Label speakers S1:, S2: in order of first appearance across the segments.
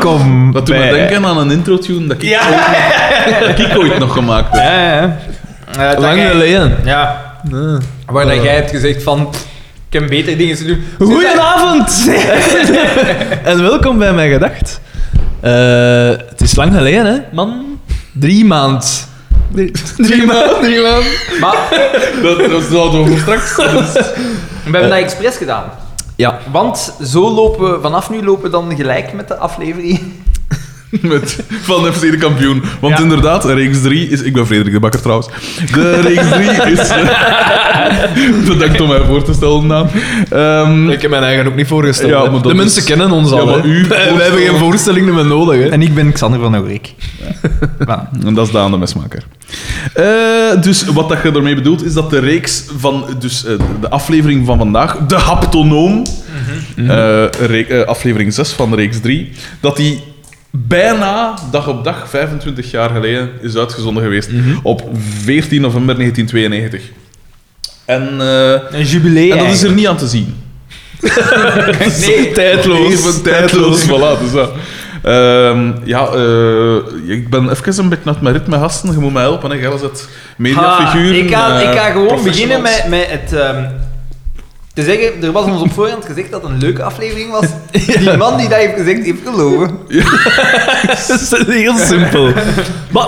S1: Dat doet me
S2: bij-
S1: denken aan een intro-tune dat ik, dat ik ooit nog gemaakt heb.
S2: Ja, ja.
S3: Eh, dat
S2: Lang
S3: jij-
S2: geleden. Eh.
S3: Ja,
S2: Ja.
S3: waar dat jij hebt gezegd van... pff, Ik heb betere dingen te doen.
S2: Goedenavond! en welkom bij Mijn Gedacht. Eh, het is lang geleden, hè? Man, drie maand. Drie, maanden. Drie maanden.
S3: Maar
S1: Dat, dat zouden we voor straks. Dus.
S3: we hebben dat expres gedaan.
S2: Ja.
S3: Want zo lopen we, vanaf nu lopen we dan gelijk met de aflevering.
S1: Met, van FC de kampioen. Want
S3: Ja.
S1: inderdaad, reeks 3 is. Ik ben Frederik de Bakker trouwens. De reeks 3 is. eh, Bedankt om mij voor te stellen, naam. Ehm,
S2: Ik heb mijn eigen ook niet voorgesteld.
S1: Ja,
S2: hè.
S1: maar dat
S2: de
S1: is-
S2: mensen kennen ons
S1: Ja,
S2: al.
S1: maar
S2: hè.
S1: u
S2: wij, wij hebben geen voorstellingen meer nodig. Hè.
S3: En ik ben Xander van Oerik. Ja.
S1: en dat is Daan de Mesmaker. Eh, dus wat dat je ermee bedoelt is dat de reeks van. Dus eh, de aflevering van vandaag, de Haptonoom, eh, re- eh, aflevering 6 van reeks 3, dat die. Bijna dag op dag, 25 jaar geleden, is uitgezonden geweest op 14 november 1992. En eh,
S3: Een jubileum.
S1: En dat is er niet aan te zien.
S3: Nee.
S2: Tijdloos.
S1: Even tijdloos, voilà, dus dat. Ehm, ja, eh, ik ben even een beetje naar mijn ritme gasten. Je moet mij helpen, hè. Jij was het mediafiguur.
S3: Ah, ik, ga,
S1: eh,
S3: ik ga gewoon
S1: professionals.
S3: beginnen met, met het... ehm, te zeggen, er was ons op voorhand gezegd dat het een leuke aflevering was. Die man die dat heeft gezegd, heeft gelogen.
S2: Dat is heel simpel. Maar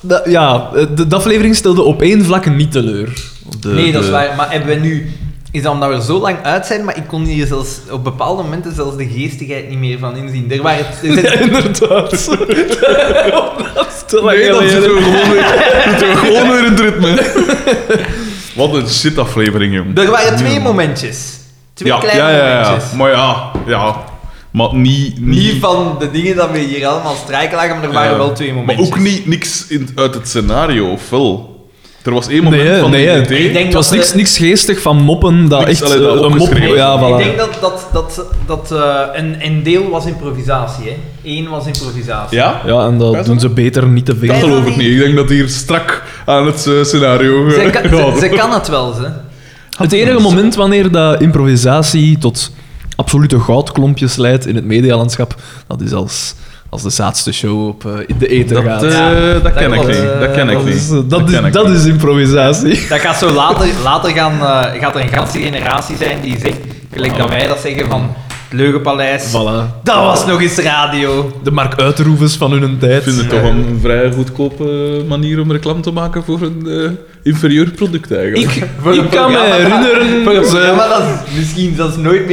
S2: da- ja, de, de aflevering stelde op één vlak niet teleur. De-
S3: nee, dat is
S2: de-
S3: waar. Maar hebben we nu... Is dat omdat we er zo lang uit zijn, maar ik kon hier zelfs op bepaalde momenten zelfs de geestigheid niet meer van inzien. Er waren... er zijn-
S2: Ja, inderdaad. dat is te lang
S1: Nee, dan
S2: geleden.
S1: zitten we gewoon weer, zitten we gewoon weer in het ritme. Wat een shit-aflevering, jong.
S3: Er waren twee momentjes. Twee kleine
S1: ja, ja, ja.
S3: momentjes.
S1: Maar ja, ja. Maar niet...
S3: Niet van de dingen dat we hier allemaal strijken lagen, maar er waren
S1: ja.
S3: wel twee
S1: Maar
S3: momentjes.
S1: ook niet, niks in, uit het scenario, of wel? Er was één moment
S2: Nee,
S1: van
S2: nee,
S1: de
S2: hè.
S1: IDT.
S3: Ik denk
S2: Het was
S3: dat
S2: niks,
S3: we-
S2: niks geestig van moppen, dat
S1: Niks,
S2: echt
S1: allee, dat
S2: eh, een mop...
S1: opgeschreven.
S2: Ja, voilà.
S3: Ik denk dat, dat, dat, dat eh, een, een deel was improvisatie, hè. Eén was improvisatie.
S1: Ja?
S2: Ja, en
S1: Kan
S2: dat
S1: je
S2: doen
S1: dat?
S2: ze beter niet te
S1: Dat
S2: veel.
S3: Kan-
S1: geloof ik niet. Ik denk dat hier strak aan het eh, scenario
S3: Ze,
S1: eh,
S3: kan,
S1: gaat.
S3: ze, ze kan het wel, ze.
S2: Het enige moment wanneer dat improvisatie tot absolute goudklompjes leidt in het medialandschap, dat is als, als de zaadste show op eh, in de ether
S1: Dat,
S2: gaat.
S1: eh,
S3: Ja,
S1: dat
S3: dat
S1: ken ik
S3: klopt.
S1: niet. Dat ken ik
S2: Eh, dat is,
S1: niet.
S2: dat,
S1: ken
S2: is,
S1: ik
S2: dat
S1: niet.
S2: is improvisatie.
S3: Dat gaat zo later, later gaan, eh, gaat er een ganse generatie zijn die zegt, gelijk dat wij dat zeggen van het Leugenpaleis.
S2: Voilà.
S3: Dat was nog eens radio.
S2: De Mark Uitroevens van hun
S1: Ik vind
S2: tijd.
S1: het toch een vrij goedkope eh, manier om reclame te maken voor een eh, inferieur product eigenlijk.
S2: Ik,
S3: Voor een
S2: ik kan me
S3: programma-
S2: herinneren...
S3: Voor een
S2: ze-
S3: programma dat is misschien zelfs nooit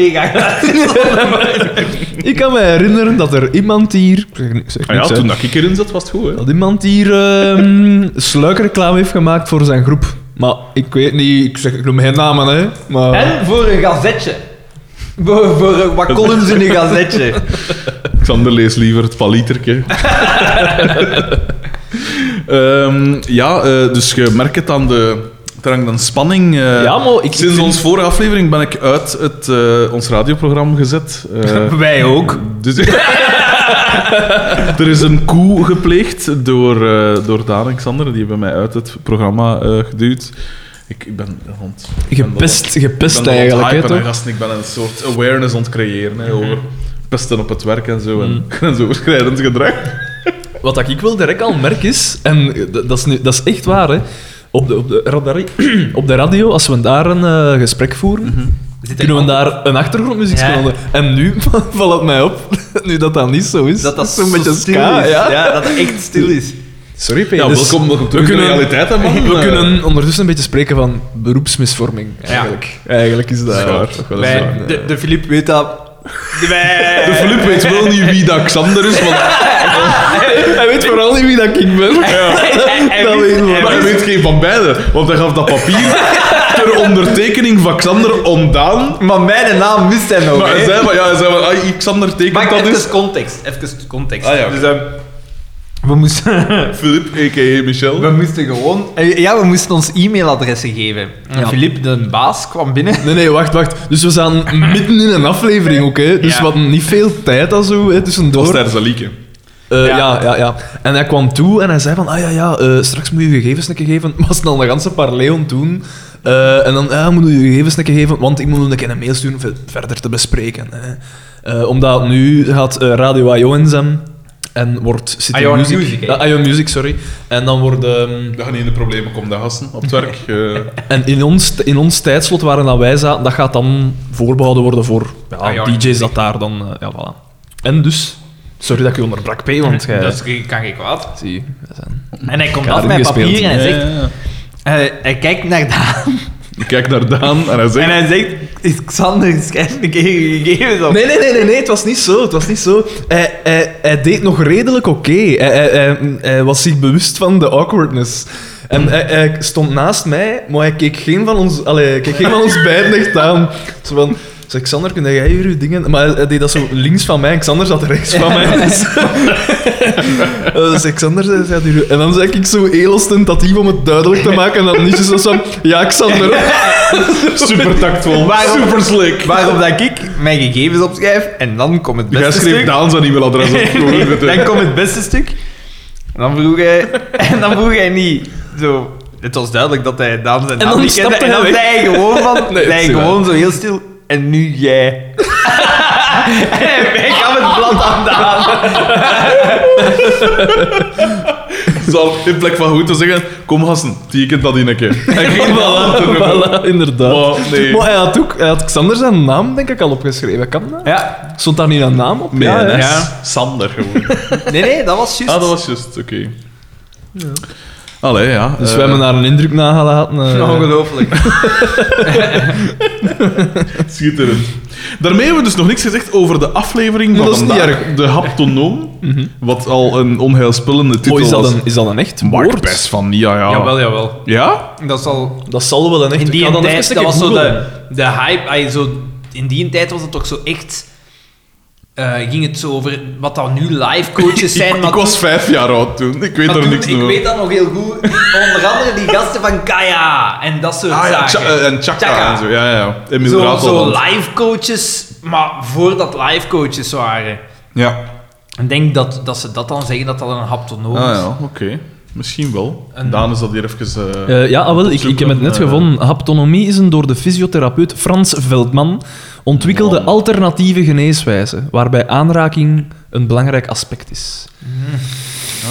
S3: meegaat.
S2: Ik kan me herinneren dat er iemand hier... Ik zeg, ni- zeg
S1: Ah ja,
S2: niks, hè.
S1: toen dat ik erin zat was het goed. Hè?
S2: Dat iemand hier ehm sluikreclame heeft gemaakt voor zijn groep. Maar ik weet niet, ik, zeg, ik noem geen namen, hè. Maar...
S3: En voor een gazetje. Voor, voor een- wat columns in een gazetje.
S1: Xander leest liever het palieterke. Ehm, ja, eh, dus je merkt het aan de... Er hangt een spanning. eh,
S2: Ja, maar ik- ik
S1: Sinds
S2: vind-
S1: onze vorige aflevering ben ik uit het, eh, ons radioprogramma gezet. Eh,
S3: Wij ook.
S1: Dus er is een koe gepleegd door, eh, door Daan en Xander. Die hebben mij uit het programma eh, geduwd. Ik, ik ben aan het- ik ben
S2: Gepest,
S1: dat- ik
S2: gepest
S1: ben dat aan het
S2: eigenlijk, hè,
S1: hypen, hè,
S2: toch?
S1: gasten. Ik ben een soort awareness aan het creëren hè, over pesten op het werk en zo. En grensoverschrijdend gedrag.
S2: Wat dat ik wil direct al merk is, en eh, dat dat is, nu, dat is echt waar, hè. Op de, op, de radari- op de radio, als we daar een eh, gesprek voeren,
S3: Mhm.
S2: kunnen we daar een achtergrondmuziek
S3: Ja.
S2: spelen. En nu valt het mij op, nu dat dat niet zo is.
S3: Dat dat
S2: is
S3: zo'n beetje stil
S2: ska,
S3: is.
S2: ja.
S3: dat het echt stil is.
S2: Sorry, P.
S1: Ja,
S2: dus
S1: welkom, welkom terug in de realiteit, hè, man.
S2: We
S1: Eh,
S2: kunnen ondertussen een beetje spreken van beroepsmisvorming, eigenlijk. Eigenlijk is dat...
S1: Dat is waar, dat is waar.
S3: Wij, de, de Filip weet dat. Wij-
S1: De Filip weet wel niet wie dat Xander is, want
S2: Hij weet vooral niet wie dat ik ben.
S3: Hij- hij
S2: Dat
S3: wist-
S2: weet ik
S3: hij
S2: wel.
S1: Maar hij weet geen van beide, want hij gaf dat papier ter ondertekening van Xander ontdaan.
S3: Maar mijn naam wist hij nog.
S1: Maar hij
S3: hè.
S1: zei van, ja, hij zei van, ai, Xander
S3: Maar
S1: tekent dat
S3: even
S1: is.
S3: context. Even context.
S1: Ah, ja, oké.
S3: dus, ehm, we, moesten,
S1: Filip, a.k.a. Michel.
S3: we moesten gewoon... eh, Ja, we moesten ons e-mailadressen geven. En
S2: Ja.
S3: Filip, de baas, kwam binnen.
S2: Nee, nee, wacht, wacht. Dus we staan midden in een aflevering, oké? Dus
S3: Ja.
S2: we hadden niet veel tijd al zo, hè,
S1: Dat was
S2: tussendoor.
S1: tijdens dat liedje.
S2: Eh,
S3: Ja.
S2: ja. ja, ja, En hij kwam toe en hij zei van, ah ja, ja, eh, straks moet je je gegevens een keer geven. Maar snel een ganse paar Leon doen. Eh, en dan, ja, moet je je gegevens een keer geven, want ik moet een keer een mail sturen om ver- verder te bespreken. Hè. Eh, omdat nu gaat eh, Radio IONSM En wordt City
S3: Ion
S2: Music...
S3: Music, hè?
S2: Ah, Ion Music, sorry. En dan wordt... ehm,
S1: We gaan in de problemen komen, dat gasten, op het werk. eh.
S2: en in ons, in ons tijdslot waarin dat wij zaten, dat gaat dan voorbehouden worden voor ja,
S3: Ion
S2: DJ's
S3: Music.
S2: dat daar dan... eh, ja, voilà. En dus... Sorry dat ik u onderbrak, P, want jij...
S3: Dat is- kan geen kwaad.
S2: Zie, wij zijn...
S3: En hij komt
S2: Kaart
S3: af met
S2: ingespeeld.
S3: papier en hij
S1: Ja,
S3: zegt...
S1: ja, ja.
S3: eh, hij kijkt naar Daan
S1: Ik kijk naar Daan en hij zegt...
S3: en hij zegt... "Is Xander schrijft een keer je gegevens op.
S2: Nee, nee, nee, nee, nee, het was niet zo. Het was niet zo. Hij, hij, hij deed nog redelijk oké. Hij, hij, hij, hij was zich bewust van de awkwardness. En hij, hij stond naast mij, maar hij keek geen van ons, allee, hij keek geen van ons beiden echt aan. Zo van, zeg Xander, kun jij hier uw dingen... Maar hij, hij deed dat zo links van mij en Xander zat rechts van mij. Dus, Eh, zeg Xander, zei, zei hier... En dan zei ik zo heel ostentatief om het duidelijk te maken. En dan Nietje zo van, ja Xander.
S1: Super tactvol,
S3: Waarom-
S1: super slick.
S3: Waarop dat ik mijn gegevens opschrijf en dan komt het
S1: Jij
S3: beste
S1: schreef
S2: Dus
S3: stuk.
S1: Daan zijn e-mailadres op.
S3: dan komt het beste stuk. En dan vroeg hij... En dan vroeg hij niet zo... Het was duidelijk dat hij Daan zijn
S2: En
S3: naam
S2: dan
S3: niet kende.
S2: stapte
S3: En dan
S2: hij
S3: zei
S2: weg.
S3: hij gewoon van...
S2: Nee,
S3: zei hij
S2: dat is
S3: gewoon zo heel stil... En nu jij. en hij week aan het blad aan Daan.
S1: Zal in plek van goed te zeggen, kom gasten, teken dat in een keer. En geen Daan te
S2: voilà,
S1: noemen.
S2: voilà, inderdaad.
S1: Maar nee.
S2: Maar hij had ook hij had Xander zijn naam, denk ik, al opgeschreven. Kan dat?
S3: Ja.
S2: Stond daar niet een naam op?
S1: Nee,
S2: ja,
S1: hè.
S2: ja.
S1: Sander gewoon.
S3: Nee, nee, dat was juist.
S1: Ah, dat was juist, oké. Allee, ja.
S2: Dus
S1: eh,
S2: we hebben daar een indruk nagelaten.
S1: Nou,
S2: eh.
S3: Ongelooflijk.
S1: Schitterend. Daarmee hebben we dus nog niks gezegd over de aflevering van
S2: Dat is niet
S1: vandaag, de haptonoom, wat al een onheilspellende titel
S2: Oh, is, dat
S1: was.
S2: een, is dat een echt
S1: Mark
S2: woord?
S1: Bess van ja, ja.
S3: jawel.
S1: Ja?
S3: Dat is al...
S2: Dat zal wel een echt...
S3: In
S2: ik
S3: die
S2: ga dan
S3: tijd,
S2: even
S3: dat was zo
S2: googlen.
S3: de, de hype. ay, zo, in die tijd was het toch zo echt... eh, ging het zo over wat dan nu live coaches zijn.
S1: ik,
S3: maar
S1: ik was vijf jaar oud toen. Ik weet
S3: Maar
S1: er
S3: toen-
S1: niks
S3: Ik
S1: meer.
S3: weet dat nog heel goed. Onder andere die gasten van Kaya en dat soort
S1: Ah ja, Cha-
S3: zaken.
S1: eh, en Chaka
S3: Chaka.
S1: en zo. Ja, ja, ja. En
S3: Zo,
S1: inderdaad
S3: zo
S1: al-
S3: live coaches, maar voordat live coaches waren.
S1: Ja.
S3: Ik denk dat, dat ze dat dan zeggen, dat dat een haptonoom
S1: Ah
S3: is.
S1: ja, oké. Misschien wel.
S3: En-
S1: Daan is dat hier even... eh,
S2: Eh, ja, ah, wel, ik, ik heb
S1: opzoeken,
S2: het net
S1: eh.
S2: gevonden. Haptonomie is een door de fysiotherapeut Frans Veldman ontwikkelde
S1: Man.
S2: alternatieve geneeswijze, waarbij aanraking een belangrijk aspect is.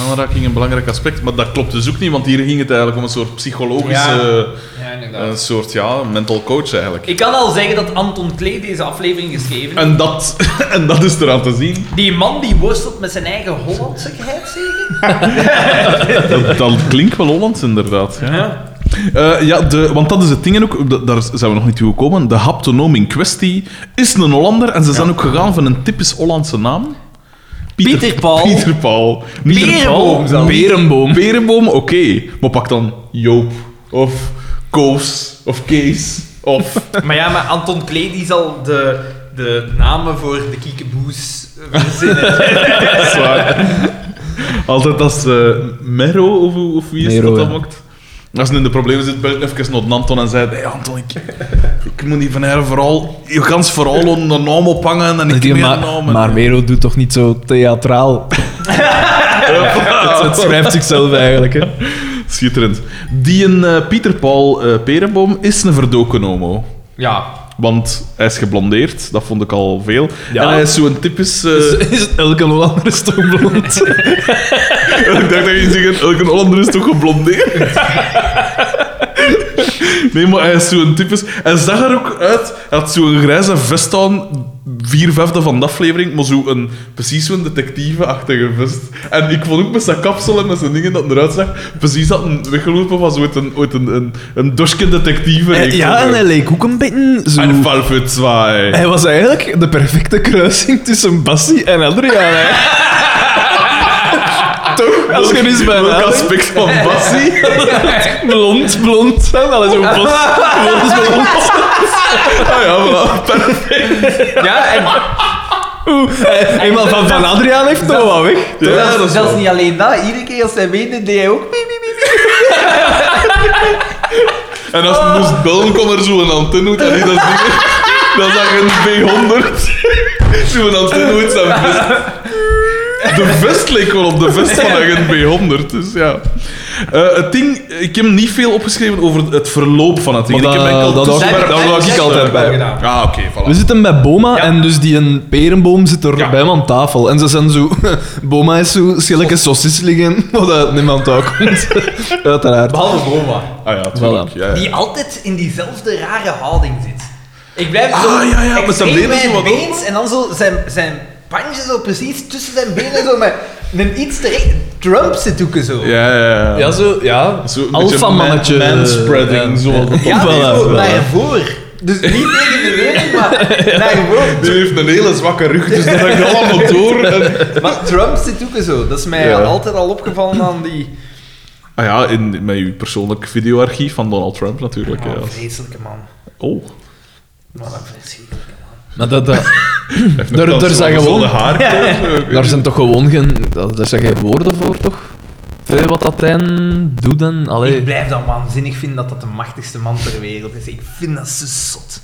S1: Aanraking een belangrijk aspect, maar dat klopt dus ook niet, want hier ging het eigenlijk om een soort psychologische, eh,
S3: Ja. Ja, inderdaad.
S1: een soort ja, mental coach eigenlijk.
S3: Ik kan al zeggen dat Anton Klee deze aflevering geschreven heeft.
S1: En dat, en dat is eraan te zien.
S3: Die man die worstelt met zijn eigen Hollandse geheid, zeker?
S1: Dat, dat klinkt wel Hollands inderdaad. Ja. Eh, ja, de, want dat is het ding en ook, da- daar zijn we nog niet toe gekomen. De haptonoom in kwestie is een Hollander en ze zijn ook gegaan van een typisch Hollandse naam.
S3: Pieter Paul.
S1: Pieter Paul. Niet een
S3: Berenboom
S1: Paul,
S3: zelfs.
S2: Berenboom.
S1: Berenboom, oké. Maar pak dan Joop of Koos of Kees of...
S3: Maar ja, maar Anton Klee die zal de, de namen voor de kiekeboes verzinnen.
S1: Dat is waar. Altijd als eh, Mero, of, hoe- of wie is
S2: Mero,
S1: dat dan
S2: ja.
S1: maakt? Als hij in de problemen zit, belt even naar Anton en zei... Hey Anton, ik, ik moet niet van haar vooral... Je kan ze vooral een naam ophangen en ik heb meer
S2: maar,
S1: namen.
S2: maar Mero doet toch niet zo theatraal?
S1: Ah.
S2: het, het schrijft zichzelf eigenlijk, hè.
S1: Schitterend. Die een eh, Pieter Paul eh, Perenboom is een verdoken homo.
S3: ja,
S1: Want hij is geblondeerd, dat vond ik al veel.
S2: Ja.
S1: En hij is zo'n typisch... eh,
S2: Is, is elke Hollander is toch blond?
S1: ik dacht dat je zegt, elke Hollander is toch geblondeerd? nee, maar hij is zo'n typisch... Hij zag er ook uit. Hij had zo'n grijze vest aan, vier vijfde van de aflevering, maar zo'n precies zo'n detectieve-achtige vest. En ik vond ook met zijn kapsel en met zijn dingen dat hij eruit zag, precies had een weggelopen van zo'n een, ooit een, een, een doske detectieve. reeks.
S2: Eh, ja, en hij leek ook een beetje zo...
S1: En Valve 2.
S2: Hij was eigenlijk de perfecte kruising tussen Bassie en Adriaan. hè. toch? Als je er eens bij
S1: Welk
S2: nadenkt.
S1: aspect van Bassie?
S2: Blond, blond. Oh. hè, Dat is een bos. Blond, blond.
S1: Ah ja, voilà.
S3: Ja, en
S2: Oeh, eh, Eenmaal van, van Adriaan heeft nog wat weg.
S1: Ja, dat
S3: zelfs,
S1: is
S3: zelfs
S1: waar.
S3: niet alleen dat. Iedere keer als hij meende, deed hij ook piep, piep, piep.
S1: En als het moest bellen, kwam er zo'n antenne uit. Allee, dat is niet... Dat is een B100. Zo'n antenne uit zijn vest. De vest leek wel op de vest van een B100, dus ja. Eh, het ding, ik heb niet veel opgeschreven over het verloop van het ding.
S2: Maar
S1: ik heb
S2: dat-
S1: enkel
S2: dat wou
S3: ik-
S1: toespraak-
S3: dat wou ik
S1: toespraak-
S2: altijd bij.
S3: Gedaan.
S1: Ah, oké, voilà.
S2: We zitten bij Boma
S3: Ja.
S2: en dus die een perenboom zit er
S1: Ja.
S2: bij hem aan tafel. En ze zijn zo... Boma is zo schillige sausis liggen, wat uit niemand aankomt. Uiteraard.
S3: Behalve Boma.
S1: Ah ja, tuurlijk.
S2: Voilà.
S1: Ja, ja.
S3: Die altijd in diezelfde rare houding zit. Ik blijf
S1: Ah,
S3: zo
S1: ja, ja,
S3: extreem
S1: met zijn benen zo wat
S3: wijd en dan zo zijn, zijn pandje zo precies tussen zijn benen zo met een iets te recht- Trump zit ook zo.
S1: Ja, ja, ja.
S2: zo... Ja. eh,
S1: Zo een beetje
S2: Alpha-mannetje.
S1: man- manspreading, zoals dat
S3: Ja,
S1: dan-
S3: nee,
S2: Voilà,
S3: zo
S2: voilà.
S3: naar voren. Dus niet tegen de leuning, maar naar voren.
S1: Die heeft een hele zwakke rug, dus dat heb ik allemaal door. En...
S3: Maar Trump zit ook zo. Dat is mij
S1: Ja.
S3: altijd al opgevallen aan die...
S1: Ah ja, in, met uw persoonlijk videoarchief van Donald Trump natuurlijk.
S3: Oh,
S2: Ah.
S1: ja.
S3: vreselijke man.
S1: Oh.
S3: Maar dat verschrikkelijke man.
S2: Maar dat... dat
S1: Heeft
S2: Daar-
S1: nog
S2: daar
S1: zo'n-
S2: zijn
S1: zo'n
S2: gewoon-
S1: haar.
S2: daar zijn toch gewoon geen... dat- Daar zijn geen woorden voor, toch? Veel wat dat hen doet en...
S3: Ik
S2: Allee...
S3: blijf dat waanzinnig vinden dat dat de machtigste man ter wereld is. Ik vind dat zo zot.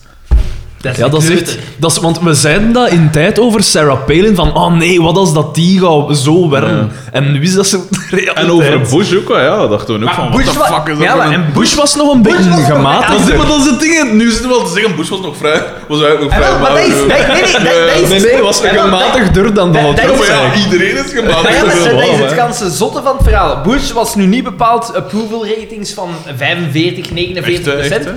S3: Dat
S2: Ja,
S3: een
S2: dat is
S3: kleuter.
S2: echt... Dat is, want we zeiden dat in tijd over Sarah Palin, van oh nee, wat als dat die gaat zo werken? En nu is dat zo
S1: En over Bush ook, wel, ja, dat dachten we ook
S3: Maar
S1: van,
S3: Bush
S1: what the
S3: wa-
S1: fuck is dat
S3: ja,
S1: voor
S3: maar
S1: een-
S3: en
S2: Bush was nog een
S3: Bush
S2: beetje
S3: was nog-
S2: gematigder.
S1: Dat is maar dat is het ding. hè. Nu zitten we al te zeggen, Bush was nog vrij. Was eigenlijk nog
S3: En
S1: vrij. eh,
S3: wel, maar dat is... Nee, nee, nee, dat- dat is...
S2: Nee, nee, was
S3: en wel, dat-
S2: gematigder dan Donald
S3: dat-
S1: Ja,
S2: Trump.
S1: maar ja,
S2: eigenlijk.
S1: iedereen is gemaakt.
S3: Maar ja, maar
S1: Dat is wel
S3: dat is
S1: waar,
S3: het
S1: hè.
S3: ganse zotte van het verhaal. Bush was nu niet bepaald approval ratings van 45, 49
S1: Echt, hè, echt,
S3: procent.
S1: hè.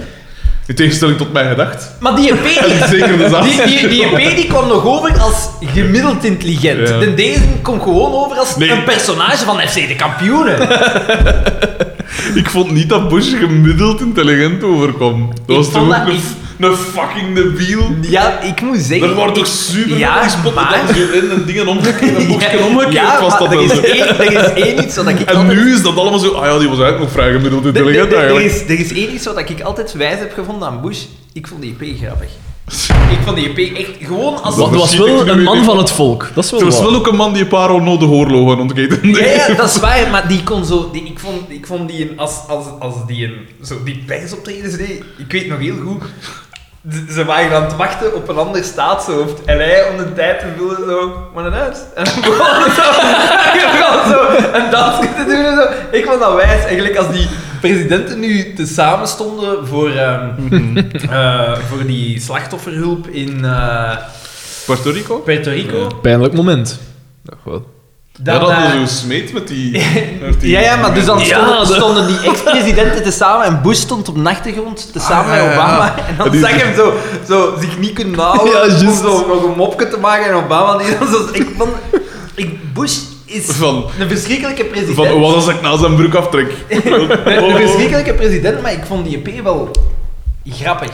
S1: In tegenstelling tot mijn gedacht.
S3: Maar die EP,
S1: En zeker de zaak.
S3: die, die, die EP die kwam nog over als gemiddeld intelligent.
S1: Ja.
S3: De deze komt gewoon over als
S1: Nee.
S3: een personage van FC de kampioenen.
S1: Ik vond niet dat Bush gemiddeld intelligent overkwam. Dat was
S3: vond
S1: toch ook
S3: dat
S1: een,
S3: niet.
S1: een fucking debiel.
S3: Ja, ik moet zeggen.
S1: Er waren toch super
S3: Ja,
S1: ja, spotten
S3: maar-
S1: dan zo in en dingen omgekeerd en boekje omgekeerd
S3: ja,
S1: was
S3: maar
S1: dat dan
S3: er, is
S1: zo.
S3: één, er is één iets wat ik
S1: En
S3: altijd-
S1: nu is dat allemaal zo... Ah ja, die was eigenlijk nog vrij gemiddeld
S3: Er- er-
S1: intelligent
S3: er- er,
S1: eigenlijk.
S3: is, er is één iets wat ik altijd wijs heb gevonden aan Bush. Ik vond die EP grappig. Ik vond die EP echt gewoon als...
S1: Wat
S2: Dat was
S1: Misschien
S2: wel
S1: ik nu
S2: een man
S1: weer-
S2: van het volk. Dat is wel
S1: Er was
S2: waar.
S1: wel ook een man die een paar onnodige oorlogen ontketende.
S3: Ja, ja, dat is waar, maar die kon zo... Die, ik, vond, ik vond die een... Als, als, als die een... Zo die persoptredens deed, ik weet nog heel goed... ze- Ze waren aan het wachten op een ander staatshoofd. En hij, om de tijd te vullen, zo... Maar naar huis. En dan begon zo... Hij begon zo een dansje te doen en zo. Ik vond dat wijs. Eigenlijk als die presidenten nu tezamen stonden voor... ehm,
S1: Mhm.
S3: eh, voor die slachtofferhulp in eh,
S1: Puerto Rico?
S3: Puerto Rico...
S2: Pijnlijk moment. Ach, wel.
S1: Ja, dat
S3: eh,
S1: hadden zo smeet met die... met die-
S3: Ja, ja, maar dus dan
S2: Ja,
S3: stonden,
S2: dat-
S3: stonden die ex-presidenten tezamen en Bush stond op nachtergrond tezamen
S1: Ah, ja,
S3: met
S1: ja.
S3: Obama. En dan
S1: Die-
S3: zag hem zo, zo zich niet kunnen
S2: Ja,
S3: houden om
S2: juist.
S3: zo nog een mopje te maken en Obama die dan zo... Ik vond... Ik, Bush is
S1: Van-
S3: een verschrikkelijke president.
S1: Van, wat als ik nou zijn broek aftrek?
S3: Een, een verschrikkelijke president, maar ik vond die EP wel grappig.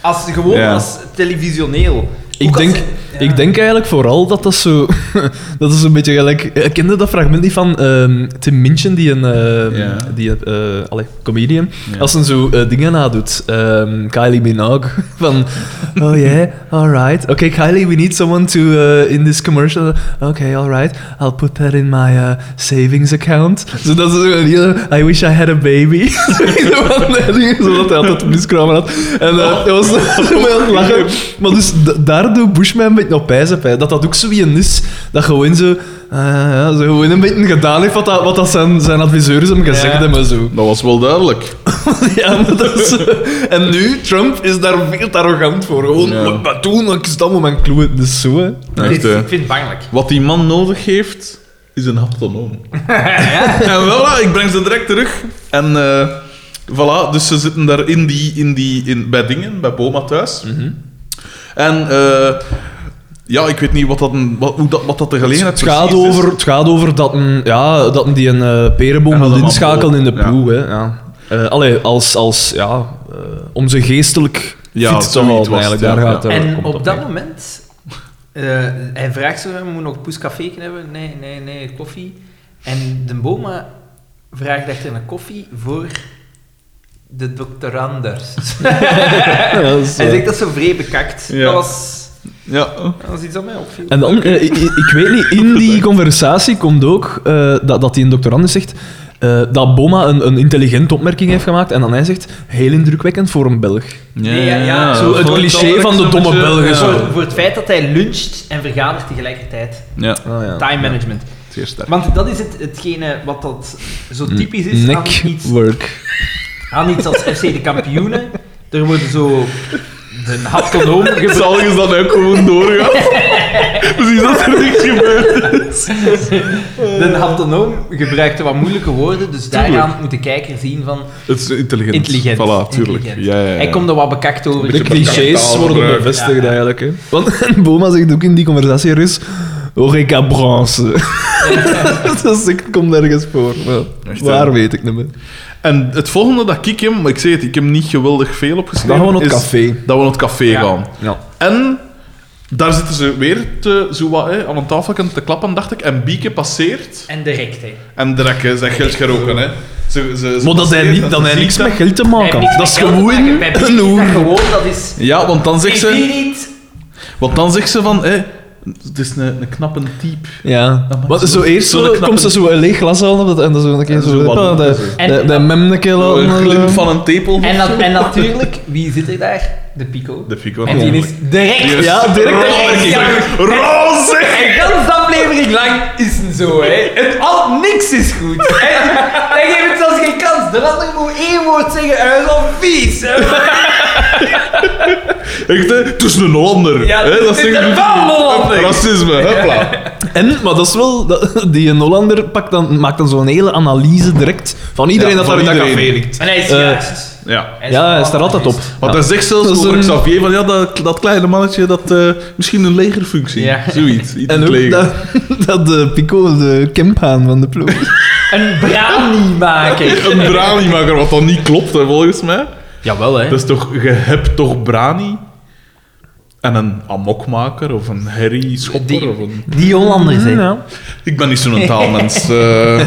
S3: Als, gewoon
S1: Ja.
S3: als televisioneel.
S2: Ik
S3: Ook als-
S2: denk,
S3: ja.
S2: ik denk eigenlijk vooral dat dat zo... dat is een beetje gelijk... Ik kende dat fragment niet van ehm, Tim Minchin, die een ehm,
S1: Ja.
S2: die, eh, allee, comedian,
S1: Ja.
S2: als hij zo eh, dingen nadoet. Ehm, Kylie Minogue. van, oh yeah, alright. Okay, Kylie, we need someone to... eh, in this commercial. Okay, alright. I'll put that in my eh, savings account. Zo dat is zo een hele... I wish I had a baby. Zodat hij altijd miskramen had. En eh, dat was zo met aan het lachen. Maar dus da- daar doet Bush mij een beetje op ijs op. hè. Dat dat ook zo wie een is. Dat gewoon zo... eh, ja, zo gewoon een beetje gedaan heeft wat, dat, wat dat zijn, zijn adviseurs hem gezegd
S3: Ja.
S2: hebben. Zo.
S1: Dat was wel duidelijk.
S2: Ja, maar dat is, en nu, Trump is daar veel te arrogant voor. Gewoon,
S1: Ja.
S2: wat maar doen, wat is dat met mijn kloe? Het is zo, hè.
S3: Dit-
S1: Echt, hè.
S3: ik vind het bangelijk.
S1: Wat die man nodig heeft, is een haptonoom. En voilà, ik breng ze direct terug. En eh, voilà, dus ze zitten daar in die, in die, in, bij dingen, bij Boma thuis. En eh, ja, ik weet niet wat dat, een, wat, hoe dat, wat dat de gelegenheid
S2: Het gaat,
S1: precies is.
S2: over, het gaat over dat een, ja, dat een die een eh, perenboom
S1: Ja, dat
S2: wil
S1: een
S2: inschakelen in de
S1: ja.
S2: ploeg, hè. Ja. Eh, allee, als, als, ja, eh, om ze geestelijk
S1: Ja,
S2: fit te
S1: zoiets
S2: houden,
S1: was het,
S2: eigenlijk.
S1: ja,
S2: Daar
S1: ja.
S2: gaat, eh,
S3: En
S2: komt
S3: op dat
S2: neer.
S3: moment, eh, hij vraagt zo, moet je nog poescafé hebben? Nee, nee, nee, koffie. En de boma vraagt achter een koffie voor de doctoranders.
S2: Ja, dat is,
S3: hij
S2: eh,
S3: zegt dat zo vreemd bekakt.
S1: Ja.
S3: Dat, was,
S1: Ja.
S3: dat was iets dat mij opviel.
S2: En dan, eh, ik, ik- ik weet niet, in die conversatie komt ook eh, dat, dat die een doctorandus zegt eh, dat Boma een, een intelligente opmerking heeft gemaakt. En dan hij zegt, heel indrukwekkend voor een Belg.
S3: Nee, ja, ja, zo
S2: het
S1: Vond ik
S2: cliché
S1: wel
S2: van de
S1: een
S2: domme
S1: beetje-
S2: Belgen,
S1: ja.
S2: zo.
S3: voor, voor het feit dat hij luncht en vergadert tegelijkertijd.
S1: Ja.
S2: Ah, ja.
S3: Time management.
S1: Zeer sterk.
S3: Want dat is het, hetgene wat dat zo typisch is aan iets,
S2: Neckwork.
S3: aan iets als FC de kampioenen. Er worden zo de haptonoom
S1: Het
S3: gebruikt.
S1: zal eens dan ook gewoon doorgaan. Precies dat er niks gebeurt.
S3: De haptonoom gebruikte wat moeilijke woorden, dus daaraan moet de kijker zien van
S1: Het is intelligent.
S3: intelligent.
S1: Voilà, tuurlijk.
S3: Intelligent.
S1: Ja, ja, ja.
S3: Hij komt er wat bekakt over.
S2: De clichés
S1: kapitaal
S2: worden
S1: gebruikt.
S2: bevestigd
S3: Ja.
S2: eigenlijk. Hè. Want Boma zegt ook in die conversatie, Rus, recabranse. dus ik kom nergens voor. maar
S1: Echt, hè?
S3: eh,
S2: Waar weet ik niet meer.
S1: En het volgende dat ik hem, ik zeg het, ik heb niet geweldig veel opgeschreven.
S2: Dan gaan we naar het
S1: is
S2: café.
S1: Dat we naar het café
S3: Ja.
S1: gaan.
S2: Ja.
S1: En daar zitten ze weer te, zo wat, hè, aan een tafelkant te klappen, dacht ik. En Bieke passeert.
S3: En direct, hè.
S1: En Drek, hè, zijn geld geroken, hè. Ze, ze, ze
S2: Maar dat hij,
S1: passeert en
S2: niet, dat
S1: ze
S2: hij
S1: ziet
S2: niks
S1: dat.
S2: met geld te
S3: Hij heeft
S2: maken
S3: niks
S2: had.
S3: met
S2: Dat is
S3: geld te maken.
S2: gewoon
S3: Bij Bieke
S2: een
S3: is dat
S2: hoer.
S3: gewoon, dat is...
S1: Ja, want dan zegt
S3: Ik weet
S1: ze...
S3: niet.
S1: Want dan zegt ze van... Hè, het is een, een knappe type.
S2: Ja.
S1: Dat maakt
S2: Wat,
S1: ze
S2: zo
S1: wel-
S2: eerst
S1: zo'n
S2: zo,
S1: knappe-
S2: komt ze zo een leeg glas aan en dan zo een keer
S1: En zo
S2: zo...
S1: wat
S2: ah,
S1: doen
S2: De,
S1: ze. Oh,
S2: de,
S3: En-
S2: de mem een keer laten,
S1: Een glimp
S2: eh.
S1: van een tepel.
S3: En, nat- en natuurlijk, wie zit er daar? De Pico.
S1: De Fico.
S3: en die is direct...
S1: Die is
S2: Ja, direct-
S1: roze.
S3: Ja.
S1: Roze!
S3: En gans de aflevering lang is het zo, hè. Het al niks is goed. hè. Hij geeft het zelfs geen kans. De ander moet één woord zeggen en hij is al vies. hè.
S1: Echt, hè? Het is een Hollander.
S3: Ja,
S1: hè?
S3: het is
S1: zeggen
S3: een
S1: ze-
S3: van Hollander.
S1: Racisme, hupla.
S2: En, maar dat is wel... dat- die Hollander pakt dan, maakt dan zo'n hele analyse direct van iedereen
S1: Ja,
S2: dat
S1: van
S2: daar in dat café
S1: iedereen.
S2: ligt.
S3: En hij is
S2: Eh,
S3: juist.
S1: Ja.
S3: Hij is
S2: Ja, hij staat altijd op.
S1: Maar
S2: Ja.
S1: daar zegt zelfs
S2: Dat is
S1: over
S2: een-
S1: Xavier van ja, dat, dat kleine mannetje, dat eh, misschien een legerfunctie.
S3: Ja.
S1: Zoiets. Iets
S2: En
S1: in het
S2: ook
S1: leger.
S2: dat, dat de Pico de kemphaan van de ploeg.
S3: Een brownie-maker.
S1: Een brani-maker, wat dan niet klopt, hè, volgens mij.
S3: Jawel, hè.
S1: Dat is toch, je hebt toch brani? En een amokmaker of een herrie-schopper
S3: Die-
S1: of een...
S3: Die Hollander
S2: Mm,
S3: zijn.
S1: Ik ben niet zo'n taalmens. eh.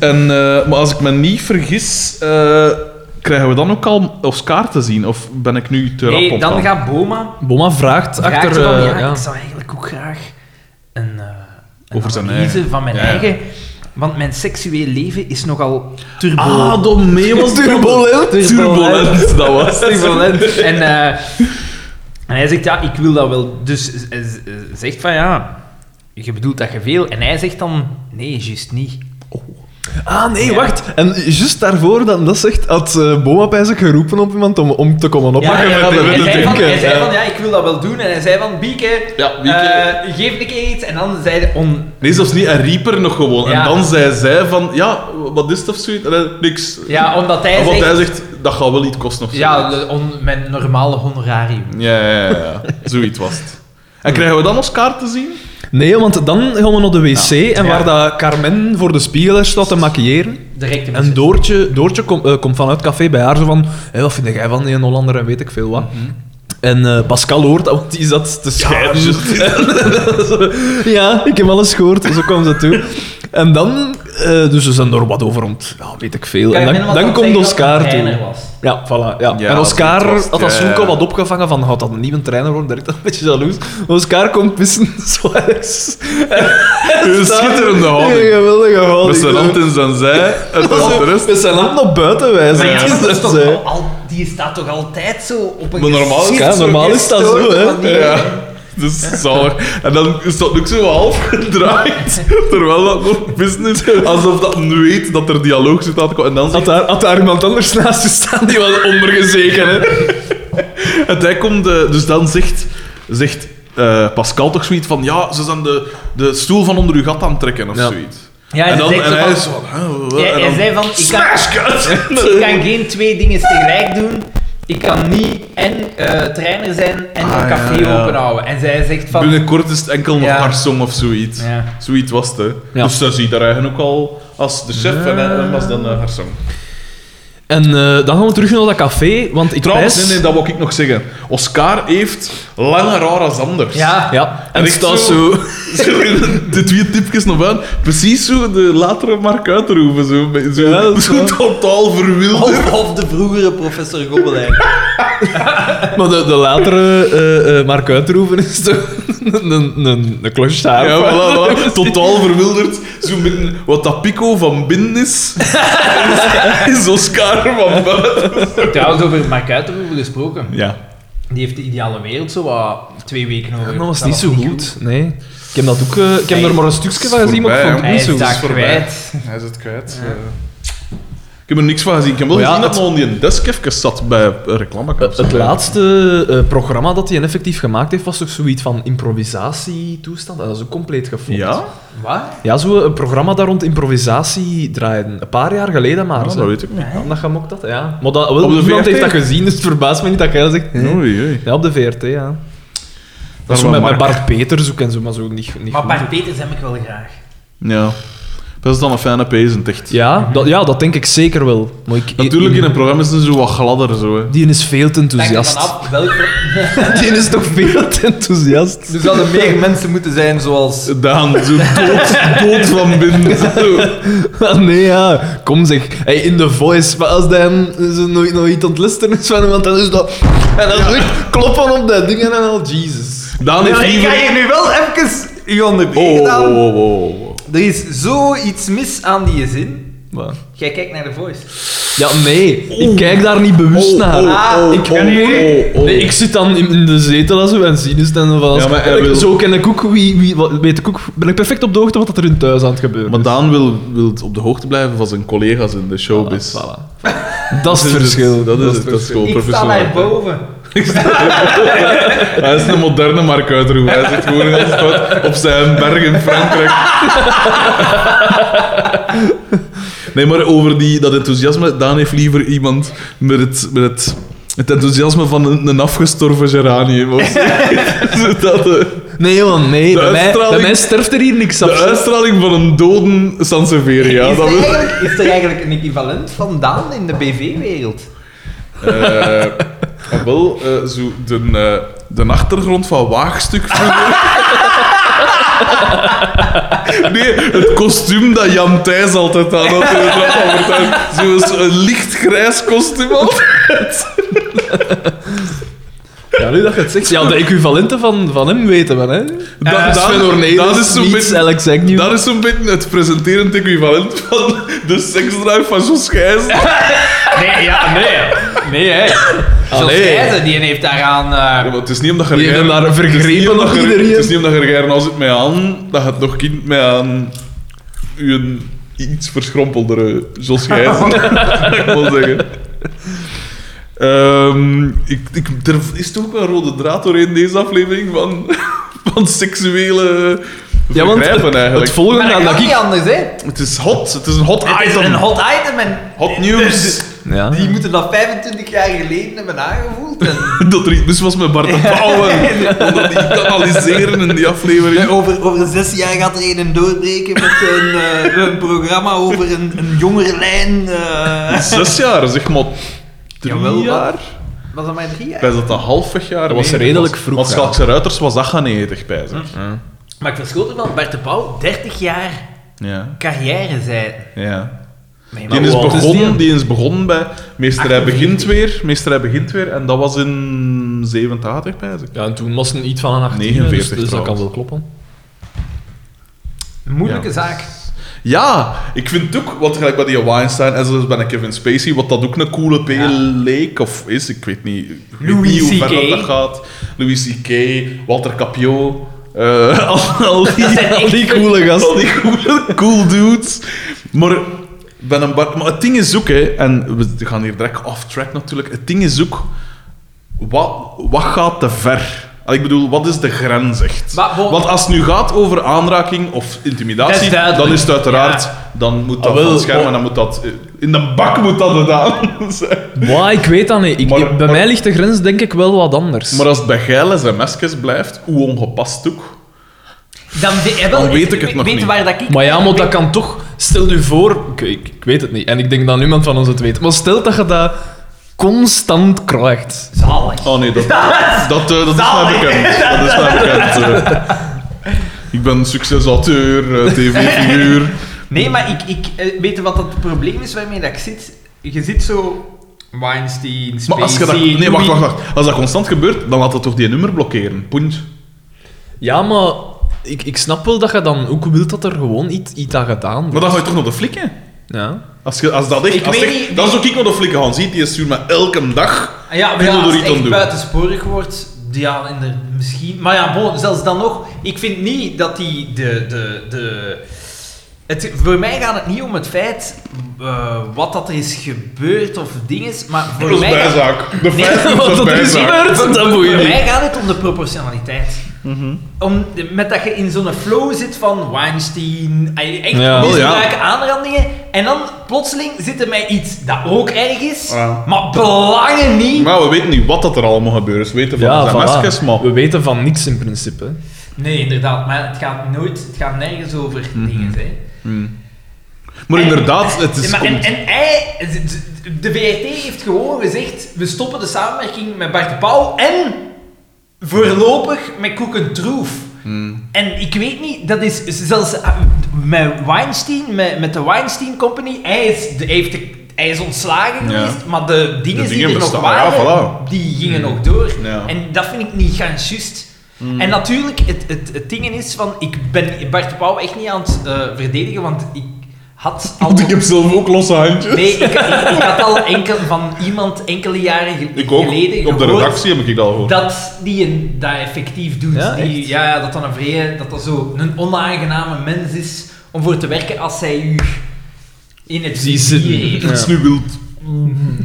S1: en, eh, maar als ik me niet vergis, eh, krijgen we dan ook al Oscar te zien? Of ben ik nu te rap
S3: Nee,
S1: op
S3: dan
S1: aan?
S3: gaat Boma...
S2: Boma vraagt
S3: vraagt
S2: achter...
S3: van,
S2: eh,
S3: ja,
S2: ja.
S3: Ah, Ik zou eigenlijk ook graag een, eh een
S1: Over zijn
S3: analyse
S1: eigen.
S3: van mijn
S1: Ja.
S3: eigen... Want mijn seksueel leven is nogal turbo.
S1: Ah, Domé was
S2: Turbulent.
S1: Turbulent, dat was het.
S3: turbulent. En, eh, en hij zegt, ja, ik wil dat wel. Dus z- z- zegt van, ja, je bedoelt dat je veel. En hij zegt dan, nee, juist niet.
S2: Ah, nee,
S3: Ja.
S2: wacht. En juist daarvoor dat dat zegt, had eh, Boma bij zich geroepen op iemand om, om te komen oppakken
S1: ja,
S2: met
S1: ja,
S2: de-
S1: ja,
S2: met
S3: hij,
S2: de
S3: zei van,
S2: drinken. Eh,
S3: hij zei
S2: Ja.
S3: van, ja, ik wil dat wel doen. En hij zei van, Bieke,
S1: Ja, Bieke.
S3: eh, geef een keer iets. En dan zei hij, on,
S1: Nee, zelfs niet. Hij riep er nog gewoon.
S3: Ja.
S1: En dan zei zij van, ja, wat is het of zoiets? En hij, niks.
S3: ja, omdat hij
S1: Of wat
S3: zegt...
S1: hij zegt, dat gaat wel iets kosten of zo.
S3: ja, de- on, mijn normale honorarium.
S1: ja, ja, ja, ja. Zoiets was het. En krijgen we dan Oscar te zien?
S2: Nee, want dan gaan we naar de wc
S1: Nou,
S2: en
S3: Ja.
S2: waar dat Carmen voor de spiegel er staat te maquilleren.
S3: Direct
S2: En Doortje, Doortje kom- eh, komt vanuit het café bij haar zo van... Hé, wat vind jij van die Hollander en weet ik veel wat.
S1: Mhm.
S2: En eh, Pascal hoort dat, want die zat te scheiden.
S1: juist.
S2: Ja, ik heb alles gehoord, zo kwam ze toe. En dan, eh, dus ze zijn er wat over rond, ja, weet ik veel. En dan, dan komt Oscar toe. Ja, voilà. Ja.
S1: Ja,
S2: en
S1: dat
S2: Oscar
S1: is het
S2: had dat
S1: vast,
S2: zoek
S1: ja.
S2: al wat opgevangen van, had dat een nieuwe trainer worden, direct al een beetje jaloers. Oscar komt pissen, Suarez.
S1: Een schitterende
S2: Een
S1: houding.
S2: geweldige houding.
S1: Met zijn hand in zijn zij en dan de rest.
S2: Met zijn hand naar buiten wijzen.
S3: Maar ja,
S2: Het is-
S3: dat is
S2: het
S3: toch
S2: is, eh,
S3: al- al, die staat toch altijd zo op een
S1: Maar normaal is-
S3: geschikt,
S2: ja,
S3: zo
S2: normaal is dat zo,
S3: gestoorde
S2: hè.
S3: manier.
S1: Ja. Dus zalig. En dan is dat ook zo half gedraaid, terwijl dat nog business is. Alsof dat nu weet dat er dialoog zit aan te komen. En dan
S2: Had
S1: zegt
S2: daar, had daar iemand anders naast je staan, die was ondergezeken, hè.
S1: En hij komt, eh, dus dan zegt, zegt eh, Pascal toch zoiets van: Ja, ze zijn de, de stoel van onder uw gat aan het trekken of
S2: Ja.
S1: zoiets.
S3: Ja,
S1: en
S3: en
S1: dan,
S3: zegt
S1: en
S3: zo
S1: hij
S3: van-
S1: is van: "Huh, huh,"
S3: Ja,
S1: en
S3: hij
S1: dan,
S3: zei van, ik kan,
S1: Smash cut!
S3: ik kan geen twee dingen tegelijk doen. Ik kan niet en eh, trainer zijn en
S1: Ah,
S3: een café
S1: ja, ja.
S3: openhouden. En zij zegt van...
S1: Binnenkort is het enkel nog
S3: Ja.
S1: Harsong of zoiets.
S3: Ja.
S1: Zoiets was het. hè.
S2: Ja.
S1: Dus zij ziet daar eigenlijk ook al als de chef en hij was dan eh, Harsong.
S2: En eh, dan gaan we terug naar dat café, want ik
S1: Trouwens,
S2: pijs-
S1: nee, nee, dat wil ik nog zeggen. Oscar heeft lange raar als anders.
S3: Ja,
S2: Ja, en
S1: En
S2: het
S1: ik
S2: staat
S1: zo-
S2: zo...
S1: Zo, de twee tipjes nog aan. Precies zo de latere Mark Uiterhoeven. Zo, met- zo,
S2: Ja, dat is
S1: zo
S2: waar.
S1: totaal verwilderd.
S3: Of, of de vroegere professor Gobbelijn.
S2: Maar de, de latere eh, eh, Mark Uitroeven is toch een, een, een, een clochard.
S1: Ja, voilà, voilà. Totaal verwilderd. Zo met een- wat dat Pico van binnen is, is, is Oscar van buiten.
S3: Trouwens, over Mark Uiterhoeven gesproken.
S1: Ja.
S3: Die heeft de ideale wereld zo wat twee weken over.
S2: Dat was niet zo goed, nee. Ik heb, dat ook, eh, ik heb er maar een stukje van gezien, maar ik vond het
S1: Voorbij,
S2: niet
S3: Hij
S2: zo
S3: is
S2: goed.
S3: daar
S1: is voorbij.
S3: kwijt.
S1: Hij zit kwijt. eh. Ik heb er niks van gezien. Ik heb wel
S2: Maar Oh ja,
S1: gezien dat
S2: het-
S1: hij onder die desk even zat bij reclame.
S2: Het, het laatste eh, programma dat hij effectief gemaakt heeft, was toch zoiets van improvisatietoestand. Dat is ook compleet gefopt.
S1: Ja,
S3: Wat?
S2: Ja, zo eh, een programma daar rond improvisatie draaien. Een paar jaar geleden maar.
S1: Ah,
S2: zo.
S1: dat weet ik niet.
S2: Ja, dat gaat ook dat, ja. Maar dat, wel,
S1: Op de
S2: niemand
S1: VRT?
S2: heeft dat gezien, dus het verbaast me niet dat jij dat zegt. hè.
S1: Oei, oei.
S2: Ja, op de VRT, ja. Dat is zo
S1: waar
S2: met, met
S1: Mark-
S2: Bart Peters ook en zo, maar zo niet, niet
S3: Maar
S2: goed.
S3: Bart Peters heb ik wel graag.
S1: Ja. Dat is dan een fijne pezen, echt.
S2: Ja, dat, ja, dat denk ik zeker wel. Maar ik,
S1: Natuurlijk, in een programma is het zo wat gladder. Zo, hè.
S2: Die is veel te
S3: Dank je
S2: enthousiast.
S3: vanaf welk...
S2: Die is toch veel te enthousiast.
S3: Er zouden meer mensen moeten zijn zoals...
S1: Daan, zo dood, dood van binnen. Zo.
S2: Ah, nee, ja. Kom zeg. Hey, in The Voice. Maar als dan zo nooit, nooit aan het luisteren is van iemand, dan is dat... En dan zo kloppen op dat ding en dan al Jesus.
S1: Daan heeft
S3: ik ga
S1: liever...
S3: je nu wel even u onderbreken,
S1: Oh,
S3: Daan.
S1: oh, oh, oh, oh.
S3: Er is zoiets mis aan die zin.
S2: Maar-
S3: Jij kijkt naar de voice.
S2: Ja, nee. Ik kijk daar niet bewust
S1: Oh,
S2: naar. Ah,
S1: oh, oh,
S2: ik,
S1: oh, oh, oh.
S2: Nee, ik zit dan in, in de zetel en zo en zie dus dan van...
S1: Ja, maar hij wil-
S2: Zo ken ik ook... Wie, wie, wat- weet ik ook... Ben ik perfect op de hoogte wat er in thuis aan het gebeuren
S1: Maar
S2: is.
S1: Daan wil, wil op de hoogte blijven van zijn collega's in de showbiz.
S2: Voilà. Dat is het verschil.
S1: Dat is het, dat is gewoon
S3: Ik sta
S1: professioneel.
S3: daar boven.
S1: Hij is een moderne Mark Uitroep. Hij zit gewoon in een stad op zijn berg in Frankrijk. Nee, maar over die, dat enthousiasme, Daan heeft liever iemand met het, met het, het enthousiasme van een, een afgestorven geranium. of zo. Zodat, eh,
S2: Nee, man. Nee.
S1: De
S2: Bij mij, bij
S1: uitstraling-
S2: mij sterft er hier niks
S1: de
S2: af.
S1: uitstraling van een doden Sansevieria.
S3: is,
S1: Dat
S3: er
S1: wil-
S3: eigenlijk, is er eigenlijk een equivalent van Daan in de BV-wereld?
S1: Eh, ah, wel, eh, zo de, eh, de achtergrond van Waagstuk vroeger. Nee, het kostuum dat Jan Thijs altijd aan had in het rapportage. Zo'n een lichtgrijs kostuum altijd.
S2: Ja, nu dat je het zegt. Ja, de equivalenten van, van hem weten we, hè.
S1: Da-
S2: Eh,
S1: Daan-
S2: Sven Ornelis,
S1: Daan is zo'n
S2: Niets,
S1: beetje-
S2: Alex Agnew.
S1: Dat is zo'n beetje het presenterend equivalent van de seksdrive van Jos Gijs.
S3: Nee, ja, nee.
S2: Nee, hè.
S3: Zoals
S2: Allee.
S3: Gijzen, die heeft daaraan...
S1: Ja,
S3: eh
S1: maar het is niet omdat je
S2: Die hebben
S1: Gerijn-
S2: daar
S1: het is niet
S2: vergrepen
S1: omdat
S2: nog
S1: je-
S2: iedereen.
S1: Het is niet omdat je Gerijn als het mij aan, dat je het nog kind mij aan je iets verschrompeldere Jos Gijzen. dat ik wel zeggen. Ehm, ik, ik, er is toch ook wel een rode draad doorheen deze aflevering van, van seksuele
S2: Ja, want
S1: vergrijpen
S2: het,
S1: eigenlijk.
S2: het volgende
S3: maar dat
S2: aan
S3: kan
S2: dat
S3: niet
S2: ik...
S3: anders, hè.
S1: het is hot, het is een hot
S3: Het is
S1: item.
S3: een hot item en Dus
S1: Hot news.
S2: Ja.
S3: die moeten dat 25 jaar geleden hebben aangevoeld. En
S1: Dat ritmes was met Bart de Pauwen. Omdat die kanaliseren in die aflevering.
S3: over, over zes jaar gaat er een doorbreken met een, eh, een programma over een, een jongere lijn. eh.
S1: Zes jaar, zeg maar. Drie
S3: Jawel, wat?
S1: jaar?
S3: was dat maar drie jaar?
S1: Bij dat een halfweg jaar.
S2: Dat was
S1: Nee,
S2: redelijk
S1: was-
S2: vroeg,
S1: Want
S2: ja.
S1: Schalkse Ruiters was 98, bij zich.
S3: Hm. Maar ik verschoot ervan, Bart de Pauw, 30 jaar
S1: Ja.
S3: carrière zijn.
S1: ja.
S3: Nee,
S1: Die,
S2: hoe
S1: is
S2: oud is die?
S1: begonnen, die is begonnen bij Meesterij
S3: 48.
S1: Begint Weer. Meesterij Begint Weer. En dat was in 87, bij zich.
S2: Ja, en toen was het iets van een 18,
S1: 49
S2: dus, dus dat kan
S1: trouwens.
S2: wel kloppen.
S3: Moeilijke
S1: Ja.
S3: zaak.
S1: Ja, ik vind het ook, want gelijk bij die Weinstein en zoals bij een Kevin Spacey, wat dat ook een coole P
S3: Ja.
S1: leek of is, ik weet niet, ik weet
S3: Louis
S1: niet hoe ver
S3: C.K..
S1: dat dat gaat. Louis C.K., Walter Capio, eh, al, al die,
S3: zijn echt
S1: al die coole
S3: goeie
S1: gasten. Al die coole, cool dudes. Maar, ben een bar, maar het ding is ook, hè, en we gaan hier direct off-track natuurlijk, het ding is ook, wat, wat gaat te ver? Al, Ik bedoel, wat is de grens echt?
S3: Maar bon-
S1: Want als het nu gaat over aanraking of
S3: Dat
S1: intimidatie,
S3: is duidelijk.
S1: dan is het uiteraard dan moet dat
S2: Ah, wel,
S1: van het scherm
S2: oh.
S1: en dan moet dat... eh, In de bak moet dat gedaan zijn.
S2: Maar ik weet dat niet. Ik,
S1: Maar-
S2: ik- bij
S1: maar-
S2: mij ligt de grens denk ik wel wat anders.
S1: Maar als het bij geile sms'jes blijft, hoe ongepast ook...
S3: Dan, we- eh, wel,
S1: Dan weet ik het nog
S3: weet
S1: niet.
S3: Waar dat ik
S2: Maar ja, maar dat kan toch... Stel je voor... Ik, ik, ik weet het niet. En ik denk dat niemand van ons het weet. Maar stel dat je dat constant krijgt.
S3: Zalig.
S1: Oh nee, dat, dat, eh, dat is mij
S3: Zalig.
S1: bekend. Dat is mij bekend. eh. Ik ben succesauteur, eh, tv-figuur.
S3: Nee, maar ik, ik eh, weet je wat dat het probleem is waarmee dat ik zit? Je zit zo... Weinstein, Spacey...
S1: Maar als je dat... Nee, wacht,
S3: Louis-
S1: wacht, wacht. Als dat constant gebeurt, dan laat dat toch die nummer blokkeren. Punt.
S2: Ja, maar... Ik, ik snap wel dat je dan ook wilt dat er gewoon iets, iets aan gedaan
S1: Maar
S2: wordt.
S1: dan ga je toch nog de flikken?
S2: Ja.
S1: Als, je, als dat echt...
S3: Ik
S1: als
S3: weet
S1: echt-
S3: niet-
S1: dan zou ik nog de flikken gaan zien. Die stuurt me elke dag...
S3: Ah Ja, maar
S1: Wil
S3: ja,
S1: er
S3: als
S1: iets
S3: het
S1: aan
S3: echt
S1: doen?
S3: buitensporig wordt, ja, inderdaad, misschien. Maar ja, bon, zelfs dan nog, ik vind niet dat die de... de, de het, voor mij gaat het niet om het feit eh, wat dat er is gebeurd of dingen, maar voor
S1: Dat is
S3: mij... gaat-
S1: bijzaak. De
S3: Nee,
S1: feiten
S2: want
S1: is
S2: dat is
S1: bijzaak.
S2: gebeurd.
S3: voor-
S2: dat moet je
S3: voor
S2: niet.
S3: mij gaat het om de proportionaliteit. Om, de- met dat je in zo'n flow zit van Weinstein, eh, echt
S2: Ja.
S3: misbruik, aanrandingen, en dan plotseling zit er met iets dat ook erg is,
S1: Ja.
S3: maar belangen niet.
S1: Maar we weten niet wat dat er allemaal gebeurt. We weten van
S2: Ja,
S1: de sms'jes,
S2: voilà.
S1: maar...
S2: We weten van niks in principe.
S3: Nee, inderdaad, maar het gaat nooit, het gaat nergens over
S2: Mhm.
S3: dingen, hè.
S1: Maar
S3: En-
S1: inderdaad, het is...
S3: Ja, maar en,
S1: om-
S3: en hij, de VRT heeft gewoon gezegd, we stoppen de samenwerking met Bart de Pauw en voorlopig met Koek en Troef.
S1: Hmm.
S3: En ik weet niet, dat is zelfs ah, met Weinstein, met, met de Weinstein Company, hij is, de, heeft de- hij is ontslagen
S1: Ja.
S3: geweest, maar de dingen
S1: De
S3: die
S1: dingen
S3: er nog
S1: bestaan, ja,
S3: waren,
S1: voilà. Hmm.
S3: die gingen nog door.
S1: Ja.
S3: En dat vind ik niet gans juist.
S1: Hmm.
S3: En natuurlijk, het, het, het ding is van, ik ben Bart de Pauw echt niet aan het eh, verdedigen, want ik had al...
S1: Want ik heb zelf ook losse handjes.
S3: Nee, ik, ik- ik had al enkel, van iemand enkele jaren ge-
S1: ik ook.
S3: geleden
S1: op de
S3: gehoord
S1: redactie heb ik dat al gehoord.
S3: dat die een, dat effectief doet.
S2: Ja,
S3: die,
S2: echt?
S3: ja, ja, dat dan een vrije, dat dat zo een onaangename mens is om voor te werken als zij u in het
S2: Zie
S3: vizier
S2: zitten.
S3: heeft.
S2: Ja.
S1: Het is nu wild.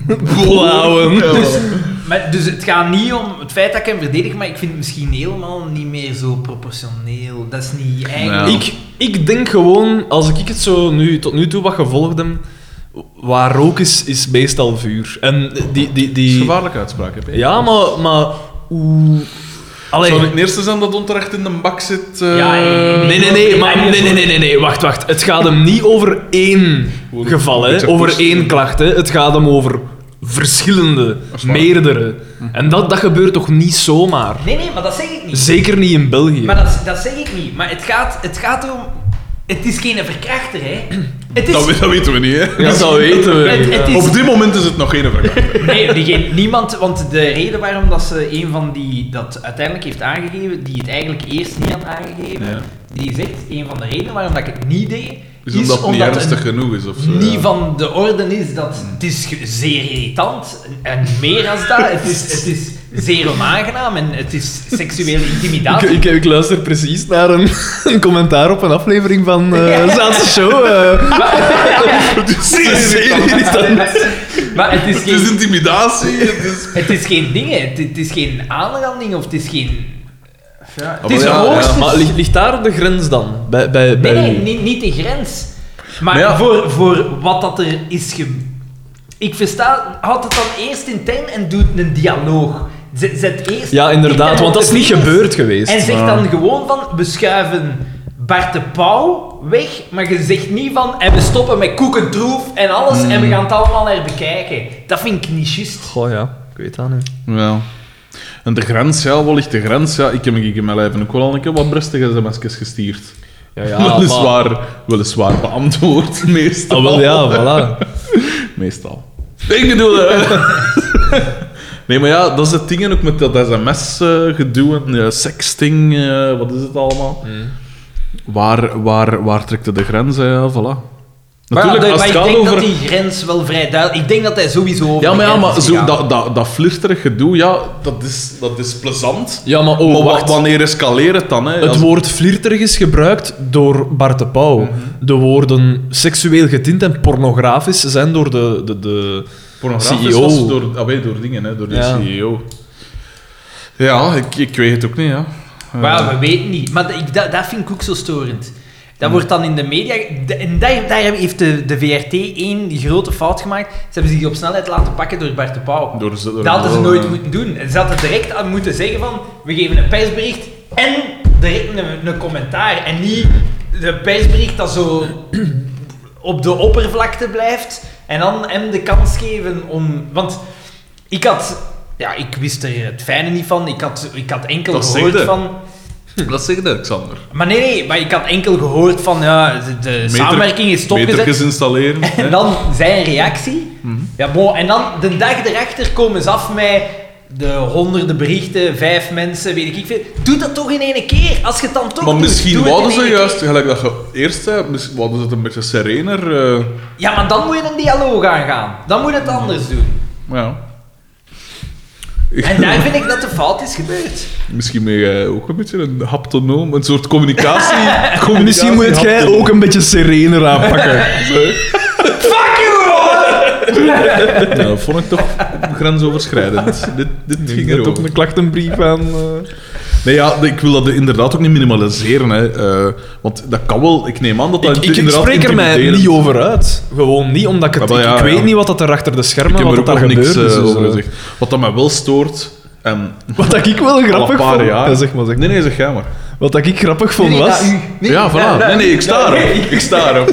S2: Blauwen.
S1: Ja.
S3: Maar, dus het gaat niet om het feit dat ik hem verdedig, maar ik vind het misschien helemaal niet meer zo proportioneel. Dat is niet eigenlijk...
S1: Ja.
S2: Ik, ik denk gewoon, als ik het zo nu, tot nu toe wat gevolgd heb, waar rook is, is meestal vuur. En die... die,
S1: Dat is een
S2: die
S1: gevaarlijke uitspraak, heb je.
S2: ja, maar... maar hoe... Allee,
S1: Zou het eerste zijn dat onterecht in de bak zit? eh,
S3: Ja, eh,
S2: Nee, nee, nee, maar, nee, nee, nee, nee, nee, wacht, wacht. Het gaat hem niet over één
S1: Gewoon een
S2: geval, hè.
S1: beetje
S2: over
S1: post.
S2: één klacht. Hè. Het gaat hem over verschillende,
S1: is waar.
S2: meerdere. En dat, dat gebeurt toch niet zomaar?
S3: Nee, nee, maar dat zeg ik niet.
S2: Zeker niet in België.
S3: Maar dat, dat zeg ik niet. Maar het gaat, het gaat erom... Het is geen verkrachter, hè. Het is...
S1: dat, we- dat weten we niet, hè.
S2: Ja, dat weten we.
S3: Het- het is-
S1: Op dit moment is het nog geen vraag.
S3: Nee, die geen- niemand... Want de reden waarom dat ze een van die dat uiteindelijk heeft aangegeven, die het eigenlijk eerst niet had aangegeven,
S1: Ja.
S3: die zegt, een van de redenen waarom dat ik het niet deed,
S1: Is omdat het niet
S3: omdat
S1: ernstig
S3: een-
S1: genoeg is, of eh? zo.
S3: niet
S1: ja.
S3: van de orde is dat het is ge- zeer irritant en meer als dat, het is, het is zeer onaangenaam en het is seksuele
S2: Ik,
S3: intimidatie.
S2: ik, ik luister precies naar een, een commentaar op een aflevering van eh Zaanse Show. Dus eh.
S1: Zeer irritant.
S3: maar het is
S1: Het is
S3: geen,
S1: intimidatie, het is...
S3: het is geen dingen, het, het is geen aanranding of het is geen...
S1: Ah,
S3: is
S1: maar ja,
S3: hoogst-
S1: ja.
S2: Maar ligt, ligt daar de grens dan? Bij, bij, bij
S3: Nee, nee,
S2: u?
S3: niet, niet de grens. Maar,
S1: Maar ja.
S3: voor, voor wat dat er is ge... Ik versta, houd het dan eerst intern en doet een dialoog. Zet, zet eerst...
S2: Ja, inderdaad, want dat is niet gebeurd geweest.
S3: En zeg
S1: Ja.
S3: dan gewoon van, we schuiven Bart de Pauw weg, maar je zegt niet van, en we stoppen met koekentroef en alles, en we gaan het allemaal naar bekijken. Dat vind ik niet juist.
S2: Goh ja, ik weet dat nu.
S1: Ja. En de grens, ja, wat ligt de grens? Ja, ik heb ik in mijn lijf ook wel al een keer wat brestige sms'jes gestuurd.
S2: Ja, ja, maar-
S1: weliswaar, weliswaar beantwoord, meestal.
S2: Ah, wel ja, voilà.
S1: Meestal. Ik bedoel... eh. nee, maar ja, dat is het ding en ook met dat sms-gedoe en eh, sexting, eh, wat is het allemaal?
S2: Mm.
S1: Waar, waar, waar trekt het de grens? hè? Ja, voilà.
S3: Maar,
S1: Natuurlijk,
S3: ja,
S1: als
S3: maar
S1: het
S3: ik
S1: gaat
S3: denk
S1: over...
S3: dat die grens wel vrij duidelijk... Ik denk dat hij sowieso over
S1: Ja,
S3: de
S1: maar, ja,
S3: grens
S1: maar
S3: is
S1: zo,
S3: gegaan.
S1: dat, dat, dat flirterig gedoe, ja, dat is, dat is plezant.
S2: Ja, maar oh,
S1: Maar wa-
S2: wacht.
S1: wanneer escaleert het dan? Hè?
S2: Het
S1: Als- Mhm.
S2: woord flirterig is gebruikt door Bart de Pauw. De woorden seksueel getint en pornografisch zijn door de... de, de
S1: Pornografisch
S2: CEO.
S1: was door, ah, weet, door dingen, hè, door de
S2: E Ja.
S1: CEO. Ja, ik, ik weet het ook niet. Ja. Eh,
S3: Maar ja, we weten niet. Maar dat, ik, dat, dat vind ik ook zo storend. Dat wordt dan in de media... de- En daar, daar heeft de, de VRT één grote fout gemaakt. Ze hebben zich op snelheid laten pakken door Bart de Pauw.
S1: Door ze- door
S3: dat hadden ze
S1: de-
S3: nooit moeten doen. En Ze hadden direct aan moeten zeggen van... We geven een persbericht en direct een, een commentaar. En niet een persbericht dat zo op de oppervlakte blijft. En dan hem de kans geven om... Want ik had... Ja, ik wist er het fijne niet van. Ik had, ik had enkel
S1: Dat
S3: gehoord
S1: zegde.
S3: van...
S2: hm,
S1: Dat zegt Alexander.
S3: Maar nee, nee, maar ik had enkel gehoord van ja, de, de samenwerking is
S1: Metertjes Mhm.
S3: stopgezet.
S1: installeren. hè.
S3: En dan zijn reactie. ja, bon, en dan de dag erachter komen ze af met de honderden berichten, vijf mensen, weet ik veel. Doe dat toch in één keer, als je het dan toch
S1: maar
S3: doet,
S1: misschien
S3: doe het in
S1: wouden ze
S3: één
S1: juist,
S3: keer.
S1: gelijk dat je eerst zei, misschien wouden ze het een beetje serener. eh,
S3: Ja, maar dan moet je een dialoog aangaan. Dan moet je het anders doen.
S1: ja.
S3: En daar vind ik dat de fout is gebeurd.
S1: Misschien ben jij ook een beetje een haptonoom, een soort communicatie. communicatie
S2: Misschien moet jij
S1: haptonoom.
S2: ook een beetje serener aanpakken.
S1: Zo.
S3: Fuck you, Robert!
S1: Nou, dat vond ik toch grensoverschrijdend. dit dit ging
S2: Ik heb ook
S1: erover.
S2: een klachtenbrief aan. eh,
S1: Nee, ja, ik wil dat inderdaad ook niet minimaliseren. Hè. Eh, want dat kan wel... Ik neem aan dat dat
S2: Ik, ik, ik
S1: inderdaad
S2: spreek er mij
S1: intimiderend-
S2: niet over uit. Gewoon niet, omdat ik het...
S1: Maar
S2: ik,
S1: ja,
S2: ik weet
S1: ja.
S2: niet wat dat er achter de
S1: Ik
S2: schermen
S1: heb
S2: wat
S1: er
S2: dat
S1: ook
S2: daar
S1: nog niks
S2: gebeurt.
S1: eh,
S2: is, dus,
S1: over
S2: eh,
S1: gezegd. Wat dat mij wel stoort... En
S2: Wat dat ik wel
S1: al een
S2: grappig
S1: paar
S2: vond...
S1: jaar...
S2: Ja, zeg maar, zeg
S1: Nee,
S2: maar.
S1: nee, zeg jij maar.
S2: Wat dat ik grappig vond was...
S1: ja, voilà. nee, nee, ik sta erop. Ik sta erop.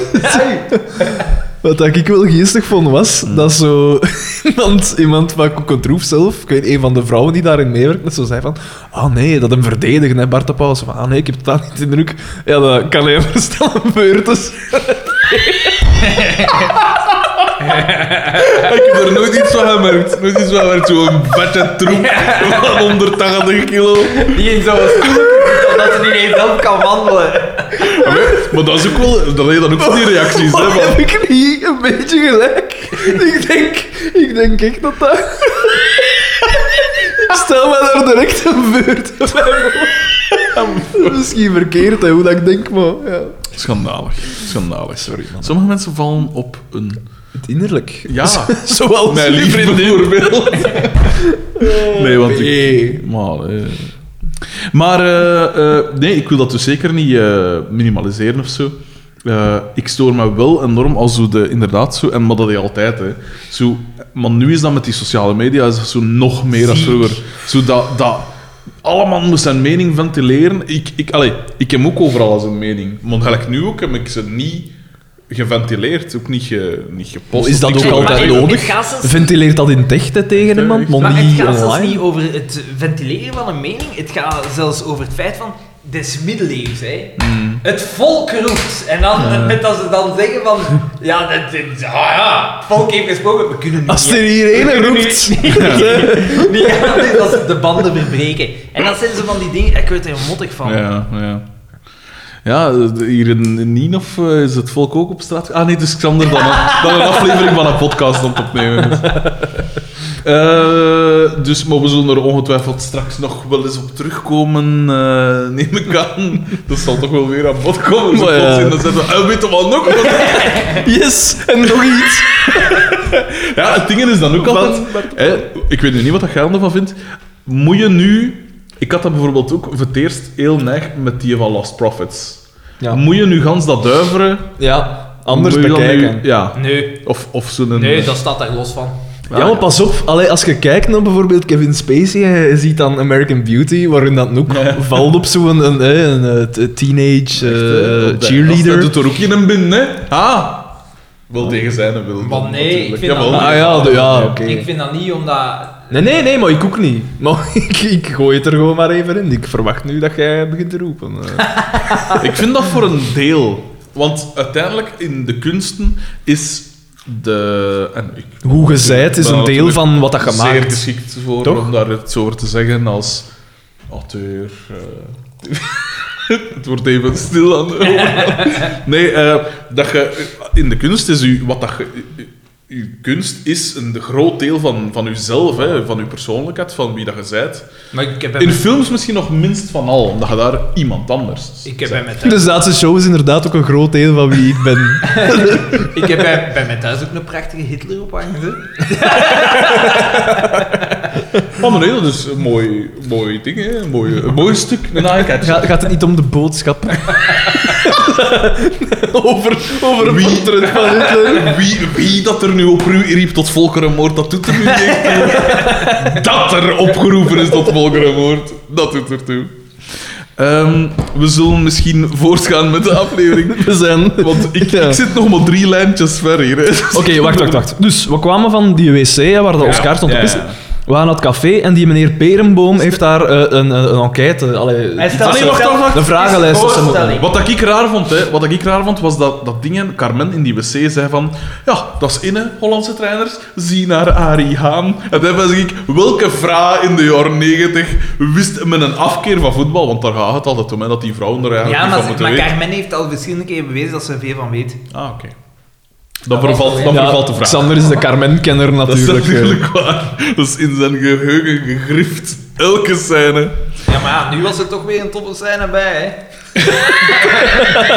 S2: Wat dat ik wel geestig vond was... Dat zo... iemand, iemand van Kokotroef zelf... Ik weet, een van de vrouwen die daarin meewerkt... dat Zo zei van... Ah nee, dat hem verdedigen, hè, Bart de Pauw. Zo van, ah nee, ik heb totaal niet de indruk. Ja, dat kan hij verstellen. Beurt is...
S1: Ik heb er nooit iets van gemerkt. Nooit iets van gemerkt. Zo'n vette troep van 180 kilo.
S3: Die ging zo stoelen, omdat ze niet eens zelf kan wandelen.
S1: Maar dat is ook wel... Dat je dan ook van die reacties, hè.
S2: Maar
S1: van-
S2: heb ik niet een beetje gelijk? ik, denk, ik denk echt dat dat... ik stel mij daar direct een beurt bij. Misschien verkeerd, hè, hoe dat ik denk, maar... Ja.
S1: Schandalig. Schandalig, sorry. Sommige mensen vallen op een...
S2: Het innerlijk.
S1: Ja.
S2: Zoals
S1: Mijn
S2: uw
S1: lief
S2: vriendin.
S1: bijvoorbeeld. Nee, want
S2: Oh, Nee.
S1: ik... Maar, eh. maar eh, eh, nee, ik wil dat dus zeker niet eh, minimaliseren of zo. Eh, ik stoor me wel enorm als zo de, inderdaad zo, en maar dat is altijd, hè. Zo, maar nu is dat met die sociale media is dat zo nog meer dan vroeger. Zo dat, dat allemaal moest zijn mening ventileren. Ik, ik, allee, ik heb ook overal als een mening. Maar gelijk nu ook heb ik ze niet geventileerd, ook niet, ge, niet gepost.
S2: Is dat
S1: Niks
S2: ook
S1: over-
S2: altijd
S3: Maar het-
S2: nodig?
S3: het gaat zelfs-
S2: Ventileert dat in tech hè, tegen
S1: Ja,
S2: iemand,
S1: echt.
S2: maar
S3: Maar het
S2: niet
S3: gaat zelfs
S2: online?
S3: niet over het ventileren van een mening. Het gaat zelfs over het feit van... Dit is middeleeuws, hè.
S1: Hmm.
S3: Het volk roept. En dan, met dat ze dan zeggen van... Ja, dat, dit- ah ja, het volk heeft gesproken. We kunnen nu
S2: Als
S3: niet-
S2: er hier
S3: we
S2: één
S3: kunnen nu-
S2: roept...
S3: niet anders dan ze de banden verbreken. En dat zijn ze van die dingen... Ik word er mottig van.
S1: Ja, ja. Ja, de- hier in in Nienof eh, is het volk ook op straat. Ah nee, het is Xander dan een, dan een aflevering van een podcast aan het opnemen. is. Eh, dus, maar we zullen er ongetwijfeld straks nog wel eens op terugkomen, eh, neem ik aan. Dat zal toch wel weer aan bod komen. Zo
S2: Maar ja.
S1: plots in de zin van, eh, weet je wat nog? Want-
S2: Yes, en nog iets.
S1: Ja, het ding is dan ook altijd...
S2: Want-
S1: Hè, ik weet nu niet wat dat jij ervan vindt. Moet je nu... Ik had dat bijvoorbeeld ook voor het eerst heel neig met die van Lost Prophets.
S2: Ja.
S1: Moet je nu gans dat duiveren...
S2: Ja, anders
S1: moet je dan
S2: bekijken.
S1: nu- ja.
S3: Nee.
S1: Of, of zo'n...
S3: Nee, dat staat daar los van.
S2: Ja, maar pas op. Allee, als je kijkt naar bijvoorbeeld Kevin Spacey, hij ziet dan American Beauty, waarin dat ook valt op zo'n een, een, een, eh, teenage eh,
S1: Dat
S2: cheerleader.
S1: doet er ook in een bin, hè? Ah! Wel tegen zijn wil.
S3: Oh. Maar nee, ik vind
S1: Jawel.
S3: dat-
S2: Ah ja, de- ja oké.
S3: Ik vind dat niet omdat...
S2: Nee, nee, nee, maar ik ook niet. Maar ik, ik gooi het er gewoon maar even in. Ik verwacht nu dat jij begint te roepen. eh.
S3: Ah,
S1: Ik vind dat voor een deel. Want uiteindelijk in de kunsten is de... En ik
S2: Hoe gezegd is een deel van wat dat je
S1: Zeer
S2: maakt.
S1: geschikt voor
S2: Toch?
S1: om daar iets over te zeggen als auteur. eh. het wordt even stil aan de overkant. Nee, eh, dat je, in de kunst is u, wat dat je, uw kunst is een groot deel van, van uzelf, hè, van uw persoonlijkheid, van wie dat je zijt.
S3: Maar ik heb
S1: In films misschien nog minst van al, omdat je daar iemand anders
S3: Ik heb bij
S1: zijt.
S3: mij thuis,
S2: Dus dat show is inderdaad ook een groot deel van wie ik ben.
S3: ik heb bij, bij mij thuis ook een prachtige Hitler op hangen. hè.
S1: Oh, maar nee, dat is een mooi, mooi ding, hè. Een, mooi, een mooi stuk, een eye-catcher.
S2: Ga- gaat het niet om de boodschap? over, over
S1: Wie?
S2: wie? van Hitler.
S1: Wie, wie dat er nu oproep riep tot volkerenmoord, dat doet er nu niet toe. Dat er opgeroepen is tot volkerenmoord, dat doet er toe. Ehm, we zullen misschien voortgaan met de aflevering.
S2: We zijn...
S1: Want ik,
S2: Ja.
S1: ik zit nog maar drie lijntjes ver hier. hè. Dus-
S2: Oké, wacht, wacht, wacht. Dus we kwamen van die wc hè, waar de Oscar stond te
S1: ja,
S2: pissen.
S1: ja.
S2: We waren naar het café en die meneer Perenboom heeft daar eh, een, een, een enquête. Allee,
S3: Hij stelt-
S1: nee, wacht, wacht, wacht.
S2: Een vragenlijst. of zo.
S3: Voorstelling.
S1: Wat dat ik raar vond, hè, wat dat ik raar vond, was dat, dat dingen, Carmen in die wc zei van, ja, dat is inne, Hollandse trainers, zie naar Arie Haan. En dan was ik, welke vrouw in de jaren negentig wist met een afkeer van voetbal, want daar gaat het altijd om, hè, dat die vrouwen er eigenlijk
S3: Ja,
S1: niet van
S3: maar, ze-
S1: moeten
S3: maar
S1: weten.
S3: Carmen heeft al verschillende keer bewezen dat ze er veel van weet.
S1: Ah, oké. Dan vervalt, dan
S3: Ja,
S1: vervalt de vraag.
S2: Xander is de Carmen-kenner
S1: dat is
S2: natuurlijk. eh.
S1: natuurlijk waar. Dat is in zijn geheugen gegrift. Elke scène.
S3: Ja, maar ja, nu was er toch weer een toffe scène bij, hè?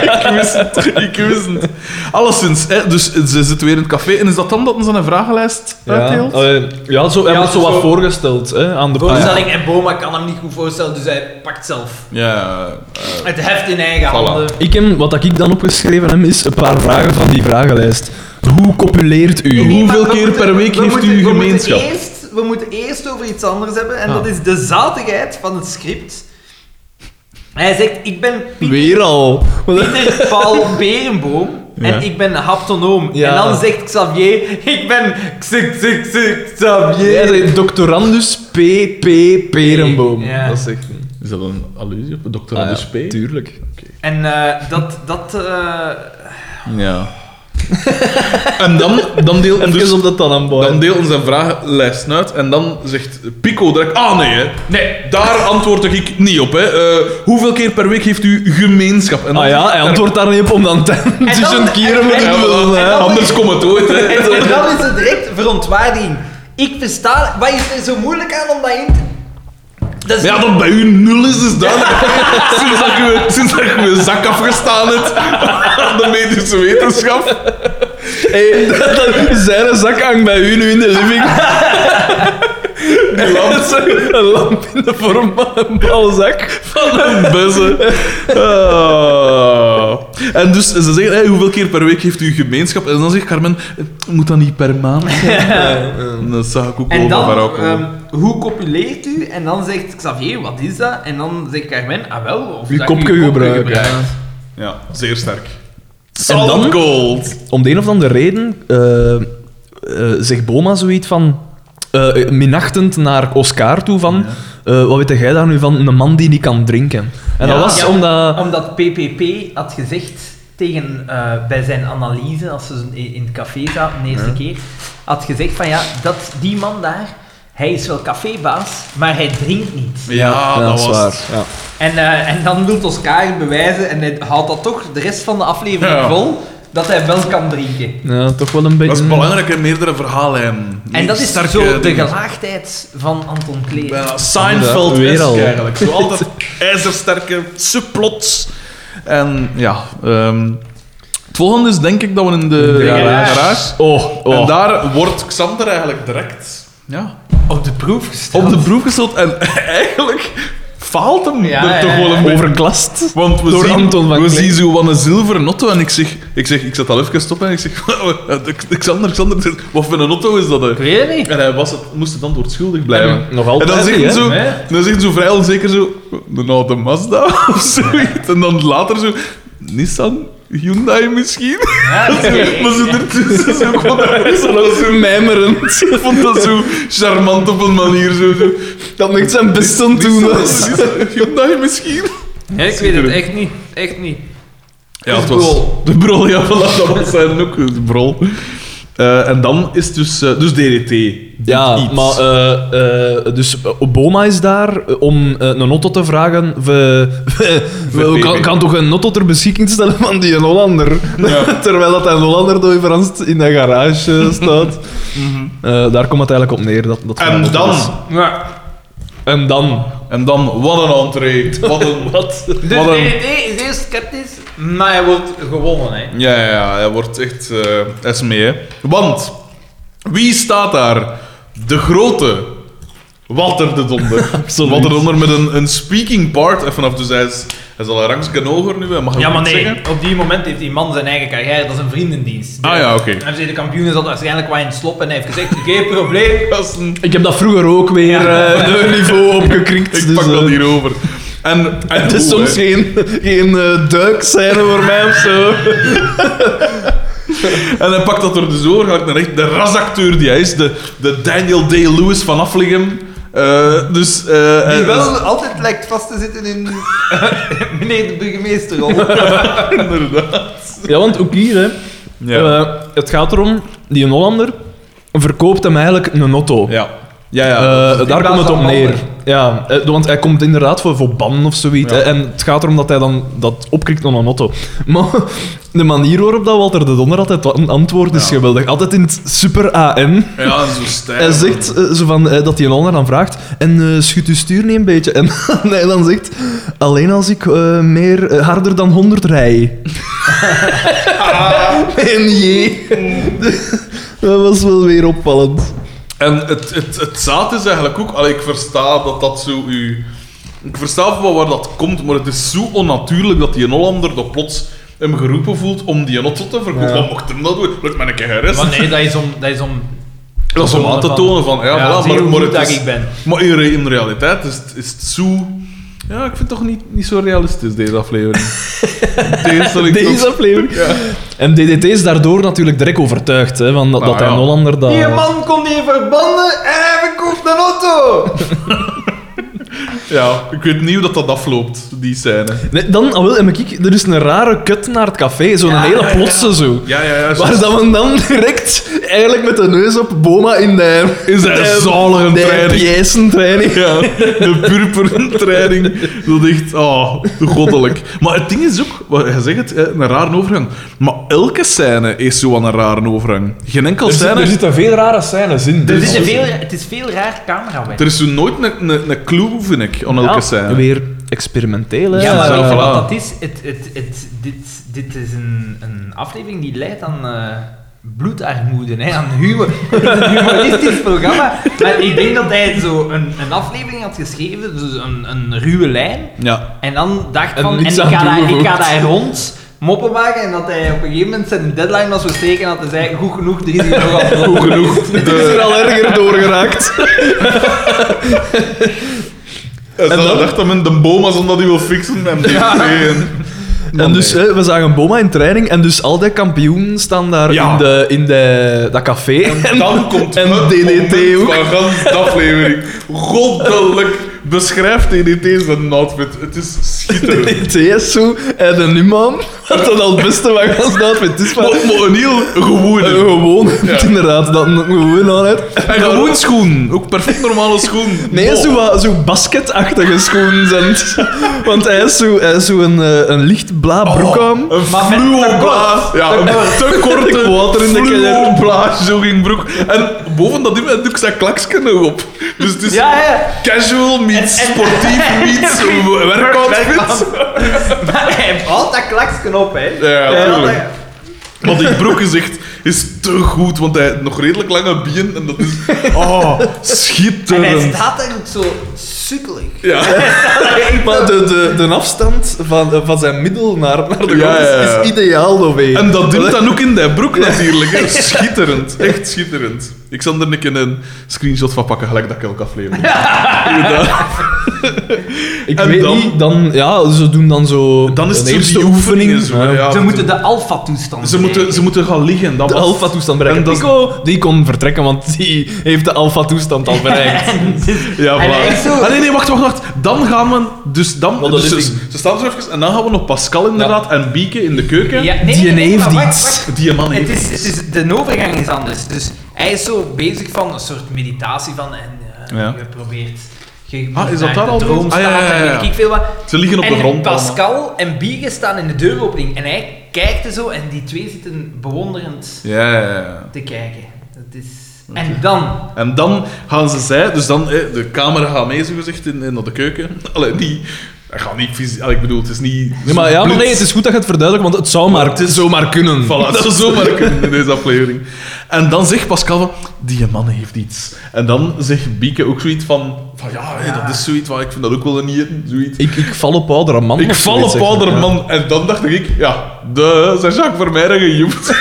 S1: Ik wist het. Ik wist het. Alleszins, hè, dus ze zit weer in het café. En is dat dan dat ze een vragenlijst
S2: Ja,
S1: uitdeelt?
S2: eh, ja, zo, hij
S3: Ja,
S2: wordt zo
S3: zo-
S2: wat voorgesteld hè, aan de politie.
S3: Voorstelling en Boma kan hem niet goed voorstellen, dus hij pakt zelf
S1: Ja, eh,
S3: het heft in eigen
S1: Voilà.
S3: handen.
S2: Ik heb, wat ik dan opgeschreven heb, is een paar vragen van die vragenlijst. Hoe copuleert u?
S1: Hoe- Hoeveel
S3: Maar we
S1: keer
S3: moeten-
S1: per week
S3: we
S1: heeft
S3: moeten-
S1: u uw
S3: we moeten
S1: gemeenschap?
S3: eerst- we moeten eerst over iets anders hebben, en
S2: Ah.
S3: dat is de zatigheid van het script. Hij zegt, ik ben Piet-
S2: Weer al.
S3: Pieter Paul Berenboom. En
S1: Ja.
S3: ik ben haptonoom.
S2: Ja.
S3: En dan zegt Xavier, ik ben Xavier.
S2: Jij
S3: Xavier.
S2: zei doctorandus P.P. Perenboom.
S3: Ja.
S2: Dat zegt een...
S1: is dat een allusie op Dr.
S2: Ah,
S1: Anders
S2: ja,
S1: P?
S2: Tuurlijk.
S3: En eh, dat, dat, eh,
S1: Ja. en dan, dan deelt hem
S2: Even
S1: dus...
S2: om dat dan aan boord.
S1: Dan deelt hem zijn vragenlijst uit en dan zegt Pico direct... Ah, nee, hè. Nee, daar antwoord ik niet op, hè. Eh, hoeveel keer per week heeft u gemeenschap? En dan
S2: Ah ja, hij antwoordt daar niet op om dan te- tussen keren met
S3: en-
S1: Ja,
S2: te
S1: maar
S2: doen.
S1: dan-
S2: hè.
S3: dan-
S1: anders komt het ooit, hè.
S3: en, en dan is het direct verontwaardiging. Ik versta... Wat is er zo moeilijk aan om dat in te... Dat is-
S1: Maar ja, dat bij u nul is, is duidelijk. sinds, dat je, sinds dat je mijn zak afgestaan hebt aan de medische wetenschap.
S2: Hey, dat, dat, zijn zak hangt bij u nu in de living. Een lamp, een lamp in de vorm van een balzak.
S1: Bessen. Ah. En dus ze zeggen, hey, hoeveel keer per week heeft u gemeenschap? En dan zegt Carmen, eh, moet dat niet per maand zijn? En dat zag ik ook
S3: En
S1: wel
S3: dan,
S1: van Barocco.
S3: ehm, hoe copuleert u? En dan zegt Xavier, wat is dat? En dan zegt Carmen, ah wel, of
S2: Uw
S3: dat
S2: kopje gebruiken,
S3: gebruikt.
S1: Ja, zeer sterk.
S2: En
S1: Solid
S2: dan-
S1: gold.
S2: Om de een of andere reden eh, eh, zegt Boma zoiets van... eh, minachtend naar Oscar toe van... eh, wat weet jij daar nu van? Een man die niet kan drinken. En
S1: Ja.
S2: dat was
S3: Ja.
S2: omdat...
S3: Omdat PPP had gezegd tegen, eh, bij zijn analyse, als ze in in het café zaten de eerste keer, had gezegd van ja, dat die man daar, hij is wel cafébaas, maar hij drinkt niet.
S1: Ja, dat was...
S2: waar. Ja.
S3: En, eh, en dan wil Oscar bewijzen, en hij houdt dat toch de rest van de aflevering
S1: Ja.
S3: vol, dat hij wel kan drinken.
S2: Ja, toch wel een beetje...
S1: Dat is belangrijk in meerdere verhaallijnen.
S3: En dat is
S1: Sterke
S3: zo de
S1: dingen.
S3: gelaagdheid van Anton Klee.
S1: Ja,
S2: Inderdaad, weer
S1: Seinfeld
S2: al.
S1: eigenlijk. Zo altijd ijzersterke subplots. En ja, ehm, het volgende is denk ik dat we in de,
S2: De
S3: garage.
S1: garage-
S2: Oh,
S1: En
S2: oh.
S1: daar wordt Xander eigenlijk direct ja,
S3: Op de proef gesteld.
S1: op de proef gesteld. En eigenlijk faalt hem
S3: Ja,
S1: er toch
S3: ja,
S1: wel een
S3: ja.
S1: beetje.
S2: Overklast.
S1: Want we
S2: Door
S1: zien,
S2: Anton van
S1: we
S2: Klee.
S1: zien zo van een zilveren auto en ik zeg, ik zeg, ik zet al even stoppen en ik zeg, Xander, Xander, wat voor een auto is dat? hè?
S3: Ik weet het niet.
S1: En hij was het, moest het antwoord schuldig blijven.
S2: Ja, nog altijd
S1: en dan
S2: niet,
S1: zegt
S2: hè?
S1: zo,
S3: Nee.
S1: dan zegt zo vrij onzeker zo, een oude Mazda of zoiets. En dan later zo, Nissan, Hyundai misschien.
S3: Ja, dat is oké.
S1: maar zo ertussen zo gewoon dat zo- dat zo mijmerend. Ik vond dat zo charmant op een manier. Zo, zo.
S2: Dat moet zijn best aan doen.
S1: Nissan,
S2: dus.
S1: Nissan, Hyundai misschien.
S3: Nee, ik weet het echt niet. Echt niet.
S1: Ja,
S3: Dus
S1: het was
S3: brol.
S1: de brol. Ja, voilà, dat was zijn ook de brol. Eh, en dan is het dus, eh, dus DDT. doet
S2: Ja,
S1: iets.
S2: maar eh, eh, dus Obama is daar om eh, een auto te vragen. We, we, we- we
S1: PP.
S2: kan, kan toch een auto ter beschikking stellen van die een Hollander?
S1: Ja.
S2: Terwijl dat een Hollander door Frans in de garage eh, staat. Eh, daar komt het eigenlijk op neer. Dat, dat
S1: en
S2: eh, dat
S1: dan,
S2: is.
S3: Ja.
S2: En dan.
S1: en dan, wat een entree. Wat een,
S2: Wat?
S3: Dus
S1: Wat een-
S3: DDT is eerst sceptisch, maar hij wordt gewonnen, hè.
S1: Ja, ja, ja, hij wordt echt eh is mee, hè. Want wie staat daar? De grote Walter de Donder.
S2: Absoluut.
S1: Walter de Donder met een, een speaking part. En vanaf dus hij is, hij is al een rangsken hoger nu, hij mag
S3: Ja,
S1: ook
S3: maar
S1: iets
S3: nee.
S1: zeggen.
S3: Op die moment heeft die man zijn eigen carrière. Dat is een vriendendienst.
S1: Ah ja, oké.
S3: En de kampioen zat waarschijnlijk wel in het slop en hij heeft gezegd, geen probleem.
S1: Dat is een-
S2: Ik heb dat vroeger ook weer eh een niveau opgekrikt.
S1: Ik
S2: dus,
S1: pak
S2: eh,
S1: dat hierover. En, en
S2: Het is
S1: hoe,
S2: soms
S1: hè?
S2: geen, geen eh, duikscène voor mij of zo.
S1: En hij pakt dat er dus over, gelijk naar echt de rasacteur die hij is, de, de Daniel Day-Lewis van Affligem. Eh, dus, eh, en-
S3: altijd lijkt vast te zitten in... Meneer de burgemeester
S1: inderdaad.
S2: Ja, want ook hier, hè.
S1: Ja.
S2: Eh, het gaat erom, die Hollander verkoopt hem eigenlijk een auto.
S1: ja. Ja, Dus ja.
S2: Eh,
S3: in
S2: daar
S3: plaats
S2: komt het
S3: van
S2: op neer.
S3: banden.
S2: Ja, eh, want hij komt inderdaad voor, voor bannen of zoiets.
S1: Ja.
S2: hè, En het gaat erom dat hij dan dat opkrikt aan een auto. Maar de manier waarop dat Walter de Donder altijd wa- antwoordt is
S1: Ja.
S2: geweldig. Altijd in het super AN.
S1: ja, zo stijl.
S2: Hij zegt eh, zo van, eh, dat hij een ander dan vraagt. En eh, schudt uw stuur niet een beetje. En hij dan zegt: Alleen als ik eh, meer, eh, harder dan 100 rij. en jee. dat was wel weer opvallend.
S1: En het, het, het zaad is eigenlijk ook... Allee, ik versta dat dat zo u... Ik versta van waar dat komt, maar het is zo onnatuurlijk dat die Hollander dat plots hem geroepen voelt om die auto te verkopen.
S2: Ja.
S1: Wat mocht hem dat doen? Lukt mij een keer gerust.
S3: Maar nee, dat is om... Dat is om,
S1: dat is om aan te tonen van... Ja, voilà,
S3: zie je
S1: maar,
S3: hoe
S1: maar,
S3: goed
S1: het
S3: dat
S1: is,
S3: ik ben.
S1: maar in, re- in realiteit is het, is het zo... Ja, ik vind het toch niet, niet zo realistisch, deze aflevering. Tegenstelling tot-
S2: Deze aflevering. En DDT is daardoor natuurlijk direct overtuigd hè, van dat,
S1: Nou,
S2: dat hij
S1: ja.
S2: een Hollander dat...
S3: Ah, Die man kon hier verbanden en hij verkoopt een auto!
S1: Ja, ik weet niet hoe dat, dat afloopt, die scène.
S2: Nee, dan, ah, wel, en kijk, er is een rare kut naar het café. Zo'n
S3: Ja,
S2: hele
S3: ja, ja.
S2: plotse zo.
S1: Ja, ja, ja. zo-
S2: Waar dat we dan direct eigenlijk met de neus op Boma in de...
S1: Is dat een zalige
S2: De
S1: training?
S2: pjesentraining.
S1: Ja, de purperentraining. Dat is echt, oh, goddelijk. Maar het ding is ook, wat je zegt het, eh, een rare overgang. Maar elke scène is zo aan een rare overgang. Geen enkel scène.
S2: zitten veel rare scènes in.
S1: dus-
S3: Er is een veel, het is veel raar camerawerk.
S1: Er is zo nooit een, een, een clue, vind ik, aan elke
S3: Ja,
S1: scène.
S2: Weer experimenteel, hè.
S3: Ja, maar
S1: Zo,
S3: wat
S1: voilà.
S3: dat is, het, het, het, dit, dit is een, een aflevering die leidt aan eh, bloedarmoede, hè, aan humor. Het is een humoristisch programma. Maar ik denk dat hij zo een, een aflevering had geschreven, dus een, een ruwe lijn.
S1: Ja.
S3: En dan dacht
S2: En
S3: van, en ik
S2: niks aan
S3: ga, daar, ik
S2: toegevoegd.
S3: ga daar rond moppen maken. En dat hij op een gegeven moment zijn deadline was verstreken en dat hij zei, goed genoeg, er is hier nog wat
S1: Goed genoeg.
S2: Het is
S1: De,
S2: er al erger door geraakt.
S1: en
S2: dan?
S1: dan dacht dat men de boom was omdat hij wil fixen en die en-
S2: En
S1: Man,
S2: dus,
S1: nee.
S2: hè, we zagen Boma in training en dus al die kampioenen staan daar
S1: Ja.
S2: in, de, in de, dat café. En
S1: dan komt
S2: en
S1: het
S2: DDT
S1: moment
S2: ook.
S1: van gans de aflevering. Goddelijk beschrijft DDT zijn outfit. Het is schitterend.
S2: DDT is zo, en de Numan, wat dat al het beste wat gaan staan vindt. Het is maar
S1: Maar, maar een heel gewone.
S2: eh, gewoon,
S1: Ja.
S2: inderdaad, dat een gewoon aanheid.
S1: En gewoon schoen. Ook perfect normale schoen.
S2: Nee,
S1: Wow.
S2: zo, wat- zo basketachtige schoenen zijn. het. Want hij is zo, hij is zo een, eh, een licht bla broek aan.
S1: Een
S3: Maar met te
S1: fluobla.
S3: kort.
S1: Ja, een Oh. te korte
S2: Ik water in de kelder.
S1: fluobla joggingbroek. En boven dat ding doe ik zijn klaksken nog op. Dus het is
S3: Ja, hè.
S1: casual meets
S3: En- en-
S1: sportief meets werkoutfit.
S3: Maar hij heeft altijd dat klaksken op, hè.
S1: Ja,
S3: Hij had
S1: tuurlijk.
S3: dat-
S1: Want die broek is echt is te goed, want hij heeft nog redelijk lange bieën en dat is... Oh,
S3: En hij
S1: schitterend.
S3: staat daar ook zo sukkelig.
S1: Ja.
S2: Maar de, de, de afstand van, eh, van zijn middel naar, naar de grond
S1: Ja, ja, ja.
S2: is ideaal, doorheen.
S1: En dat doet dan ook in die broek natuurlijk. hè. Schitterend, echt schitterend. Ik zal er een keer een screenshot van pakken, gelijk dat ik elke aflevering. Inderdaad.
S2: Ik
S1: En
S2: weet
S1: dan?
S2: niet, dan, ja, ze doen dan zo
S1: Dan is het
S2: de
S1: zo die oefeningen zo,
S2: ja.
S1: ja.
S3: Ze moeten de alfa-toestand
S1: Ze moeten, ze moeten gaan liggen. Dat
S2: De
S1: was-
S2: alfa-toestand bereiken.
S1: En dat-
S2: Pico, die kon vertrekken, want die heeft de alfa-toestand al bereikt.
S1: Ja,
S3: En
S1: voilà.
S3: hij is zo-
S1: Ah, nee, nee, wacht, wacht, wacht. Dan gaan we... Dus dan...
S2: Want dat
S1: Dus
S2: is
S1: ze, ze staan zo even en dan gaan we nog Pascal inderdaad en Bieke in de keuken.
S3: Ja, nee,
S2: Die
S3: nee, nee,
S2: heeft
S3: maar wacht,
S2: iets.
S3: wacht.
S1: Die man
S3: Het
S1: heeft...
S3: is, het is, de overgang is anders. Dus hij is zo bezig van een soort meditatie van en eh,
S1: Ja.
S3: je probeert. Je
S1: Ah,
S3: moet
S1: is dat
S3: naar
S1: daar
S3: de
S1: al
S3: droom
S1: bezig? Ah, ja,
S3: staat
S1: ja,
S3: en
S1: ja,
S3: weet
S1: ja.
S3: ik veel wat.
S1: Ze liggen op de
S3: en
S1: grond allemaal.
S3: Pascal en Biege staan in de deuropening en hij kijkt er zo en die twee zitten bewonderend
S1: Ja, ja, ja.
S3: te kijken. Dat is... En dan,
S1: En dan gaan ze zij, dus dan eh, de camera gaat mee, zo gezegd, in, in naar de keuken. Allee, die Dat gaat niet fysiek, allee, ik bedoel, het is niet.
S2: Nee, maar, ja, maar nee,
S1: blitz.
S2: het is goed dat je het verduidelijkt, want het zou maar, het is zomaar kunnen.
S1: Voilà, dat is zomaar kunnen in deze aflevering. En dan zegt Pascal van, die man heeft iets. En dan zegt Bieke ook zoiets van, van ja, hé, dat is zoiets, waar ik vind dat ook wel een eten, zoiets.
S2: Ik, ik val op oudere man.
S1: Ik
S2: of
S1: val
S2: zoiets,
S1: op
S2: zeg maar.
S1: ouder man. En dan dacht ik, ja, de, zijn Jacques Vermeijden gejoemd.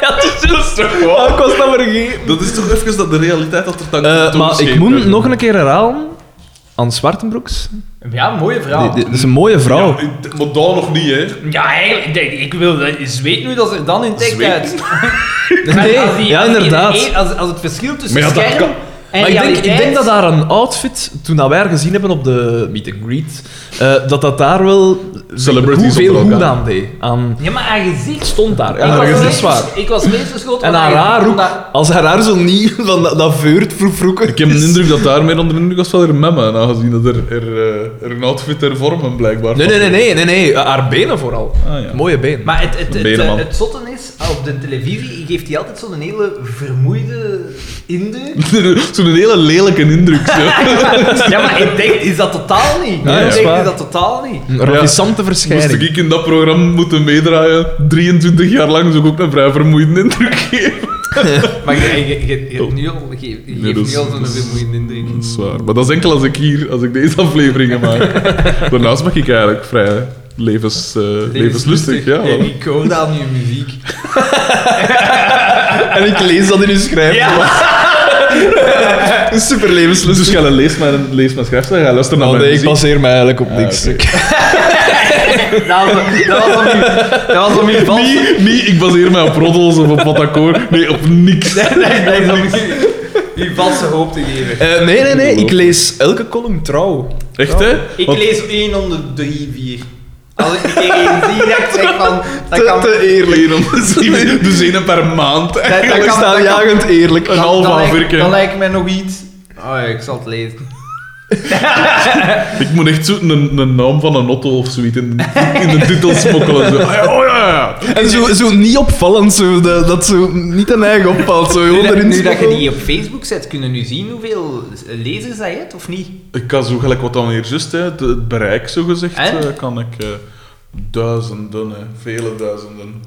S3: ja, dat is
S1: Dat is toch
S2: Ja. Ah,
S1: wel...
S2: ik was dat vergeten.
S1: Dat is toch even dat de realiteit dat er dan
S2: Eh, maar ik
S1: toegeschreven
S2: moet
S1: werd.
S2: nog een keer herhalen. Anne Zwartenbroeks.
S3: ja, mooie vrouw.
S2: Die- die- Dat is een mooie vrouw.
S1: Ja, ik- maar daar nog niet, hè.
S3: Ja, eigenlijk, ik, ik wil, weet nu dat ze er dan in tekst
S1: Zweet.
S3: uit.
S2: Nee, ja, inderdaad.
S3: e- Als, als het verschil tussen
S1: Maar ja, dat
S3: scherm
S1: kan-
S2: Maar ik denk, ik denk dat daar een outfit, toen dat wij haar gezien hebben op de meet and greet, eh, dat dat daar wel
S1: Celebrities
S2: hoeveel
S1: onder
S2: goed
S1: elkaar.
S2: aan deed. Aan,
S3: Ja, maar haar gezicht...
S2: stond daar. Ja,
S3: ik,
S2: haar
S3: was
S2: gezicht
S3: meest-
S2: is waar.
S3: ik was meesgeschoten
S2: En haar haar ook. Als haar haar zo niet van dat, dat veurt vroeg vroeger
S1: Ik heb
S2: is.
S1: de indruk dat daar meer onder de indruk was van haar mama, aangezien dat er, er, eh, er een outfit ter vormen blijkbaar
S2: Nee,
S1: van-
S2: nee, nee, nee, nee, nee. Haar benen vooral.
S1: Ah, ja.
S2: Mooie benen.
S3: Maar het, het, het,
S1: Benen, man.
S3: eh, het zotte is, op de televisie geeft hij altijd zo'n hele vermoeide indruk.
S1: Zo'n hele lelijke indruk. Zo.
S3: Ja, maar ik denk, is dat totaal niet.
S1: ja,
S3: ik
S1: is
S3: denk
S2: waar.
S3: is dat totaal niet.
S2: een ravissante
S1: Moest
S2: verschijning.
S1: ik in dat programma moeten meedraaien, 23 jaar lang, zou ik ook een vrij vermoeiende indruk geven.
S3: Maar je, je, je, je hebt nu al, je, je
S1: Oh. Nee,
S3: geeft
S1: dat is-
S3: nu al zo'n
S1: dat is- Mm.
S3: vermoeiende indruk.
S1: Dat is waar. Maar dat is enkel als ik hier, als ik deze afleveringen maak. Daarnaast mag ik eigenlijk vrij levens, eh, levenslustig. Ja,
S3: en
S1: wel.
S3: ik hoor dat aan je muziek.
S2: En ik lees dat in uw schrijf. Super
S1: Dus
S2: levenslustig.
S1: ga je lees mijn, lees mijn schrijfstijl, ga luisteren naar
S2: Oh,
S1: mijn
S2: nee, ik
S1: muziek.
S2: baseer mij eigenlijk op
S1: Ah,
S2: niks. Eh,
S1: oké.
S3: Dat was, dat was om je, dat was om je vals.
S1: Nee, nee, ik baseer mij op roddels of op wat akkoord. Nee, op niks.
S3: Nee, nee, dat is om je, je valse hoop te geven.
S2: Eh, nee, nee, nee. Ik lees elke column trouw.
S1: Echt, hè?
S3: Ik
S1: Want-
S3: lees 1 om de 3, 4. Als ik er één zie, dat ik zeg van... Dat
S2: Te,
S3: kan,
S2: te eerlijk.
S1: Eén om de zeven, dus één per maand.
S3: dat, dat
S2: Ik
S3: kan,
S2: sta
S3: dat kan-
S2: jagend eerlijk.
S1: Een half
S3: dat lijkt-
S1: aanvirken.
S3: Dat lijkt mij nog iets... Oh ja, ik zal het lezen.
S1: Ik moet echt zo een, een naam van een auto of zoiets in, in de titel smokkelen. Zo. Ah ja, Oh ja, ja.
S2: En zo, zo niet opvallend, zo, dat, dat zo niet een eigen opvalt. Zo,
S3: Nu,
S2: gewoon
S3: dat-
S2: erin
S3: nu dat je
S2: smokkelen.
S3: die op Facebook zet, kunnen nu zien hoeveel lezers dat je hebt, of niet?
S1: Ik kan zo gelijk wat dan hier juist, hè, het, het bereik zo gezegd,
S3: Hè?
S1: eh, kan ik eh, duizenden, hè, vele duizenden.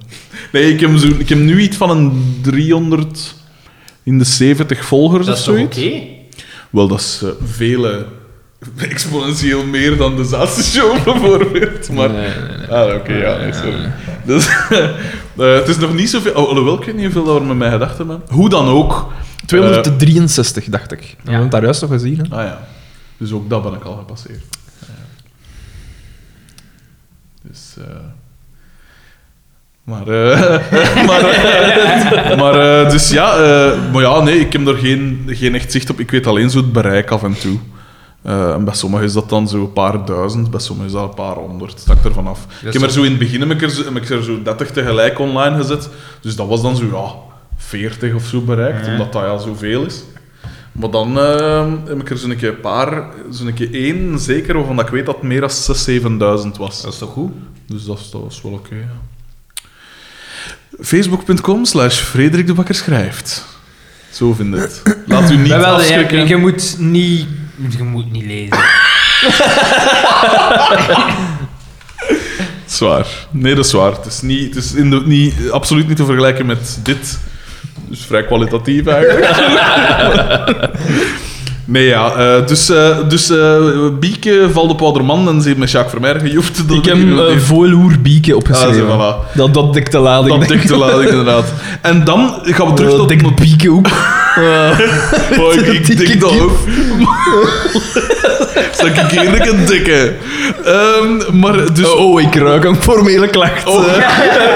S1: Nee, ik heb, zo, ik heb nu iets van een 300 in de 70 volgers
S3: Dat
S1: of
S3: is toch oké?
S1: zoiets. Wel, dat is eh, vele, exponentieel meer dan de Zaatse-show bijvoorbeeld. Maar, Ah, oké, ja, nee, sorry. Dus, eh, het is nog niet zoveel, oh, alhoewel ik weet niet hoeveel dat er met mij gedacht hebben. Hoe dan ook. eh,
S2: 263, dacht ik. We hebben
S3: Ja.
S2: het daar juist nog gezien. Hè?
S1: Ah ja. Dus ook dat ben ik al gepasseerd. Ja. Dus... eh, Maar, eh, maar, eh, maar eh, dus ja, eh, maar ja, nee, ik heb er geen, geen echt zicht op. Ik weet alleen zo het bereik af en toe. Eh, en bij sommigen is dat dan zo een paar duizend, bij sommigen is dat een paar honderd. Het hangt er vanaf. Ik heb er zo in het begin heb ik er, zo- heb ik er zo 30 tegelijk online gezet. Dus dat was dan zo, ja, 40 of zo bereikt, omdat dat ja zoveel is. Maar dan eh, heb ik er zo'n keer een paar, zo'n keer één zeker, waarvan dat ik weet dat het meer dan 6.000, 7.000 was.
S3: Dat is toch goed?
S1: Dus dat, is- dat was wel oké, ja. Facebook.com slash Frederik de Bakker schrijft. Zo vind ik het. Laat u niet
S3: Maar wel, je,
S1: afschrikken.
S3: je moet niet... Je moet niet lezen.
S1: Zwaar. Nee, dat is zwaar. Het is, niet, het is in de, niet, absoluut niet te vergelijken met dit. Dus vrij kwalitatief eigenlijk. Nee, ja. eh, dus eh, dus eh, Bieke, Val de Pouderman en ze heeft met Jacques Vermeer gejoept. Dat
S2: Ik heb
S1: niet
S2: uh,
S1: meer-
S2: Voiloerbieke
S1: eh, Ah, zo,
S2: opgeschreven.
S1: voilà.
S2: Dat, dat dikte lading.
S1: Dat
S2: denk ik.
S1: dikte laat ik inderdaad. En dan gaan we terug
S2: Eh,
S1: tot...
S2: Dikke pieken ook. Eh,
S1: Oh, ik, ik
S2: Dikke
S1: dik dat
S2: kip.
S1: ook. Zal ik eerlijk een dikke? Ehm, maar dus...
S2: oh, ik ruik een formele klacht.
S1: Oh,
S2: Eh,
S3: Ja, ja,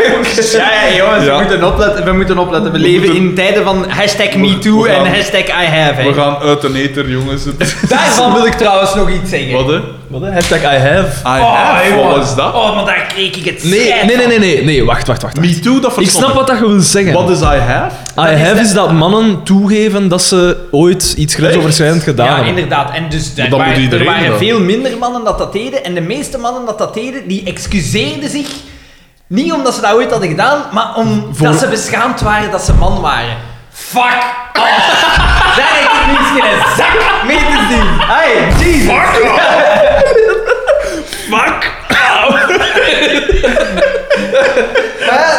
S3: jongens,
S1: Ja.
S3: we moeten opletten. We moeten opletten. We, leven
S1: moeten-
S3: in tijden van hashtag MeToo
S1: we gaan-
S3: en hashtag I have.
S1: We gaan uit een eter, jongens. Het-
S3: Daarvan wil ik trouwens nog iets zeggen.
S1: Wat, hè? Ah,
S2: Wat hè? Hashtag I have.
S1: I
S3: Oh,
S1: have,
S3: jongen.
S1: wat was dat?
S3: Oh, maar daar kreeg ik het
S2: Nee,
S3: schijt
S2: nee, nee, nee,
S3: van.
S2: nee, nee. Wacht, wacht, wacht. wacht.
S1: Me too, dat verstond
S2: Ik snap wat dat je wil zeggen.
S1: Wat is I have?
S2: I
S3: is
S2: have
S3: dat-
S2: is dat mannen toegeven dat ze ooit iets grensoverschrijdend gedaan
S3: Ja,
S2: hebben.
S3: inderdaad. En dus er
S1: Maar dat moet
S3: waren, er
S1: iedereen
S3: waren
S1: dan.
S3: veel minder mannen dat dat deden. En de meeste mannen dat dat deden, die excuseerden zich. Niet omdat ze dat ooit hadden gedaan, maar omdat
S2: Voor-
S3: ze beschaamd waren dat ze man waren. Fuck off! Daar heb ik niets in een zak mee te zien. Hey, Jesus. Fuck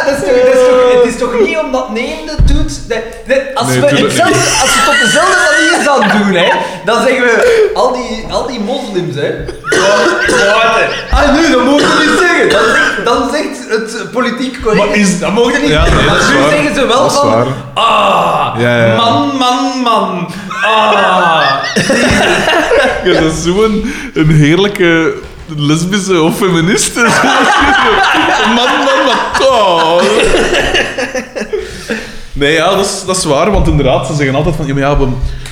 S3: dat is toch, dat is toch, het is toch niet omdat neemde doet... Nee, nee, als,
S1: Nee,
S3: we
S1: tuurlijk
S3: hetzelfde, als we het op dezelfde manier zouden doen, hè, dan zeggen we... Al die, al die moslims, hè. Ah, nu, dat mogen we niet zeggen. Dan, zegt- dan zegt het politiek correct...
S1: Maar is-
S3: dat mogen we niet
S1: Ja,
S3: zeggen.
S1: nee, dat
S3: Maar
S1: is
S3: nu
S1: waar.
S3: zeggen ze wel
S1: Dat is
S3: van...
S1: waar.
S3: Ah,
S1: Ja, ja.
S3: man, man, man. Ah.
S1: Ja, dat is zo'n een heerlijke lesbische of feministe. man, man, wat tof. Nee, ja, dat is, dat is waar, want inderdaad, ze zeggen altijd van, ja, maar ja, we,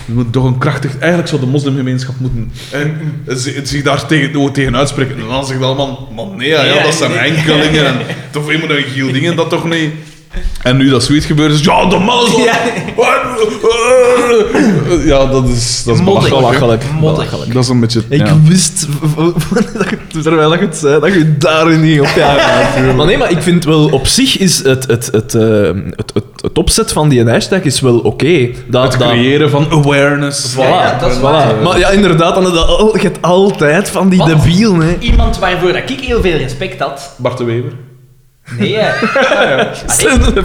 S1: we moeten toch een krachtig... Eigenlijk zou de moslimgemeenschap moeten en, zi- zich daar tegen, oh, tegen uitspreken. En dan zegt allemaal, man, nee, ja, ja, dat zijn enkelingen. En, toch iemand een giel dingen, dat toch niet... En nu dat zoiets gebeurt, is ja, de mazzel!
S3: Ja.
S1: Ja, dat is, dat is
S3: Modder.
S1: belachelijk. hè.
S3: Modder.
S1: Dat is een beetje...
S2: Ik
S1: ja.
S2: wist, dat je- terwijl ik het zei, dat je daar niet op ja, Maar nee, maar ik vind wel op zich is het, het, het, eh, het, het, het opzet van die hashtag is wel oké. Dat,
S1: Het
S2: dat-
S1: creëren van awareness.
S3: Ja, ja, dat is waar.
S2: Maar ja, inderdaad, dan, heb je al- je hebt altijd van die
S3: Wat?
S2: debiel, hè.
S3: Iemand waarvoor dat ik heel veel respect had.
S1: Bart de Wever.
S3: Nee, hè. Allee.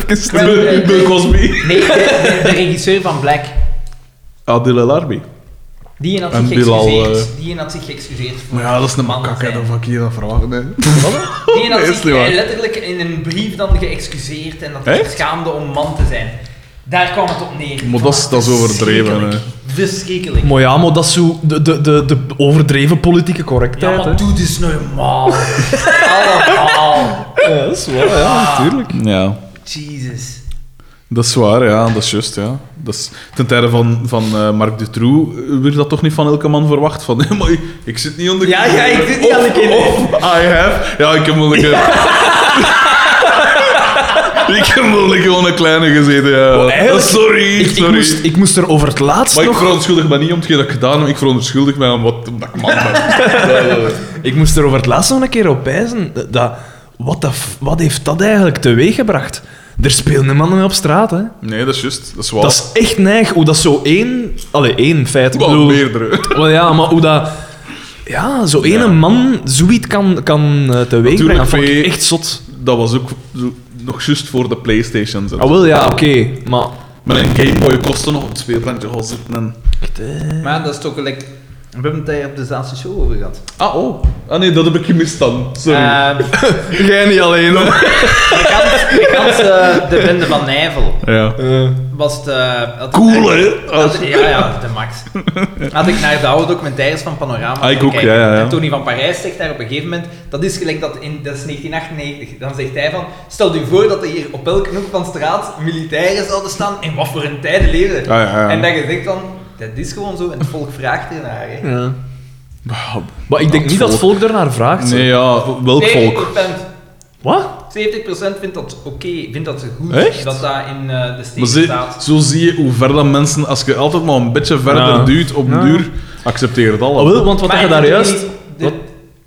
S2: Even
S3: Wel,
S1: Bill
S3: eh,
S1: Bill Cosby.
S3: nee de, de- de regisseur van Black.
S1: Adil El Arbi.
S3: Die had
S1: En
S3: zich
S1: Bilal, eh,
S3: geëxcuseerd. Die had zich geëxcuseerd. voor
S1: Maar ja, dat is een
S3: man
S1: makak, hè,
S3: zijn.
S1: dat fuck je dat verwacht. Nee.
S3: Die had
S1: Nee, is
S3: zich
S1: niet waar.
S3: eh, letterlijk in een brief dan geëxcuseerd en dat hij
S1: Echt?
S3: zich schaamde om man te zijn. Daar kwam het op neer.
S1: Maar dat is- dat is overdreven,
S3: Verschrikkelijk. Verschrikkelijk.
S2: Maar ja, maar dat is zo de, de, de, de overdreven politieke
S3: Ja,
S2: correctheid,
S3: maar
S2: hè.
S3: doe dit normaal. Allemaal.
S2: Ja, dat is waar, ja,
S3: Ah.
S2: natuurlijk.
S1: Ja,
S3: Jesus.
S1: dat is waar, ja, dat is juist, ja. Dat is, ten tijde van, van eh, Marc Dutroux eh, werd dat toch niet van elke man verwacht. Van, nee, maar ik, ik zit niet onder...
S3: Ja, ja, ik zit niet
S1: Of-
S3: aan de kinderen.
S1: Of, I have... Ja, ik heb wel een... ik heb wel een gewoon een kleine gezeten, ja.
S2: eigenlijk-
S1: sorry,
S2: Ik, ik,
S1: sorry.
S2: moest, ik moest er over het laatst
S1: maar ik
S2: nog...
S1: verontschuldig me niet om hetgeen dat ik gedaan heb. Ik verontschuldig me aan wat omdat ik man ben.
S2: Ik moest er over het laatst nog een keer op wijzen. eh, Dat, wat, de f- wat heeft dat eigenlijk teweeggebracht? Er speelden mannen mee op straat, hè.
S1: Nee, dat is juist. Dat is waar.
S2: Dat is echt neig hoe dat zo één... Allee, één feit. Ik
S1: Wel,
S2: bedoel,
S1: meerdere.
S2: wel ja, maar hoe dat... Ja, zo ene
S1: Ja.
S2: man zoiets kan, kan eh, teweegbrengen. Dat vond ik
S1: twee-
S2: echt zot.
S1: Dat was ook zo- nog juist voor de Playstations. en
S2: Ah, wel ja, oké. maar...
S1: Met een Game Boy kostte nog op het speelplantje gaan zitten. En...
S3: Maar dat is toch gelijk... We hebben het daar op de Zaanse show over gehad.
S1: Ah, oh. Ah nee, dat heb ik gemist dan. Sorry.
S3: Eh.
S2: Jij niet alleen, hoor.
S3: de kans, de, kans, eh, de bende van Nijvel
S1: ja.
S2: Eh.
S3: was het... eh, had-
S1: Cool, hè?
S3: had- ja, ja, de max. Had ik naar de oude documentaires van Panorama
S1: Ah, ik
S3: gaan
S1: ook,
S3: kijken.
S1: ja, ja, ja.
S3: En Tony van Parijs zegt daar op een gegeven moment... Dat is gelijk dat... In, dat is 1998. Dan zegt hij van... Stel je voor dat er hier op elke hoek van straat militairen zouden staan. In wat voor een tijden leven.
S1: Ah, Ja, ja, ja.
S3: En dat je denkt van... Dat is gewoon zo. En het volk vraagt ernaar, hè.
S2: Ja. Maar ik denk
S1: Dat
S2: niet dat het
S1: volk.
S2: volk daarnaar vraagt.
S1: Ah, Nee, ja, welk volk?
S3: 70%.
S2: Wat?
S3: 70% vindt dat oké, vindt dat goed
S1: Echt?
S3: dat dat in eh, de
S1: Maar
S3: States
S1: zie-
S3: staat.
S1: zo zie je hoe ver dat mensen, als je altijd maar een beetje verder
S2: Ja.
S1: duwt, op
S2: Ja.
S1: duur accepteert het
S2: Ah,
S1: allemaal.
S2: wel, want wat heb je
S3: ik
S2: daar
S3: vind
S2: juist...
S3: niet- de-
S2: Wat?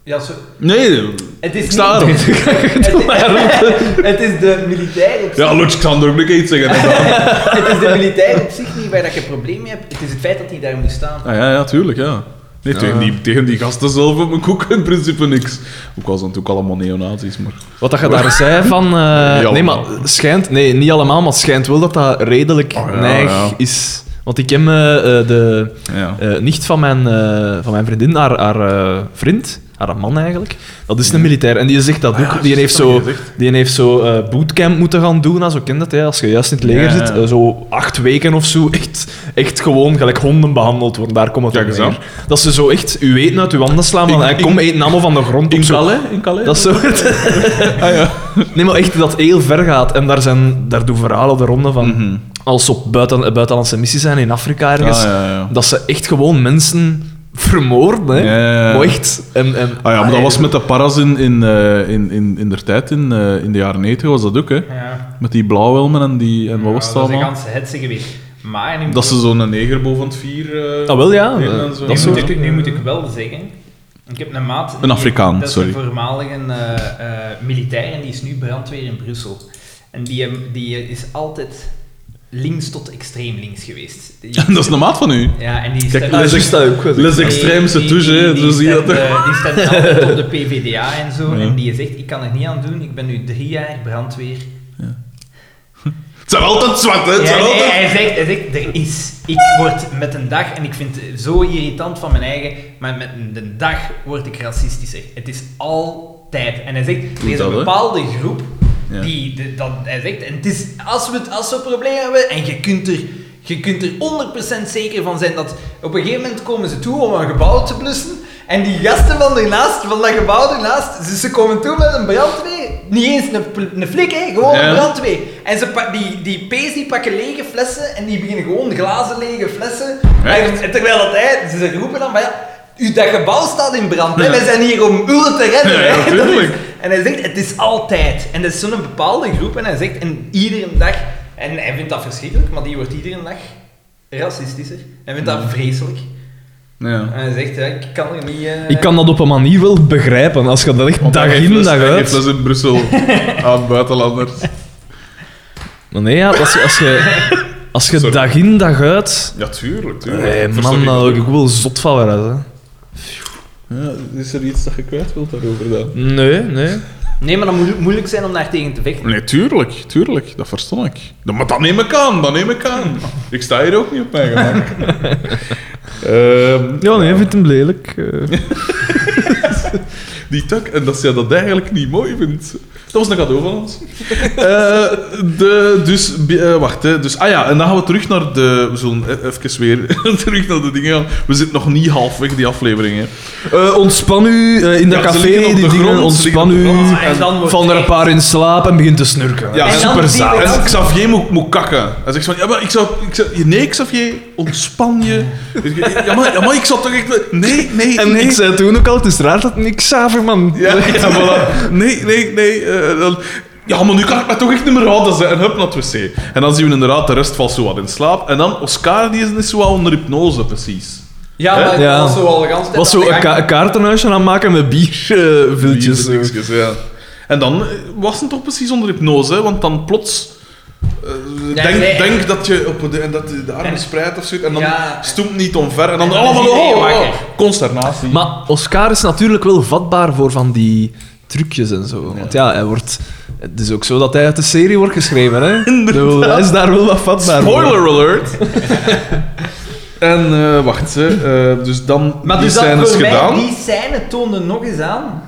S3: Ja, zo,
S1: Nee.
S3: het is
S1: Ik sta
S3: niet-
S1: erop.
S3: Het, het is de militair op zich.
S1: Ja, Lutz, ik kan er ook nog iets zeggen.
S3: Het is de militair op zich niet waar dat je een probleem mee hebt. Het is het feit dat hij daar moet staan.
S1: Ah, ja, ja, tuurlijk, ja. Nee, Tegen, die, tegen die gasten zelf heb ik ook in principe niks. Ook al zijn het ook allemaal neonazis, maar...
S2: Wat dat je daar zei van... eh, nee, maar
S1: allemaal.
S2: schijnt... Nee, niet allemaal, maar schijnt wel dat dat redelijk
S1: Oh, ja,
S2: neig
S1: ja.
S2: is. Want ik ken eh, eh, de
S1: Ja.
S2: eh, nicht van mijn, eh, van mijn vriendin, haar, haar eh, vriend, haar man eigenlijk, dat is een militair. En die zegt dat ook.
S1: ja,
S2: die,
S1: juist,
S2: heeft
S1: dat
S2: zo,
S1: heb je gezegd.
S2: die heeft zo eh, bootcamp moeten gaan doen, nou, zo ken je dat, hè, als je juist in het leger
S1: Ja, ja.
S2: zit. eh, zo acht weken of zo, echt, echt gewoon gelijk honden behandeld worden. Daar komt het
S1: Kijk
S2: op
S1: eens
S2: neer.
S1: aan.
S2: Dat ze zo echt, u weet uit uw handen slaan, van,
S1: In-
S2: eh, kom, eten allemaal van de grond op zo.
S1: In Calais? Ah,
S2: Dat is zo. Nee, maar echt dat heel ver gaat. En daar, zijn, daar doen verhalen de ronde van.
S1: Mhm.
S2: Als ze op buiten, buitenlandse missies zijn in Afrika ergens.
S1: Ah, ja, ja.
S2: Dat ze echt gewoon mensen vermoorden. Hè.
S1: Ja, ja, ja.
S2: Maar echt. En, en,
S1: Ah ja, maar dat was met de paras in, in, eh, in, in, in der tijd, in, eh, in de jaren 90 was dat ook, hè?
S3: Ja.
S1: Met die blauwhelmen en, die, en wat was het
S3: dat is een
S1: allemaal?
S3: ganse hetze geweest. Maar nu,
S1: Dat ze zo'n neger boven het vier... eh
S2: Ah, wel ja.
S1: Ja,
S2: eh,
S1: en zo.
S2: dat
S3: nu,
S2: soort.
S3: moet ik, nu moet ik wel zeggen... Ik heb een maat...
S1: Een Afrikaan,
S3: dat
S1: sorry.
S3: is een voormalige eh, eh, militair en die is nu brandweer in Brussel. En die, ehm, die is altijd links tot extreem links geweest. Die-
S1: dat is de maat van u.
S3: Ja, en die
S1: Kijk,
S3: stemt...
S1: dat
S2: Ah,
S1: is
S2: juist, dat ook.
S1: dat is
S3: die-
S1: extreemse
S3: die-
S1: touche, hè,
S3: die-
S1: zo
S3: die
S1: zie je
S3: stemt,
S1: dat er-
S3: eh, Die stemt altijd op de PvdA en zo.
S1: Ja.
S3: En die zegt, ik kan er niet aan doen, ik ben nu drie jaar brandweer.
S1: Het zijn altijd zwart, hè? Het
S3: Ja,
S1: zijn
S3: nee,
S1: altijd...
S3: hij, zegt, hij zegt, er is... Ik word met een dag, en ik vind het zo irritant van mijn eigen, maar met een- de dag word ik racistischer. Het is altijd. En hij zegt, er is
S1: Dat,
S3: een
S1: hè?
S3: bepaalde groep
S1: Ja.
S3: die... De, dat, hij zegt, en het is, als we, het- als we een probleem hebben, en je kunt er... Je kunt er 100% zeker van zijn dat op een gegeven moment komen ze toe om een gebouw te blussen. En die gasten van daarnaast, van dat gebouw daarnaast, ze, ze komen toe met een brandweer. niet eens een, pl- een flik, hè, gewoon
S1: Ja.
S3: een brandwee. En ze pa- die, die pees die pakken lege flessen en die beginnen gewoon glazen lege flessen.
S1: Echt?
S3: En terwijl dat hij, ze roepen dan, maar ja, u, dat gebouw staat in brand. Hè. Wij zijn hier om ulen te redden.
S1: Ja,
S3: hè. Dat
S1: natuurlijk.
S3: is, en hij zegt, het is altijd. En dat is zo'n bepaalde groep. En hij zegt, en iedere dag... En hij vindt dat verschrikkelijk, maar die wordt iedere dag racistischer. Hij vindt
S1: Mm.
S3: dat vreselijk.
S1: Ja.
S3: En hij zegt, ja, ik kan er niet... eh,
S2: Ik kan dat op een manier wel begrijpen, als je dat echt
S1: Want
S2: dag
S1: hij geeft
S2: in,
S1: les-
S2: dag
S1: hij geeft
S2: uit.
S1: les in Brussel aan buitenlanders.
S2: Maar nee, ja, als je, als je, als je
S1: Sorry.
S2: dag in, dag uit...
S1: Ja, tuurlijk, tuurlijk.
S2: Nee,
S1: Versta
S2: man,
S1: ik
S2: daar word
S1: niet.
S2: ik ook wel zot van weer uit, hè.
S1: Ja, is er iets dat je kwijt wilt daarover dan?
S2: Nee, nee.
S3: eh, Nee, maar dat moet moeilijk zijn om daar tegen te vechten.
S1: Nee, tuurlijk, tuurlijk, dat verstond ik. Ja, Maar dat neem ik aan, dat neem ik aan. Ik sta hier ook niet op mijn gemak. Ehm,
S2: Ja, nee, ik vind hem lelijk. eh.
S1: Die tak, en dat zij dat eigenlijk niet mooi vindt. Dat was een cadeau van ons. Eh, de, dus, bi- eh, wacht, hè. Dus, ah ja, en dan gaan we terug naar de... We zullen e- even weer terug naar de dingen gaan. We zitten nog niet halfweg, die aflevering, hè.
S2: Eh, ontspan u eh, in dat
S1: Ja, ze
S2: café,
S1: liggen op
S2: die
S1: de
S2: dingen,
S1: grond, ze
S2: ontspan
S1: liggen
S2: u.
S1: op de grond.
S3: En dan wordt
S2: Van er een
S3: echt-
S2: paar in slaap en begint te snurken.
S1: Ja,
S2: Ja,
S1: en dan
S2: super
S3: zien we
S2: zaad.
S3: dat.
S1: En Xavier moet, moet kakken. Hij zegt van, ja, maar ik zou, ik zou... Nee, Xavier, ontspan je. Ja, maar, ja, maar ik zou toch echt... Nee, nee,
S2: En
S1: nee.
S2: ik zei toen ook al, het is raar dat eh, ik Xaverman...
S1: Ja, ja, voilà. Nee, nee, nee. eh, dan- ja, maar nu kan ik me toch echt niet meer houden. Ze. En hup, naar het wc. En dan zien we inderdaad, de rest valt zo wat in slaap. En dan, Oscar, die is net zo wat onder hypnose, precies.
S3: Ja, maar
S2: Ja.
S3: dat was zo al de hele tijd
S2: was
S3: aan
S2: zo
S3: de
S2: een,
S3: gang.
S2: ka- een kaartenhuisje aan maken met bierviltjes.
S1: Die dingetjes, ja. En dan eh, was het toch precies onder hypnose, hè, want dan plots... eh,
S3: Ja,
S1: denk,
S3: nee.
S1: denk dat je op de, en dat de de armen
S3: En-
S1: spreidt of zoiets, en dan
S3: Ja.
S1: stoemt niet omver, en dan,
S3: En dan is
S1: allemaal...
S3: iedereen
S1: Oh, oh,
S3: wakker.
S1: consternatie.
S2: maar Oscar is natuurlijk wel vatbaar voor van die trucjes en zo. Want ja, hij wordt... Het is ook zo dat hij uit de serie wordt geschreven, hè?
S1: Inderdaad.
S2: Hij is daar wel wat vatbaar voor.
S1: Spoiler alert! en eh, wacht, hè, eh, dus dan
S3: Maar
S1: die
S3: dus dat
S1: scènes
S3: voor mij,
S1: gedaan.
S3: die scène toonde nog eens aan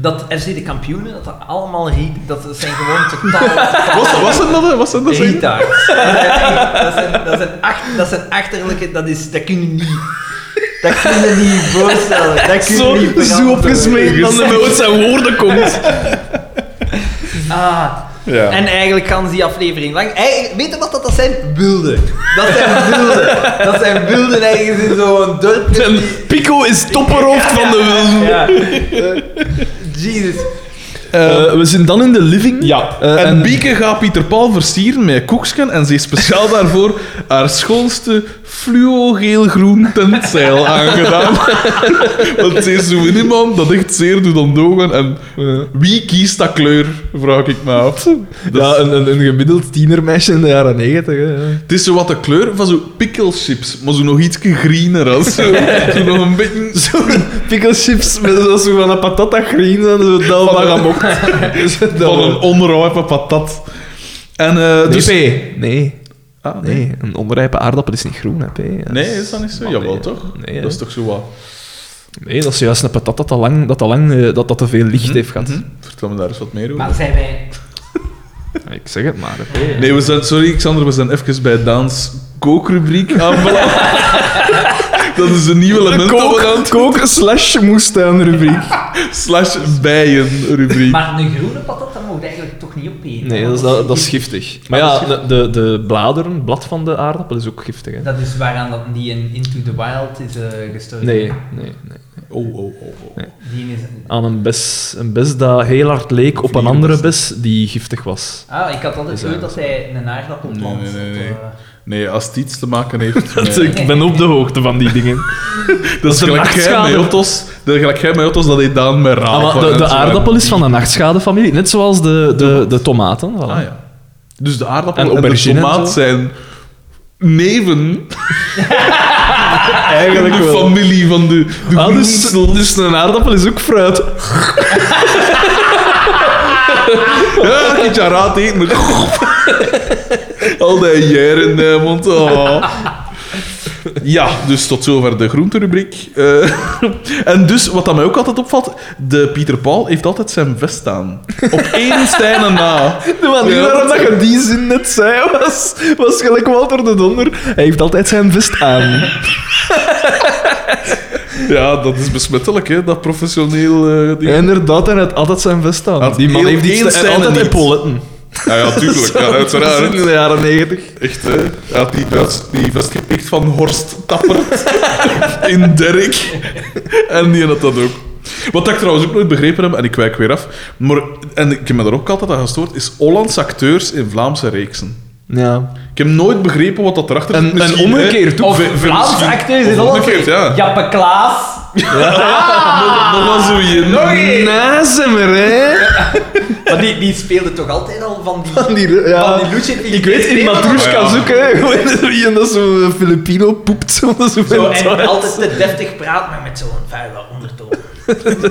S3: dat FC de kampioenen, dat dat allemaal riet, dat dat zijn gewoon totaal
S1: Was, was het dat? hè? Was het dat? zeg je?
S3: rietards. Dat zijn echt- Dat zijn, dat zijn, acht, dat zijn achterlijke, dat is, dat kun je niet, dat kun je niet voorstellen. Dat kun je
S2: Zo,
S3: niet
S2: zo
S3: veranderen.
S2: opgesmeed dat hij met zijn woorden komt.
S3: Ah,
S1: Ja.
S3: En eigenlijk gaan ze die aflevering lang. Eigenlijk- Weet je wat dat, dat zijn? Wilden. Dat zijn wilden. Dat zijn wilden ergens in zo'n dorp.
S2: En Pico is topperhoofd van de wil.
S3: Ja. Eh, Jesus.
S2: Eh, we zijn dan in de living.
S1: Ja,
S2: Eh,
S1: en,
S2: en
S1: Bieke gaat Pieter Paul versieren met koeksken en ze heeft speciaal daarvoor haar schoonste fluo-geel-groen tentzeil aangedaan. Want ze is zo iemand dat echt zeer doet aan de ogen. En
S2: Ja.
S1: wie kiest dat kleur, vraag ik me af. Dat
S2: ja,
S1: is-
S2: een, een, een gemiddeld tienermeisje in de jaren negentig. hè, ja.
S1: Het is zo wat de kleur van zo chips, maar zo nog iets greener als zo. Zo nog een beetje...
S2: Zo'n chips met zo- zo van een patata green en zo dat
S1: Van
S2: maar
S1: een-
S2: gemokt. Dus dat
S1: Van
S2: wel.
S1: een onrijpe patat. En eh,
S2: Nee,
S1: dus...
S2: P. Nee.
S1: Ah, nee.
S2: nee, een onrijpe aardappel is niet groen, hè, P. Dat
S1: Nee, is dat niet zo?
S2: Maar
S1: Jawel,
S2: Oh, nee,
S1: toch?
S2: Nee, hè.
S1: dat is toch zo wat...
S2: nee, dat is juist een patat dat al lang, dat al lang eh, dat, dat te veel licht heeft gehad.
S1: Hm? Vertel me daar eens wat meer over.
S3: Maar zijn wij.
S2: Ja, Ik zeg het maar, hè, P.
S1: Nee, we zijn, sorry Xander, we zijn even bij Daans kookrubriek aanbeland. dat is een nieuw element dat we
S2: Kook, kook slash moestuinrubriek.
S1: dan- Slash bijenrubriek.
S3: Maar een groene patat, dat mocht eigenlijk toch niet opeten.
S2: Nee, dat is, dat, dat is giftig. Maar ja, de, de, de bladeren, het blad van de aardappel is ook giftig. Hè?
S3: Dat is waaraan dat die in Into the Wild is eh, gestorven.
S2: Nee, nee, nee.
S1: Oh, oh, oh. oh.
S3: Die is...
S2: Aan een bes, een bes dat heel hard leek op een andere bes die giftig was.
S3: Ah, ik had altijd
S2: Is
S3: gehoord
S2: dat-
S3: dat hij een aardappel
S1: Nee,
S3: plant.
S1: nee, nee,
S3: Dat,
S1: nee.
S3: eh,
S1: Nee, als het iets te maken heeft... met-
S2: Ik ben op de hoogte van die dingen.
S1: Ah, dat is
S2: de
S1: gelijk jij
S2: nachtschade.
S1: met Otto's. Dat is gelijk jij met Otto's, dat heet Daan met rapen.
S2: Ah, maar de,
S1: en zo.
S2: de aardappel is van de nachtschadefamilie, net zoals de, de, de tomaten. voilà.
S1: Ah, ja. Dus de aardappel
S2: En
S1: en, de
S2: aubergine en
S1: tomaat
S2: zo.
S1: zijn neven in
S2: Ah, Eigenlijk
S1: de
S2: wel.
S1: familie van de, de
S2: Ah, dus,
S1: groenten.
S2: dus een aardappel is ook fruit.
S1: Ja, ik je raad eten. Al die jaren in de mond. Oh. Ja, dus tot zover de groenterubriek. Eh, en dus, wat dat mij ook altijd opvalt, de Pieter Paul heeft altijd zijn vest aan. Op één stijne na.
S2: De manier
S1: Ja.
S2: waarop dat je die zin net zei, was, was gelijk Walter de Donder. Hij heeft altijd zijn vest aan.
S1: Ja, dat is besmettelijk, hè, dat professioneel eh, ding.
S2: Inderdaad, en hij had altijd zijn vest aan.
S1: Had
S2: Die man
S1: heel
S2: heeft iets
S1: eens
S2: te,
S1: zijn
S2: altijd
S1: niet.
S2: epauletten.
S1: Ja, ja, tuurlijk. Ja, uiteraard.
S2: Dat is
S1: hè.
S2: In de jaren negentig.
S1: Echt, hè. Hij had die, vest- die vest gepikt van Horst Tappert in Derk. En die had dat ook. Wat ik trouwens ook nooit begrepen heb, en ik wijk weer af, maar, en ik heb me daar ook altijd aan gestoord, is Hollandse acteurs in Vlaamse reeksen.
S2: Ja.
S1: Ik heb nooit begrepen wat dat erachter
S2: En-
S1: zit.
S2: en
S1: Misschien,
S2: omgekeerd
S1: hè.
S2: ook.
S1: Of-
S3: Of Vlaamse
S1: misschien-
S3: acteurs
S1: of
S3: is alles.
S1: omgekeerd, ja.
S3: Jappe Klaas.
S1: Nog, nog wel zo je.
S3: Nog één.
S2: Nazemer, hè?
S3: Maar die, die speelde toch altijd al van die...
S2: Van die, ja.
S3: Van die loetje.
S2: Ik weet, in Matrushka
S1: Ja.
S2: zoeken, zoek, hè. Gewoon wie en dat zo'n Filipino poept. Zo, dat zo
S3: Zo, en altijd te deftig praat, maar met zo'n vuile ondertoon.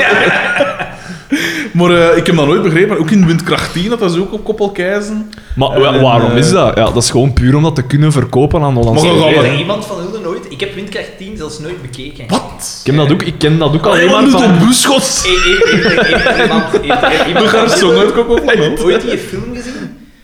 S1: Maar eh, ik heb dat nooit begrepen. Ook in Windkracht 10 had dat ze ook op koppel keizen.
S2: Maar wa-
S1: En,
S2: waarom
S1: eh,
S2: is dat? Ja, dat is gewoon puur om dat te kunnen verkopen aan Hollandse
S1: Maar dan gaan
S2: tv.
S1: we-
S3: Er iemand van Hulde nooit... Ik heb Windkracht 10 zelfs nooit bekeken.
S1: Wat?
S2: Ik ken dat ook, ik ken dat ook alleen maar
S1: Iemand doet
S2: van...
S1: een buschot.
S3: Hey, hey, hey, hey, hey, iemand- heeft er iemand
S1: De garçon uit
S3: ooit-
S1: Kokopo.
S3: ooit die film gezien?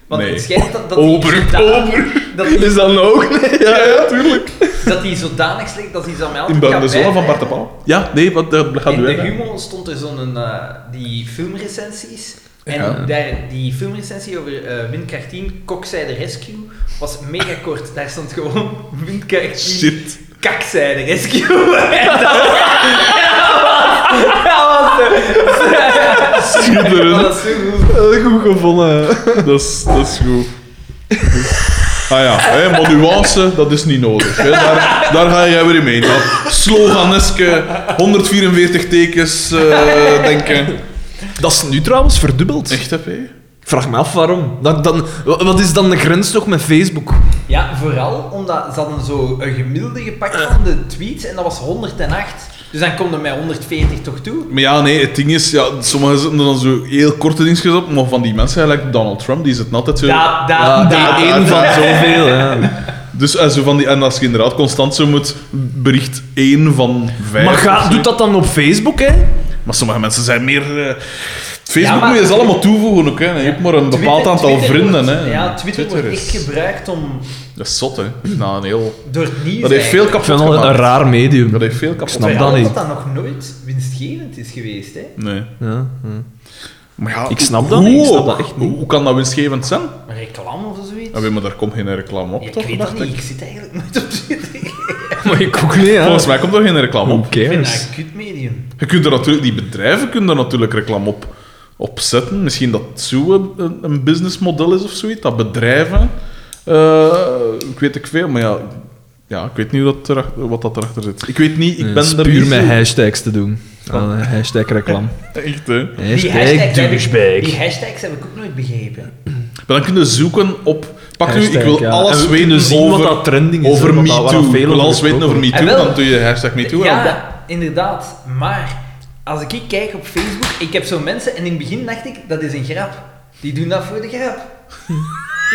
S3: Want
S1: Nee.
S3: het schijnt dat, dat
S1: Ober,
S3: die zodanig- Dat die,
S2: Is dat nou ook? Nee, ja.
S1: Ja, ja, tuurlijk.
S3: dat die zodanig slecht dat hij ze mij altijd
S1: In Buiten de
S3: kan
S1: Zonne van
S3: bijblijven.
S1: Bart de Pauw. Ja, nee, wat, eh, dat gaat
S3: In
S1: u
S3: de
S1: uit.
S3: Humo stond er zo'n eh, die filmrecensies. En
S1: Ja.
S3: daar, die filmrecensie over eh Windkracht 10, Kokzijde Rescue, was mega kort. Daar stond gewoon Windkracht 10,
S1: Shit.
S3: Kakzijde Rescue. En dat, dat was de...
S1: Schitterend.
S3: Dat is zo goed.
S2: Dat is goed gevonden.
S1: eh, Dat is, dat is goed. Ah ja, hè, maar nuance, dat is niet nodig. Hè. Daar, daar ga jij weer in mee. Dat sloganeske, 144 tekens eh, denken.
S2: Dat is nu trouwens verdubbeld.
S1: Echt, hè, P?
S2: Ik Vraag me af waarom. Dan, dan, wa- wat is dan de grens nog met Facebook?
S3: Ja, vooral omdat ze hadden zo een gemiddelde gepakt van de tweets en dat was 108. Dus dan komt er mij 140 toch toe.
S1: Maar ja, nee, het ding is, ja, sommigen zetten er dan zo heel korte dingetjes op, maar van die mensen, gelijk Donald Trump, die zitten altijd zo...
S3: Ja, daar,
S2: Ja, die
S3: daar-
S2: één
S1: daar-
S2: van
S1: daar.
S2: zoveel. Ja.
S1: Dus, en, zo van die, en als je inderdaad constant zo moet, bericht 1 van 5.
S2: Maar ga, doet dat dan op Facebook, hè?
S1: Maar sommige mensen zijn meer. eh, Facebook
S3: Ja, maar-
S1: moet je ze allemaal toevoegen ook, hè? Je hebt maar een
S3: Twitter-
S1: bepaald aantal
S3: Twitter
S1: vrienden,
S3: wordt-
S1: hè?
S3: Ja, Twitter, wordt
S1: is-
S3: echt gebruikt om
S1: Dat is zot, hè? Nou, een heel.
S3: door het nieuws
S1: Dat heeft veel
S2: Ik
S1: kapot
S2: vind dat een
S1: gemaakt.
S2: raar medium.
S1: Dat heeft veel kapot
S2: snap
S1: gemaakt.
S2: dat
S3: dat
S2: niet.
S3: dat dat nog nooit winstgevend is geweest, hè?
S1: Nee.
S2: Ja, ja.
S1: Maar ja,
S2: Ik snap
S1: hoe-
S2: dat niet, ik
S1: hoe
S2: snap dat
S1: ook?
S2: echt niet.
S1: Hoe kan dat winstgevend zijn?
S3: Een reclame of zoiets.
S1: Ja, weet je, maar daar komt geen reclame op,
S3: Ja, ik
S1: toch?
S3: weet dat
S1: dacht
S3: niet.
S1: ik.
S3: Ik zit eigenlijk nooit op Twitter.
S2: Maar ik ook niet, ja.
S1: Volgens mij komt er geen reclame
S2: Who
S1: op.
S3: Ik vind dat
S2: cares?
S3: een kut medium.
S1: Je kunt er natuurlijk, die bedrijven kunnen er natuurlijk reclame op, op zetten. Misschien dat zo een- een, een businessmodel is of zoiets. Dat bedrijven, eh, ik weet ik veel, maar ja, ja ik weet niet wat, erachter, wat dat erachter zit. Ik weet niet, ik
S2: Ja,
S1: ben
S2: het is
S1: er
S2: puur
S1: niet
S2: met
S1: zo-
S2: hashtags te doen. Ah, hashtag reclam.
S1: Echt, hè.
S3: Die
S2: Hashtag
S3: heb ik- die
S2: douchebag.
S3: hashtags heb ik ook nooit begrepen.
S1: Maar dan kunnen zoeken op... Pak nu, ik wil
S2: Hashtag, ja. En
S1: alles
S2: we
S1: weten
S2: kunnen zien
S1: over,
S2: wat dat trending is,
S1: over
S2: hè, want daar
S1: MeToo.
S2: waren
S1: Ik
S2: veel
S1: wil
S2: over
S1: alles weten over
S2: gesproken.
S1: MeToo,
S3: Ah, wel.
S1: dan doe je hashtag MeToo aan.
S3: Ja, inderdaad. Maar als ik kijk op Facebook, ik heb zo mensen en in het begin dacht ik dat is een grap. Die doen dat voor de grap.
S2: Oh,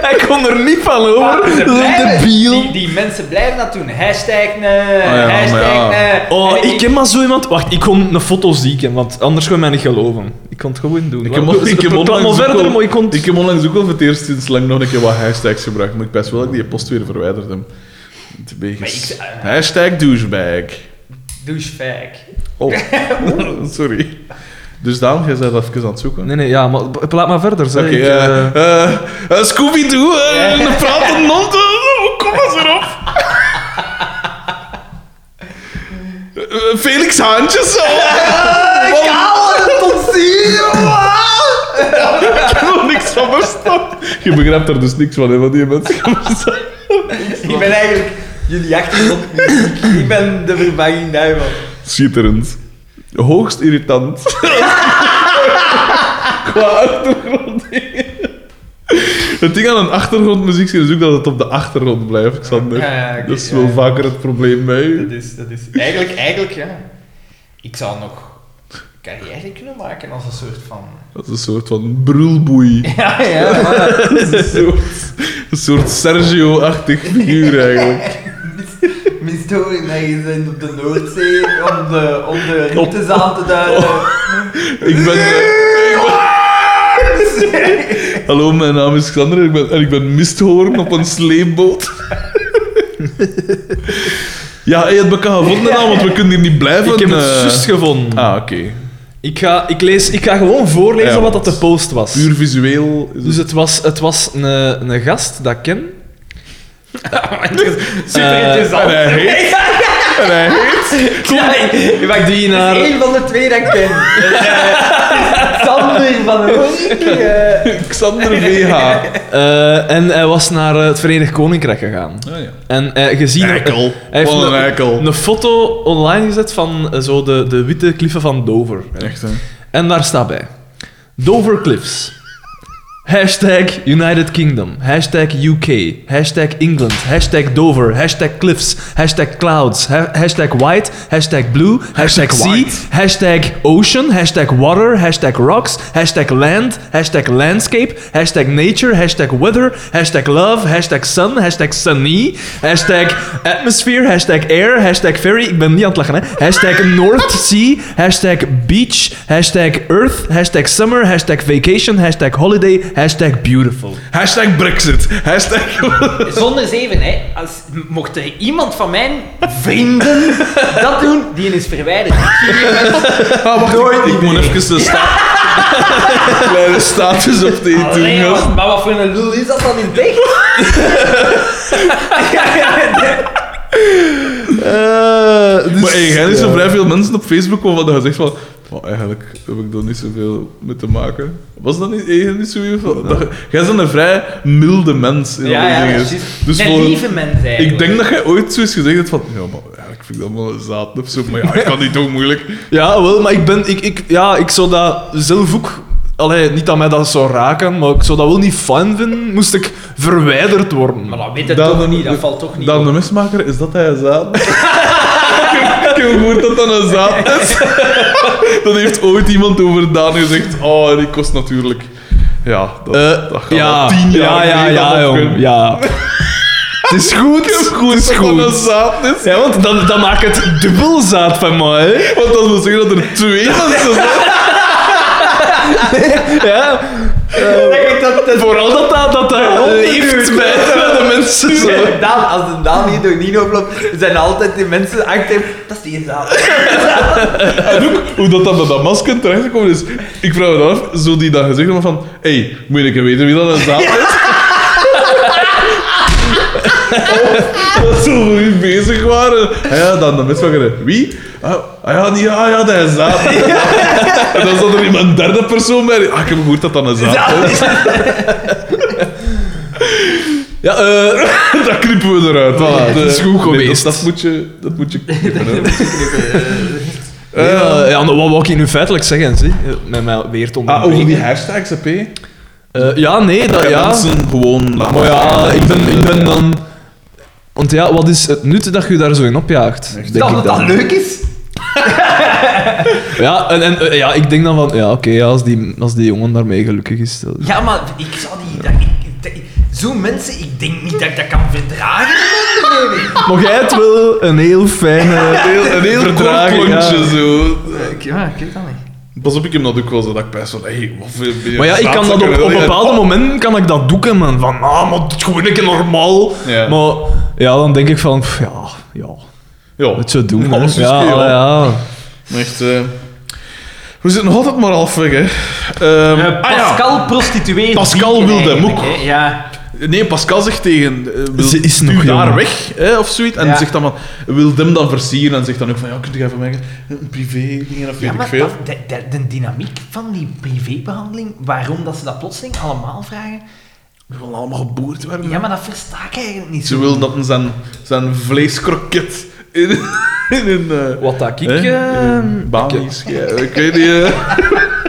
S2: Hij kon er niet van over.
S3: Maar ze
S2: Dat is een
S3: blijven-
S2: debiel.
S3: Die, die mensen blijven dat doen. Hashtag nee,
S1: Ah ja,
S3: hashtag
S1: maar ja.
S3: nee.
S2: Oh,
S3: En
S2: ik ken maar zo iemand. Wacht, ik kon een foto zieken, want anders kon je mij niet geloven. Ik kon het gewoon doen.
S1: Ik heb,
S2: Wacht,
S1: onlangs, ik, heb
S2: het kwam al
S1: onlangs ook
S2: verder,
S1: al-
S2: maar ik kon.
S1: ik heb onlangs ook al voor het eerst sinds lang nog een keer wat hashtags gebruikt. Maar ik best wel dat ik die post weer verwijderd heb. Het beest.
S3: Maar ik-
S1: Hashtag douchebag.
S3: Douchebag.
S1: Oh, sorry. Dus daarom, jij zei dat even aan het zoeken.
S2: Nee, nee, ja, maar b- laat maar verder. Zeg.
S1: Oké,
S2: Ik,
S1: eh,
S2: eh,
S1: eh, eh, Scooby-Doo, eh, een pratende hond, eh, hoe kom eens erop? Eh, Felix Haantjes, oh. zo. Ik heb er niks van verstaan. Je begrijpt er dus niks van, hè, van die mensen.
S3: Ik ben eigenlijk jullie achtergrond. ik ben de vervanging daarvan.
S1: Schitterend. Hoogst irritant. Qua achtergrond. Het ding aan een achtergrondmuziek is ook dat het op de achtergrond blijft, Xander.
S3: Ja, ja, oké,
S1: dat is
S3: ja,
S1: wel
S3: ja.
S1: vaker het probleem bij
S3: Dat
S1: u.
S3: is, dat is. Eigenlijk, eigenlijk ja. Ik zou nog carrière kunnen maken als een soort van.
S1: Dat is een soort van brulboei.
S3: Ja, ja, maar.
S1: Een soort, een soort Sergio-achtig figuur eigenlijk.
S3: Mistoring dat je bent op de Noordzee om de, om de routes aan te duiden.
S1: Ik ben. eh, ik ben- Hallo, mijn naam is Xander en ik ben, en ik ben misthoorn op een sleepboot. Ja, hey, het bekend gevonden al, want we kunnen hier niet blijven.
S2: Ik heb het
S1: eh.
S2: zus gevonden.
S1: Ah, oké.
S2: Ik, ga, ik, lees, ik ga gewoon voorlezen
S1: Ja,
S2: wat dat
S1: want-
S2: de post was.
S1: Puur visueel. Is
S2: Dus
S1: het...
S2: het was, het was een, eh, een gast dat ik ken. Eh,
S3: Super interessant.
S1: en hij heet- en hij heet-
S3: Ja, maar die
S2: Die
S3: naar...
S2: naar-
S3: is één van de twee dat ik ken. Eh, Sander van de Hoek. eh.
S1: Xander VH.
S2: Eh, en hij was naar eh, het Verenigd Koninkrijk gegaan.
S1: Ah, ja.
S2: En eh, gezien...
S1: Eikel.
S2: Hij heeft
S1: Wat een
S2: een-
S1: eikel.
S2: Een foto online gezet van eh, zo de, de witte kliffen van Dover.
S1: Echt, hè.
S2: En daar staat bij. Dover Cliffs. Hashtag United Kingdom. Hashtag UK. Hashtag England. Hashtag Dover. Hashtag Cliffs. Hashtag Clouds. Ha- hashtag White. Hashtag Blue. Hashtag,
S1: Hashtag
S2: Sea.
S1: white.
S2: Hashtag Ocean. Hashtag Water. Hashtag Rocks. Hashtag Land. Hashtag Landscape. Hashtag Nature. Hashtag Weather. Hashtag Love. Hashtag Sun. Hashtag Sunny. Hashtag Atmosphere. Hashtag Air. Hashtag Ferry. Ik ben niet aan het lachen, hè. Hashtag North Sea. Hashtag Beach. Hashtag Earth. Hashtag Summer. Hashtag Vacation. Hashtag Holiday. Hashtag Beautiful.
S1: Hashtag Brexit. Hashtag...
S3: Zonder zeven, hè. Als, mocht er iemand van mijn vrienden dat doen, die is verwijderd.
S1: Ah, wacht,
S3: Nooit
S1: ik, ik moet
S3: idee.
S1: even de staat... Kleine status op die
S3: Allee,
S1: doen.
S3: maar, maar wat voor een lul is dat dan in het echt?
S1: Maar hey, jij is zo vrij veel mensen op Facebook waarvan je zegt van... "Maar eigenlijk heb ik daar niet zoveel mee te maken. Was dat niet, eigenlijk niet zo heel veel? Dat je- Jij bent een vrij milde mens in alle dingen. Dus
S3: een
S1: voor-
S3: lieve mens, eigenlijk.
S1: ik denk dat jij ooit zo eens gezegd hebt van... Ja, maar eigenlijk vind ik dat wel een zaad of zo. Maar ja, ik kan niet ook moeilijk.
S2: Ja, wel, maar ik ben... Ik, ik, ja, ik zou dat zelf ook... Allee, niet dat mij dat zou raken, maar ik zou dat wel niet fijn vinden, moest ik verwijderd worden.
S3: Maar dat weet het
S1: Dan-
S3: toch niet, dat valt toch niet
S1: Dan de
S3: op.
S1: mismaker, is dat hij een zaad? ik heb- ik heb gehoord dat dat een zaad is. dat heeft ooit iemand over Daan gezegd. Oh, die kost natuurlijk... Ja, dat,
S2: Eh,
S1: dat gaat
S2: ja,
S1: al tien jaar
S2: ja, ja,
S1: geleden
S2: ja,
S1: dat
S2: jong,
S1: kunnen.
S2: ja. Het is goed, het is
S1: dat dat een
S2: goed.
S1: zaad is.
S2: Ja, want dan, dan maakt het dubbel zaad van mij, hè.
S1: Want dat wil zeggen dat er twee mensen zijn.
S2: Ja. Vooral dat dat, dat, dat leeft bij de mensen zo.
S3: Daan, als de Daan hier door Nino loopt, zijn altijd die mensen achter hem. Dat is die zaal.
S1: En ook hoe dat dan bij dat masker terecht gekomen is. Ik vraag me dan af, zo die dan gezegd hebben van... Hé, hey, moet je een keer weten wie dat een zaad is? Of Dat ze goed bezig waren. Ah ja, dan de misvanger. Wie? Ah, ah ja, die, ah ja, dat is zaad. En dan zat er iemand een derde persoon bij. Ah, ik heb gehoord dat dat een zaad is.
S2: Ja, eh...
S1: Dat knippen we eruit. Voilà.
S2: dat is goed
S1: Nee,
S2: geweest.
S1: dat, dat moet je... Dat moet je knippen, hè.
S2: nee, eh, ja, nou, wat wou ik hier nu feitelijk zeggen, zie? Eh, Met mij weer te
S1: Ah, over
S2: onderbreken.
S1: die hashtags, hè, P?
S2: Eh, ja, nee, dat, ja.
S1: Mensen gewoon...
S2: Maar ja, ik ben, ik ben dan... Want ja, wat is het nut dat je daar zo in opjaagt? Denk
S3: Dat
S2: ik
S3: het dan
S2: dan.
S3: leuk is.
S2: Ja, en, en eh, ja, ik denk dan van... Ja, oké, ja, als, die, als die jongen daarmee gelukkig is... dat-
S3: Ja, maar ik zou die... Dat, ik, dat- Zo'n mensen, ik denk niet dat ik dat kan verdragen. in mijn leven.
S2: Maar jij hebt wel een heel fijne...
S1: Heel, een heel
S2: Verdragen,
S1: kort lontje,
S2: ja.
S1: zo.
S3: Ik- Ja, ik weet dat niet.
S1: Pas op, ik heb dat ook wel zo dat ik pijs van, hey, wat ben je
S2: Maar ja, ik kan dat op, op bepaalde momenten kan ik dat doeken, man. Van, ah, maar het is gewoon een keer normaal.
S1: Ja.
S2: Maar ja, dan denk ik van, pff, ja, ja,
S1: Ja,
S2: het zo doen. hè.
S1: Alles is dus
S2: ja,
S1: keer,
S2: ja,
S1: ja.
S2: ja.
S1: Echt, eh, we zitten nog altijd maar halfweg, hè. Ehm,
S3: Eh,
S1: ah, ja.
S3: Pascal prostitueert.
S1: Pascal
S3: dieren
S1: wilde hem
S3: eigenlijk,
S1: ook.
S3: hè. Ja.
S1: Nee, Pascal zegt tegen... eh, wil-
S2: Ze is
S1: stuur
S2: nog
S1: daar
S2: jong.
S1: weg, hè, of zoiets. En
S3: Ja.
S1: zegt dan van, wil hem dan versieren. En zegt dan ook van, ja, kun je even mij een privé dingen of weet
S3: Ja,
S1: ik
S3: maar
S1: veel.
S3: dat- de, de, de dynamiek van die privébehandeling, waarom dat ze dat plotseling allemaal vragen,
S1: We willen allemaal geboerd worden.
S3: ja, maar dat versta ik eigenlijk niet
S1: Mhm. Ze
S3: zo.
S1: wil dat een zijn, zijn vleeskroket in, in een... eh,
S2: Wat dat ik...
S1: hè, in
S2: eh,
S1: een Baan
S2: ik-
S1: is. Ja, ik weet niet, eh.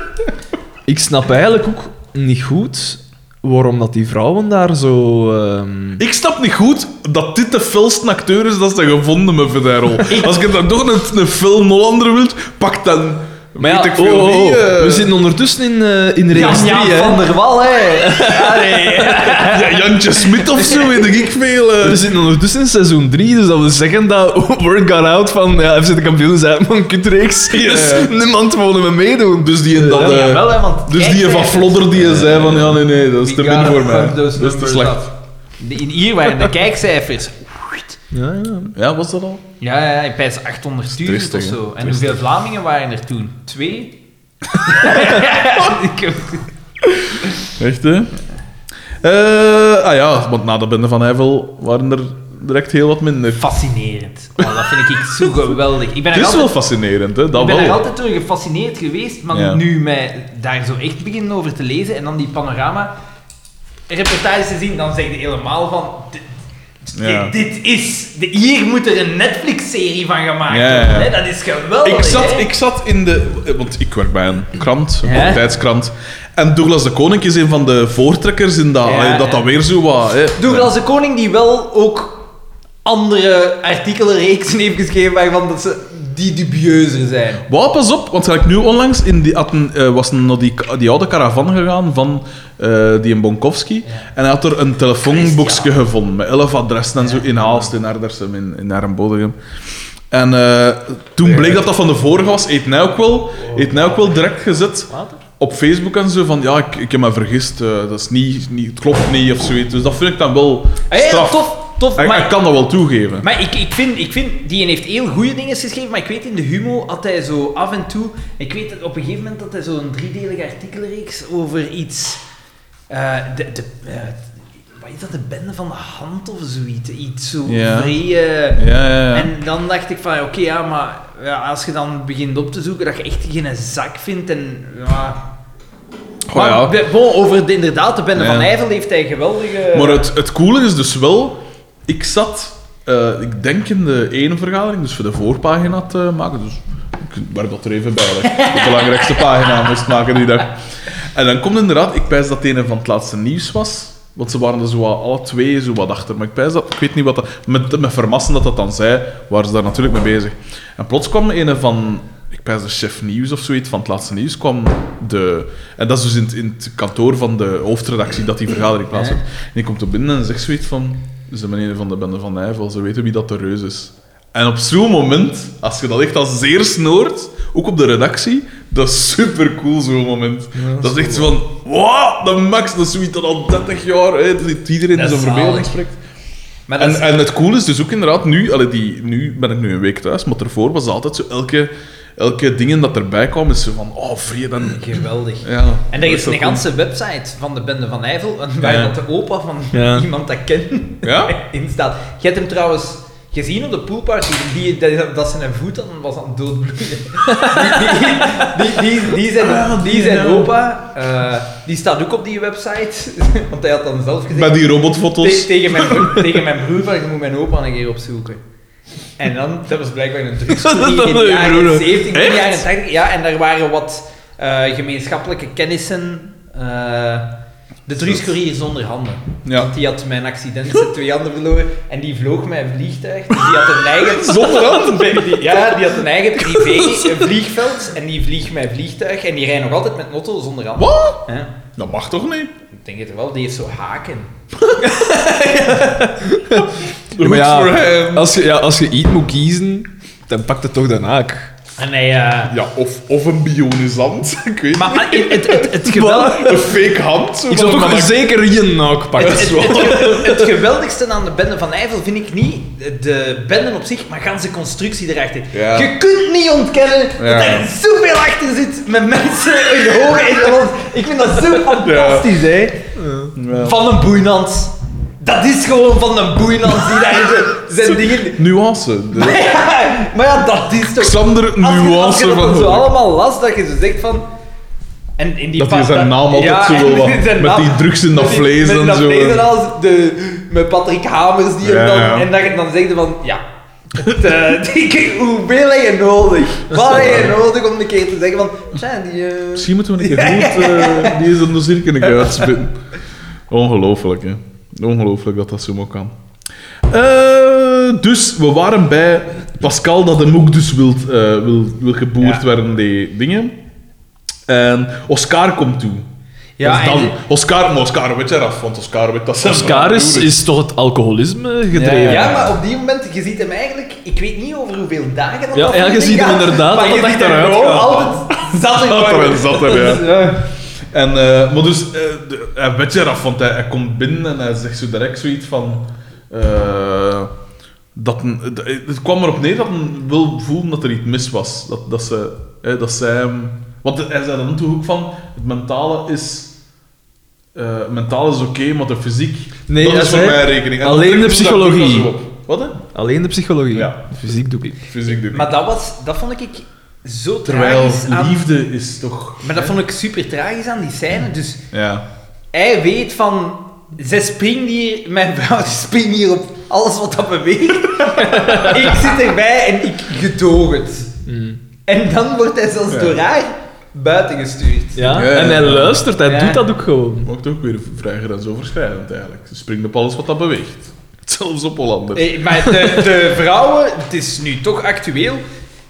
S2: Ik snap eigenlijk ook niet goed waarom dat die vrouwen daar zo... ehm,
S1: Ik snap niet goed dat dit de felste acteur is dat ze gevonden hebben voor die rol. Als je dan toch een, een film Hollander wilt, pak dan...
S2: Maar ja,
S1: weet ik veel
S2: oh, oh,
S1: wie,
S2: oh,
S1: eh,
S2: we zitten ondertussen in, eh in reeks
S3: Jan, Jan
S2: 3,
S3: van
S2: hè.
S3: der Wal, hè. Ja, nee.
S1: ja, Jantje Smit of zo, weet ik veel. eh.
S2: We zitten ondertussen in seizoen 3, dus dat wil zeggen dat Word Got Out van ja, FC de kampioen is uit mijn kutreeks. Dus
S1: Ja.
S2: niemand wilde me meedoen.
S1: Dus die, en dat,
S3: Ja,
S1: eh,
S3: jawel, hè, want
S1: dus
S3: kijk, eh,
S1: die van
S3: hè.
S1: Flodder die zei van, ja, nee, nee, dat is te min voor mij.
S3: Dus
S1: Dat is te slecht.
S3: In hier waren de kijkcijfers
S2: Ja, ja.
S1: Ja, was dat al?
S3: Ja, ja, ja, ik pijs 800.000
S1: Tristig,
S3: of
S1: hè?
S3: zo. En
S1: Tristig.
S3: hoeveel Vlamingen waren er toen? Twee? ik heb...
S1: Echt, hè? Eh, ah ja, want na de bende van Hevel waren er direct heel wat minder.
S3: Fascinerend. Oh, dat vind ik zo geweldig. Ik ben,
S1: Het
S3: er
S1: is wel
S3: altijd,
S1: fascinerend, hè? Dat
S3: ik ben er
S1: Ah, wel.
S3: altijd door gefascineerd geweest, maar
S1: Ja.
S3: nu mij daar zo echt beginnen over te lezen en dan die panorama reportages te zien, dan zeg je helemaal van... Dit,
S1: Ja.
S3: dit- dit is... de- hier moet er een Netflix-serie van gemaakt
S1: Ja, ja, ja.
S3: worden. Hè? Dat is geweldig.
S1: Ik zat,
S3: hè?
S1: ik zat in de. eh, Want ik werk bij een krant, een
S3: Ja.
S1: tijdskrant. En Douglas de Koning is een van de voortrekkers in dat.
S3: Ja,
S1: eh, dat dat
S3: ja.
S1: weer zo wat. Hè.
S3: Douglas de Koning die wel ook andere artikelenreeksen heeft geschreven waarvan dat ze die dubieuzer zijn.
S1: Wauw, pas op, want ik nu onlangs in die, had een, eh, was een naar die, die oude caravan gegaan van eh, die in Bonkowski. En hij had er een telefoonboekje
S3: Christian.
S1: gevonden met elf adressen en zo in Haalst, in Ardersum, in, in Arnbodegem. En eh, toen bleek dat dat van de vorige was. Eet nou ook wel, heeft nou ook wel direct gezet op Facebook en zo van ja, ik, ik heb me vergist, eh, dat is niet, niet, het klopt niet of zoiets. Dus dat vind ik dan wel
S3: Ah, ja, ja,
S1: straf.
S3: tof, tof.
S1: Hij-
S3: maar
S1: hij kan dat wel toegeven.
S3: maar ik, ik, vind, ik vind, die heeft heel goede dingen geschreven, maar ik weet in de humo had hij zo af en toe... Ik weet dat op een gegeven moment dat hij zo'n driedelige artikelenreeks over iets... eh, de, de, eh, wat is dat? De bende van de hand of zoiets. Iets zo
S1: Ja.
S3: vrij... eh,
S1: Ja, ja, ja.
S3: En dan dacht ik van, oké, ja, maar ja, als je dan begint op te zoeken, dat je echt geen zak vindt en... Ja.
S1: Goh,
S3: maar
S1: Oh, ja.
S3: be- bon, over de, inderdaad, de bende
S1: Ja.
S3: van Nijvel heeft hij geweldige...
S1: Maar het, het coole is dus wel, ik zat, eh, ik denk in de ene vergadering, dus voor de voorpagina te maken, dus ik werk dat er even bij, dat ik de belangrijkste pagina moest maken die dag. En dan komt inderdaad, ik pijs dat het een van het laatste nieuws was, want ze waren er zo wat, alle twee zo wat achter, maar ik pijs dat, ik weet niet wat dat, met, met Vermassen dat dat dan zei, waren ze daar natuurlijk mee bezig. En plots kwam een van, ik pijs de chef nieuws of zoiets, van het laatste nieuws kwam de, en dat is dus in, het- in het kantoor van de hoofdredactie dat die vergadering plaatsvindt. En die komt er binnen en zegt zoiets van, ze meneer van de bende van Nijvel, ze weten wie dat de reus is. En op zo'n moment, als je dat echt als zeer snoort, ook op de redactie, dat is supercool zo'n moment. dat, is echt zo van, wow, de max, dat is zoiets dat al 30 jaar, hè, dat zit iedereen in
S3: Dat
S1: zijn
S3: is
S1: verbeelding
S3: zalig.
S1: spreekt.
S3: maar dat
S1: En,
S3: is-
S1: en het cool is dus ook inderdaad nu, allee, die, nu ben ik nu een week thuis, maar ervoor was altijd zo elke, elke dingen dat erbij kwam, is zo van, oh, vrede en...
S3: geweldig.
S1: Ja,
S3: En
S1: dat
S3: er is
S1: wel
S3: een
S1: cool.
S3: ganse website van de bende van Nijvel, waar
S1: Ja.
S3: dat de opa van
S2: Ja.
S3: iemand dat kent
S1: Ja?
S3: in staat. Je hebt hem trouwens gezien op de poolparty, die, dat, dat zijn voet dan was aan het doodbloeden. Die, die, die, die, die zijn, die zijn opa, eh, die staat ook op die website, want hij had dan zelf gezegd...
S1: Met die robotfoto's.
S3: Te- tegen, mijn broer, tegen mijn broer van, je moet mijn opa een keer opzoeken. En dan, dat was blijkbaar een drugsstudie
S2: Dat
S3: in
S2: was
S3: de
S2: je broer.
S3: jaren 70, in de
S2: Echt?
S3: jaren 80. Ja, en daar waren wat eh, gemeenschappelijke kennissen. eh, de drugscourier zonder handen.
S1: Ja.
S3: Want die had mijn accident zijn twee handen verloren en die vloog mijn vliegtuig. Dus die had een eigen...
S1: Zonder handen?
S3: Die- Ja, die had een eigen privé een vliegveld en die vliegt mijn vliegtuig en die rijdt nog altijd met een auto zonder handen.
S1: Wat?
S3: Ja,
S1: Dat mag toch niet?
S3: ik denk het wel, die heeft zo haken.
S2: maar
S1: Goed
S2: ja,
S1: voor hem.
S2: Als je, ja, als je iets moet kiezen, dan pakt het toch de naak.
S3: En hij... eh,
S1: Ja, of, of een bionisant, ik weet
S3: Maar
S1: niet.
S3: ah, het, het, het, geweldig,
S1: Een fake hand. Zo
S2: Ik
S1: van
S2: zou
S1: een
S2: toch
S1: manak-
S2: zeker je naak pakken.
S1: Het- het-
S3: het geweldigste aan de bende van Nijvel vind ik niet de benden op zich, maar ganse constructie erachter.
S1: Ja.
S3: Je kunt niet ontkennen
S1: Ja.
S3: dat er zoveel achter zit met mensen in de hoge Nederland. Ik vind dat zo fantastisch, hè.
S1: Ja.
S3: Van een boeinans. Dat is gewoon van een boeinans die daar zo- zijn dingen...
S1: Nuance. De-
S3: maar ja, dat is toch...
S1: Xander
S3: Als je-
S1: nuance
S3: Als je
S1: van
S3: dat zo
S1: hoor.
S3: allemaal las, dat je zo zegt van... En in die
S1: Dat hij
S3: pa-
S1: zijn naam altijd zo
S3: en
S1: wil, wat-
S3: zijn
S1: met die drugs in dat
S3: met die-
S1: vlees
S3: met
S1: en
S3: dat
S1: zo.
S3: vlees en alles, de, met Patrick Hamers die
S1: Ja,
S3: hem dan...
S1: ja.
S3: En dat je dan zegt van, ja... Het, eh, ik- hoeveel heb je nodig? Wat heb je nodig om een keer te zeggen van... Tja, die... eh,
S1: Misschien moeten we een keer goed, eh, die is er nog zeker een keer uitspitten. Ongelooflijk, hè. Ongelooflijk dat dat zo maar kan. Eh, dus we waren bij Pascal dat hem ook dus wil, eh, wil, wil geboerd
S3: Ja.
S1: werden, die dingen. En Oscar komt toe.
S3: Ja,
S1: Dus dan,
S3: en-
S1: Oscar, maar Oscar weet eraf, want Oscar weet dat ze dus-
S2: Oscar is, is toch het alcoholisme gedreven?
S3: Ja, maar op die moment, je ziet hem eigenlijk, ik weet niet over hoeveel dagen dat
S2: Ja,
S3: dat
S2: ja, je
S3: ding
S2: ziet hem
S3: gaat,
S2: inderdaad
S3: maar je
S2: altijd
S3: ziet hem
S2: achteruit
S3: gewoon
S2: gaan.
S3: altijd zat in
S1: Zat er en zat er, ja.
S3: Dus, ja.
S1: En, eh, maar dus, eh, de- hij weet je eraf, want hij, hij komt binnen en hij zegt zo direct zoiets van... eh, dat een, het- het kwam erop neer dat een wil voelen dat er iets mis was. Dat, dat, ze, hè, dat zij hem... Want hij zei dan toen ook van, het mentale is... eh mentaal is oké, maar de fysiek...
S2: Nee,
S1: dat
S2: hij
S1: is voor
S2: zei,
S1: mijn rekening. En
S2: alleen
S1: dat
S2: de
S1: ik voel, dat doe ik
S2: psychologie.
S1: dan zo op. Wat, hè?
S2: Alleen de psychologie.
S1: Ja.
S2: De fysiek doe ik.
S1: Fysiek doe ik.
S3: Maar dat, was, dat vond ik zo
S1: Terwijl
S3: tragisch aan...
S1: liefde is toch...
S3: Maar dat
S1: hè?
S3: vond ik super tragisch aan die scène. Dus
S1: Ja.
S3: hij weet van... Zij springt hier... Mijn vrouw springt hier op alles wat dat beweegt. ik zit erbij en ik gedoog het. En dan wordt hij zelfs
S1: Mm. Ja.
S3: door haar buiten gestuurd.
S2: Ja?
S1: Ja, ja,
S2: en hij
S1: ja.
S2: luistert, hij
S3: Ja.
S2: doet dat ook gewoon.
S1: Maakt ook weer vragen en zo verschrijvend eigenlijk. Ze springt op alles wat dat beweegt. Zelfs op Hollander.
S3: Eh, maar de, de vrouwen, het is nu toch actueel.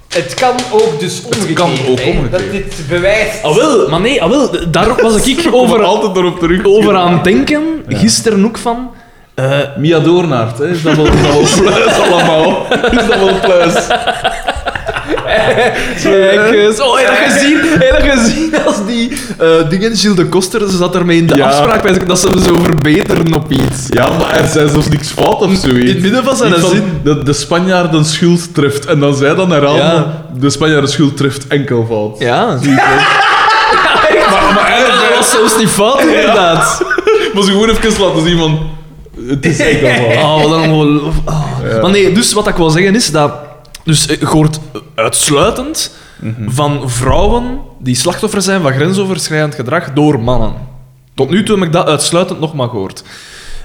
S3: Het kan ook dus omgekeerd.
S1: kan ook
S3: hè.
S1: omgekeerd.
S3: Dat dit bewijst.
S2: Ah wel, maar nee, ah wel, daar was ik
S1: Over
S2: over,
S1: altijd erop terug.
S2: over aan het denken. Gisteren ook van... eh,
S1: Mia Doornaert, hè? Is dat wel, is dat wel pluis allemaal? Is dat wel pluis?
S2: Kijk eens. Oh, heb je dat gezien? Heb je dat gezien als die eh dingen Gilles de Koster ze zat daarmee in de
S1: Ja.
S2: afspraak bij dat ze hem zo verbeteren op iets.
S1: Ja, maar er zijn zelfs niks fout of zoiets.
S2: In het midden van zijn
S1: Iets
S2: zin.
S1: De, de Spanjaarden schuld treft. En dan zij dan herhalen,
S2: Ja.
S1: de Spanjaarden schuld treft enkel fout.
S2: Ja.
S1: Maar, maar,
S2: En dat
S1: eigenlijk-
S2: was zelfs niet fout, inderdaad.
S1: maar ze gewoon even laten zien van... Het is enkel fout.
S2: Oh, wat een ongeloof. Oh.
S1: Ja.
S2: Maar nee, dus wat ik wil zeggen is dat... Dus eh, je hoort uitsluitend
S1: Mhm.
S2: van vrouwen die slachtoffer zijn van grensoverschrijdend gedrag door mannen. Tot nu toe heb ik dat uitsluitend nog maar gehoord.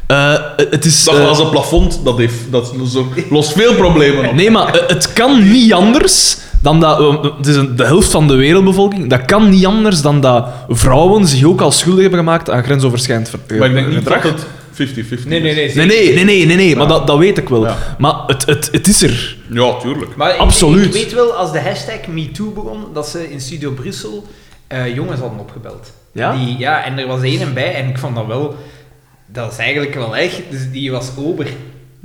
S2: Eh, het is...
S1: Dat
S2: eh,
S1: glazen plafond, dat, heeft, dat zo- lost veel problemen op.
S2: Nee, maar eh, het kan niet anders dan dat... we- Het is een- de helft van de wereldbevolking. Dat kan niet anders dan dat vrouwen zich ook al schuldig hebben gemaakt aan grensoverschrijdend ver-
S1: Maar ik denk niet
S2: gedrag.
S1: dat het 50-50
S3: Nee, nee, nee.
S2: Nee,
S3: zeker.
S2: nee, nee, nee, nee, nee, maar
S1: Ja.
S2: dat, dat weet ik wel.
S1: Ja.
S2: Maar het, het, het is er.
S1: is. Ja, tuurlijk.
S3: Maar ik-
S2: Absoluut.
S3: Ik, weet wel, als de hashtag MeToo begon, dat ze in Studio Brussel eh, jongens hadden opgebeld.
S2: Ja?
S3: Die, ja, en er was één bij en ik vond dat wel... Dat is eigenlijk wel echt. Dus die was ober.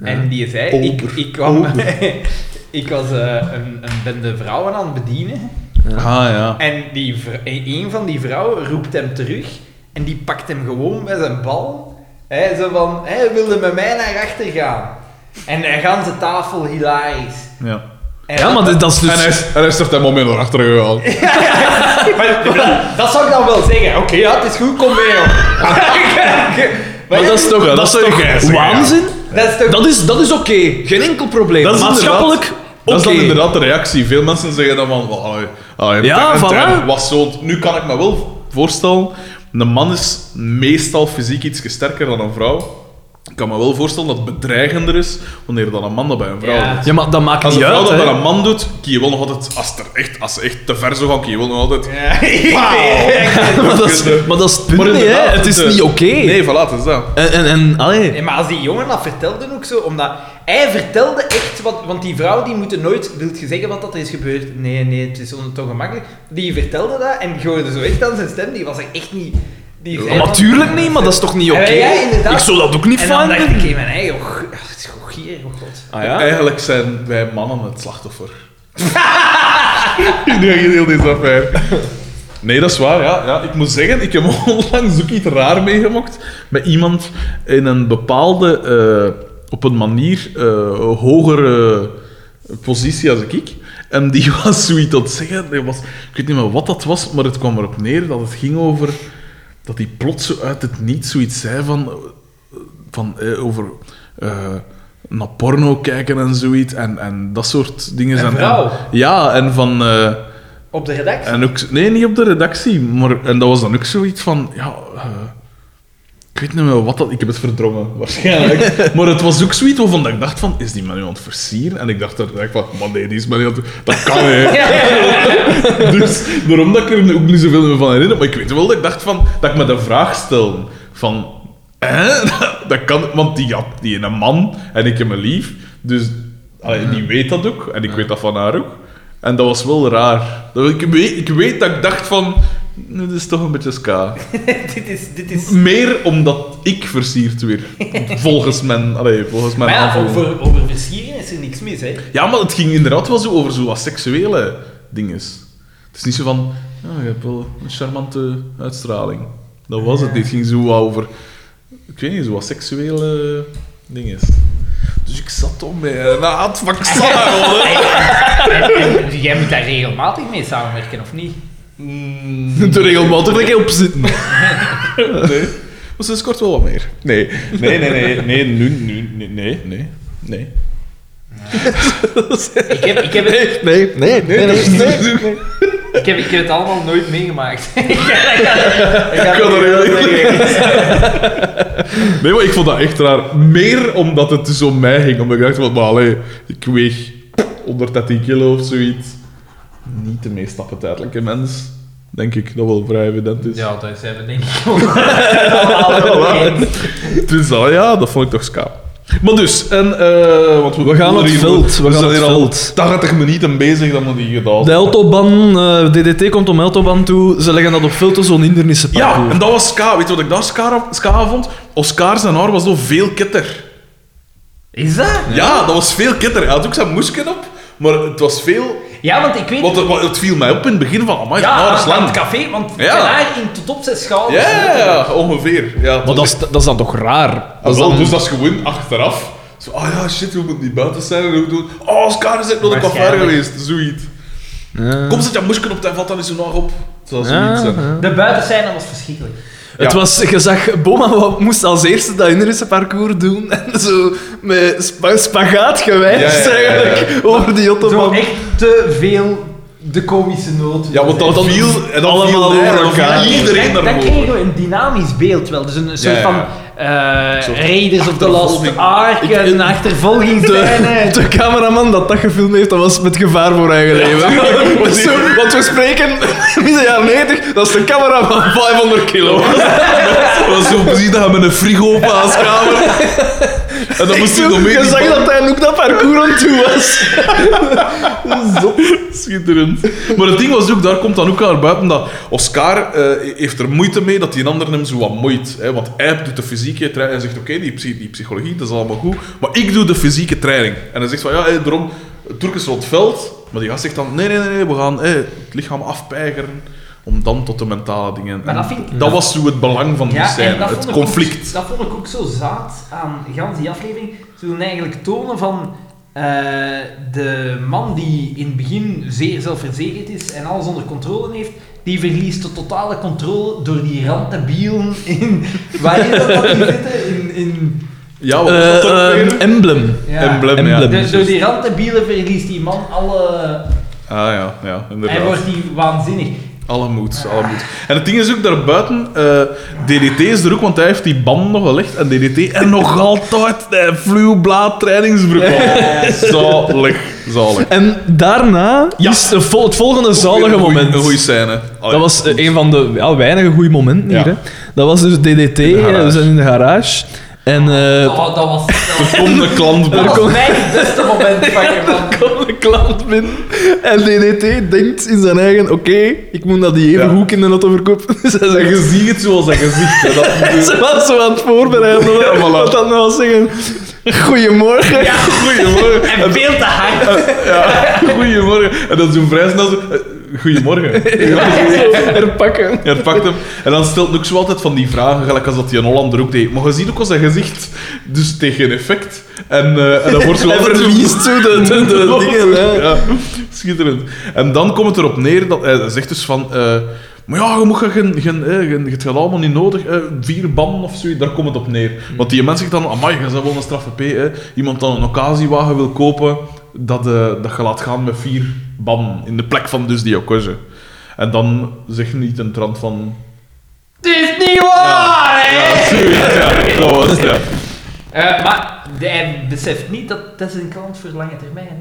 S3: En die zei... Ik,
S1: Ober.
S3: ik kwam...
S1: Ober.
S3: ik was eh, een, een bende vrouwen aan het bedienen.
S1: Ah, ja.
S3: En die vr- en een van die vrouwen roept hem terug en die pakt hem gewoon bij zijn bal. Hè, zo van, hij wilde met mij naar achter gaan. En hij gaan ze tafel hilarisch.
S1: ja.
S3: En
S2: Ja, maar dit- dat is dus...
S1: En hij is, en hij is op dat moment naar achteren gegaan.
S3: dat, dat zou ik dan wel zeggen. Oké, ja, het is goed, kom mee op.
S2: Maar dat is toch,
S1: Ja,
S2: dat is toch
S1: gijzing, ja.
S2: waanzin?
S3: Dat is toch...
S2: Dat is, dat is oké. Geen enkel probleem.
S1: Dat is
S2: Maatschappelijk
S1: inderdaad-
S2: oké.
S1: Dat is dan inderdaad de reactie. Veel mensen zeggen dan van... "Wel, allee, allee,
S2: Ja,
S1: en-
S2: voilà.
S1: en was zo, nu kan ik me wel voorstellen... Een man is meestal fysiek iets sterker dan een vrouw. Ik kan me wel voorstellen dat het bedreigender is wanneer dan een man dat bij een vrouw
S3: Ja.
S1: doet.
S2: Ja, maar dat maakt
S1: Als een
S2: niet
S1: vrouw
S2: uit.
S1: dat
S2: hè.
S1: bij een man doet, kun je wel nog altijd... Als, het er echt, als ze echt te ver zo gaan, kun je wel nog altijd...
S3: Ja.
S2: maar, dat is, maar dat is het punt
S1: eh. Maar
S2: niet, hè.
S1: inderdaad,
S2: Het is
S1: eh,
S2: niet oké.
S1: Nee, voilà, het is dat.
S2: En, en, en allee.
S3: Nee, maar als die jongen dat vertelde ook zo, omdat hij vertelde echt wat, want die vrouw die moeten nooit, wilt je zeggen wat dat er is gebeurd? Nee, nee, het is on- toch gemakkelijk. Die vertelde dat en je hoorde zo echt aan zijn stem, die was er echt niet. Die
S2: Ja, natuurlijk niet, maar dat is toch niet oké?
S3: Ja, ja, inderdaad.
S2: Ik zou dat ook niet
S3: En dan
S2: fijn
S3: dacht ik
S2: vinden.
S3: in mijn eigen, oh, g- oh, het is gewoon gier, oh god.
S2: Ah ja?
S1: Eigenlijk zijn wij mannen het slachtoffer. Nu heb je heel deze affaire. Nee, dat is waar. Ja, ja. Ik moet zeggen, ik heb onlangs ook iets raar meegemaakt met iemand in een bepaalde, eh, op een manier, eh, hogere positie als ik. En die was zoiets aan het zeggen. die was, ik weet niet meer wat dat was, maar het kwam erop neer dat het ging over dat hij plots zo uit het niets zoiets zei van, van eh, over eh, naar porno kijken en zoiets. En, en dat soort dingen.
S3: En
S1: zijn
S3: vrouw.
S1: ja, en van... eh,
S3: Op de redactie.
S1: en ook, nee, niet op de redactie. Maar, en dat was dan ook zoiets van... Ja, eh, ik weet niet meer wat dat... Ik heb het verdrongen, waarschijnlijk. maar het was ook zoiets waarvan dat ik dacht van... Is die man nu aan het versieren? En ik dacht er direct van... Man, nee, die is man niet aan het... Dat kan, hè. Dus daarom dat ik er ook niet zoveel meer van herinner. Maar ik weet wel dat ik dacht van, dat ik me de vraag stelde van... Hè? Dat kan... Want die had die ene man en ik heb hem lief. Dus allee, die weet dat ook. En ik weet dat van haar ook. En dat was wel raar. Dat ik, weet, ik weet dat ik dacht van... Dit is toch een beetje ska.
S3: dit is, dit is...
S1: Meer omdat ik versierd weer. Volgens mijn... Allee, volgens mijn
S3: Maar ja,
S1: aanvoelen.
S3: over, over versiering is er niks mis, hè.
S1: Ja, maar het ging inderdaad wel zo over zo wat seksuele dingen. Het is niet zo van, ja, je hebt wel een charmante uitstraling. Dat was het. Dit ging zo wat over, ik weet niet, zo wat seksuele dingen. Dus ik zat om met een haat van Xanarol.
S3: Oh, En jij moet daar regelmatig mee samenwerken, of niet?
S2: De regelmatig dat ik op zitten.
S1: Nee. Maar sinds kort wel wat meer. Nee. Nee, nee, nee. Nee, nu, nu, nee, nee, nee. Nee.
S3: Ik heb, ik, heb het,
S2: Nee, nee, nee.
S1: dat is-
S3: ik, heb, ik heb het allemaal nooit meegemaakt. ik ga, ik ga,
S1: Ik kan er
S3: heel
S1: heel Nee, maar ik vond dat echt raar. Meer omdat het dus om mij ging. Omdat ik dacht van, maar allee, ik weeg 113 kilo of zoiets. Niet de meest appetijtelijke mens. Denk ik, dat wel vrij evident is.
S3: Ja, dat zijn we denk ik allemaal eens.
S1: Dus dat, ja, dat vond ik toch ska. Maar dus, en... eh want we,
S2: We gaan
S1: het
S2: het veld, we gaan
S1: zijn
S2: het
S1: hier al
S2: veld.
S1: 80 minuten bezig, dan moet die gedaan
S2: De Eltoban, eh, DDT komt om Eltoban toe. Ze leggen dat op filter zo'n hindernissen
S1: Ja, en dat was ska. Weet je wat ik daar ska, ska vond? Oscar zijn haar was nog veel kitter.
S3: Is dat?
S1: Ja. dat was veel kitter. Hij had ook zijn moesken op, maar het was veel...
S3: Ja, want ik weet...
S1: Want het, want het viel mij op in het begin van, amai,
S3: ja,
S1: ja,
S3: aan
S1: haar is
S3: het- aan het
S1: lang.
S3: café, want
S1: Ja.
S3: daar in tot op zijn schouders.
S1: Ja, ja, ongeveer. Ja,
S2: Maar dat is, dat is dan toch raar?
S1: Ah,
S2: Dat is
S1: wel,
S2: dan...
S1: Dus dat is gewoon achteraf. Zo, ah ja, shit, we moeten niet buiten zijn. En we doen... Oh, Oscar is echt nog een café
S3: Waarschijnlijk.
S1: geweest. Zoiets.
S2: Ja.
S1: Kom, zet je moesken op, dan valt dat niet zo naar op. Het zal
S2: Ja,
S1: zoiets zijn.
S2: ja.
S3: De buiten zijn, dat was verschrikkelijk.
S2: Het
S1: Ja.
S2: was, je zag, Boma wa- moest als eerste dat hindernissenparcours doen en zo met spa- spagaat gewijs
S1: Ja, ja, ja, ja.
S2: eigenlijk over die
S3: Zo
S2: Ottoman.
S3: echt te veel de komische noot.
S1: Ja, want dan
S2: Want dan
S1: viel... En dan
S2: allemaal
S1: viel hij, en
S2: door
S1: dan viel
S2: elkaar.
S1: Iedereen
S3: dan, dan
S1: naar
S3: kregen we een dynamisch beeld wel. Dus een soort
S1: ja.
S3: van eh
S1: soort
S3: Raiders of the Lost
S1: achtervolging.
S3: Ark,
S2: Ik-
S3: een
S2: en- De,
S3: achtervolgingsscène.
S2: de cameraman dat dat gefilmd heeft, dat was met gevaar voor eigen leven. Dus zo, want we spreken midden jaren 90, dat is de cameraman van 500 kilo.
S1: was zo precies dat hij met een frigo op aanskamer. En dan moest hij nog mee.
S2: Je
S1: die
S2: zag
S1: bal-
S2: dat hij ook dat parcours aan toe was.
S1: Zot. Schitterend. Maar het ding was ook, daar komt dan ook naar buiten dat Oscar eh, heeft er moeite mee dat die ander hem zo wat moeit. Hè? Want hij doet de fysieke training en zegt: Oké, die, psy- die psychologie, dat is allemaal goed. Maar ik doe de fysieke training. En hij zegt van ja, hey, daarom, het Turk is rond het veld. Maar die gast zegt dan: Nee, nee, nee, nee, we gaan hey, het lichaam afpeigeren. Om dan tot de mentale dingen.
S3: Maar dat
S1: En
S3: vind ik-
S1: dat was zo het belang van die
S3: Ja, en
S1: scène,
S3: dat
S1: het
S3: vond ik
S1: conflict.
S3: Ook, dat vond ik ook zo zaad aan gans die aflevering. Ze wilden eigenlijk tonen van eh, de man die in het begin zeer zelfverzekerd is en alles onder controle heeft, die verliest de totale controle door die randebielen in... Waar is dat dat die zitten? In... in
S1: Ja, Oh, wat was dat ook
S2: Eh, eh,
S1: weer?
S2: emblem.
S3: ja.
S1: Emblem, ja.
S2: Emblem.
S3: Dus door die randebielen verliest die man alle...
S1: Ah ja, ja,
S3: Hij
S1: inderdaad.
S3: wordt die waanzinnig.
S1: Alle moed, alle moed. En het ding is ook daarbuiten, eh DDT is er ook, want hij heeft die band nog gelegd. En DDT, en nog altijd, eh, fluwblaad trainingsbroek. aan. Zalig, zalig.
S2: En daarna is de vol- het volgende zalige
S1: Een goeie-
S2: moment.
S1: Een goede scène. Allee,
S2: dat was eh, een van de ja, weinige goede momenten
S1: Oh, Ja.
S2: hier. Hè. Dat was dus DDT,
S1: de
S2: eh, we
S1: garage.
S2: zijn in de garage. En eh,
S3: Oh, dat was... Dat
S1: Er komt een klant binnen.
S3: was, dat was mijn beste moment van je
S2: er komt een klant binnen. En DDT denkt in zijn eigen, oké, ik moet dat die even
S1: Ja.
S2: goed in de auto verkopen. Dus hij
S1: En
S2: zegt,
S1: je ziet het zoals dat gezicht. hè, Dat
S2: ze was zo aan het voorbereiden.
S1: Ja, voilà.
S2: Wat dan nou zeggen? Goedemorgen.
S1: Goedemorgen.
S3: En veel te hard.
S1: Ja, goedemorgen. En dan zo'n vrij snel zo... eh, Goedemorgen.
S2: Zo herpakken.
S1: Ja, het pakt hem. En dan stelt hij ook zo altijd van die vragen, gelijk als dat die een Hollander ook deed. Maar je ziet ook al zijn gezicht, dus tegen effect. En, eh, en dan wordt zo
S2: Hij
S1: altijd zo-
S2: verliest zo de, de, de dingen. hè.
S1: ja, schitterend. En dan komt het erop neer dat hij zegt dus van... eh, maar ja, je moet geen... geen, eh, geen- je hebt het allemaal niet nodig. eh, vier banden of zoiets, daar komt het op neer.
S2: Mm.
S1: Want die mensen zegt dan... Amai, je bent wel een straffe P. hè. Iemand dan een occasiewagen wil kopen, dat, eh, dat je laat gaan met vier banden. In de plek van dus die occasje. En dan zeg niet een trant van...
S3: Het is niet waar, hè?
S1: Ja, zoiets, ja. Dat was het, ja.
S3: Eh, maar de- hij beseft niet dat dat is een klant voor lange termijn.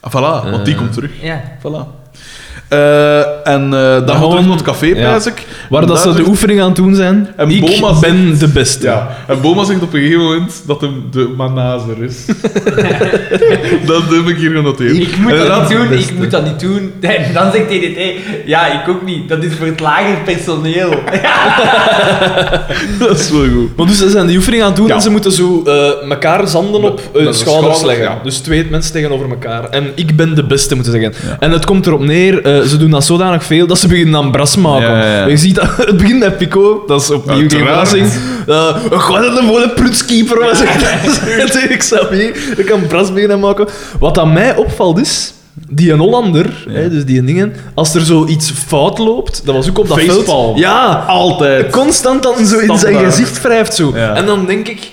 S1: Ah, voilà, want die
S2: Eh.
S1: komt terug.
S3: hè. Ja.
S1: Voilà. Eh, en eh dan
S2: Dan
S1: gaan we terug
S2: gewoon-
S1: naar het café,
S2: ja.
S1: prijs ik.
S2: Waar
S1: En
S2: dat
S1: daar
S2: ze de
S1: zegt-
S2: oefening aan het doen zijn.
S1: En
S2: ik
S1: Boma
S2: ben de beste.
S1: Ja, en Boma zegt op een gegeven moment dat hem de manazer is. dat heb ik hier genoteerd.
S3: Ik moet dat
S1: Inderdaad,
S3: niet doen,
S1: Eh, beste.
S3: ik moet dat niet doen. En dan zegt DDT, ja, ik ook niet. Dat is voor het lager personeel.
S1: Dat is wel goed.
S2: Maar dus ze zijn die oefening aan het doen
S1: Ja.
S2: en ze moeten zo eh, elkaar zanden op hun
S1: Met
S2: schouders
S1: de schouders,
S2: leggen.
S1: ja.
S2: Dus twee mensen tegenover elkaar. En ik ben de beste, moeten ze zeggen. En het komt erop neer, eh, ze doen dat zodanig veel dat ze beginnen aan bras maken.
S1: Ja, ja, ja.
S2: En Je ziet dat- het begint met Pico, dat is opnieuw geen
S1: Uiteraard.
S2: verrassing. Eh, Gewoon dat een mooie prutskeeper was. ik snap niet, ik kan brasbenen maken. Wat aan mij opvalt is, die een Hollander, hè, dus die dingen, als er zoiets fout loopt, dat was ook op dat
S1: Facepalm.
S2: veld. Ja,
S1: Altijd.
S2: constant dan zo in zijn
S1: Standaard.
S2: gezicht wrijft zo.
S1: Ja.
S2: En dan denk ik,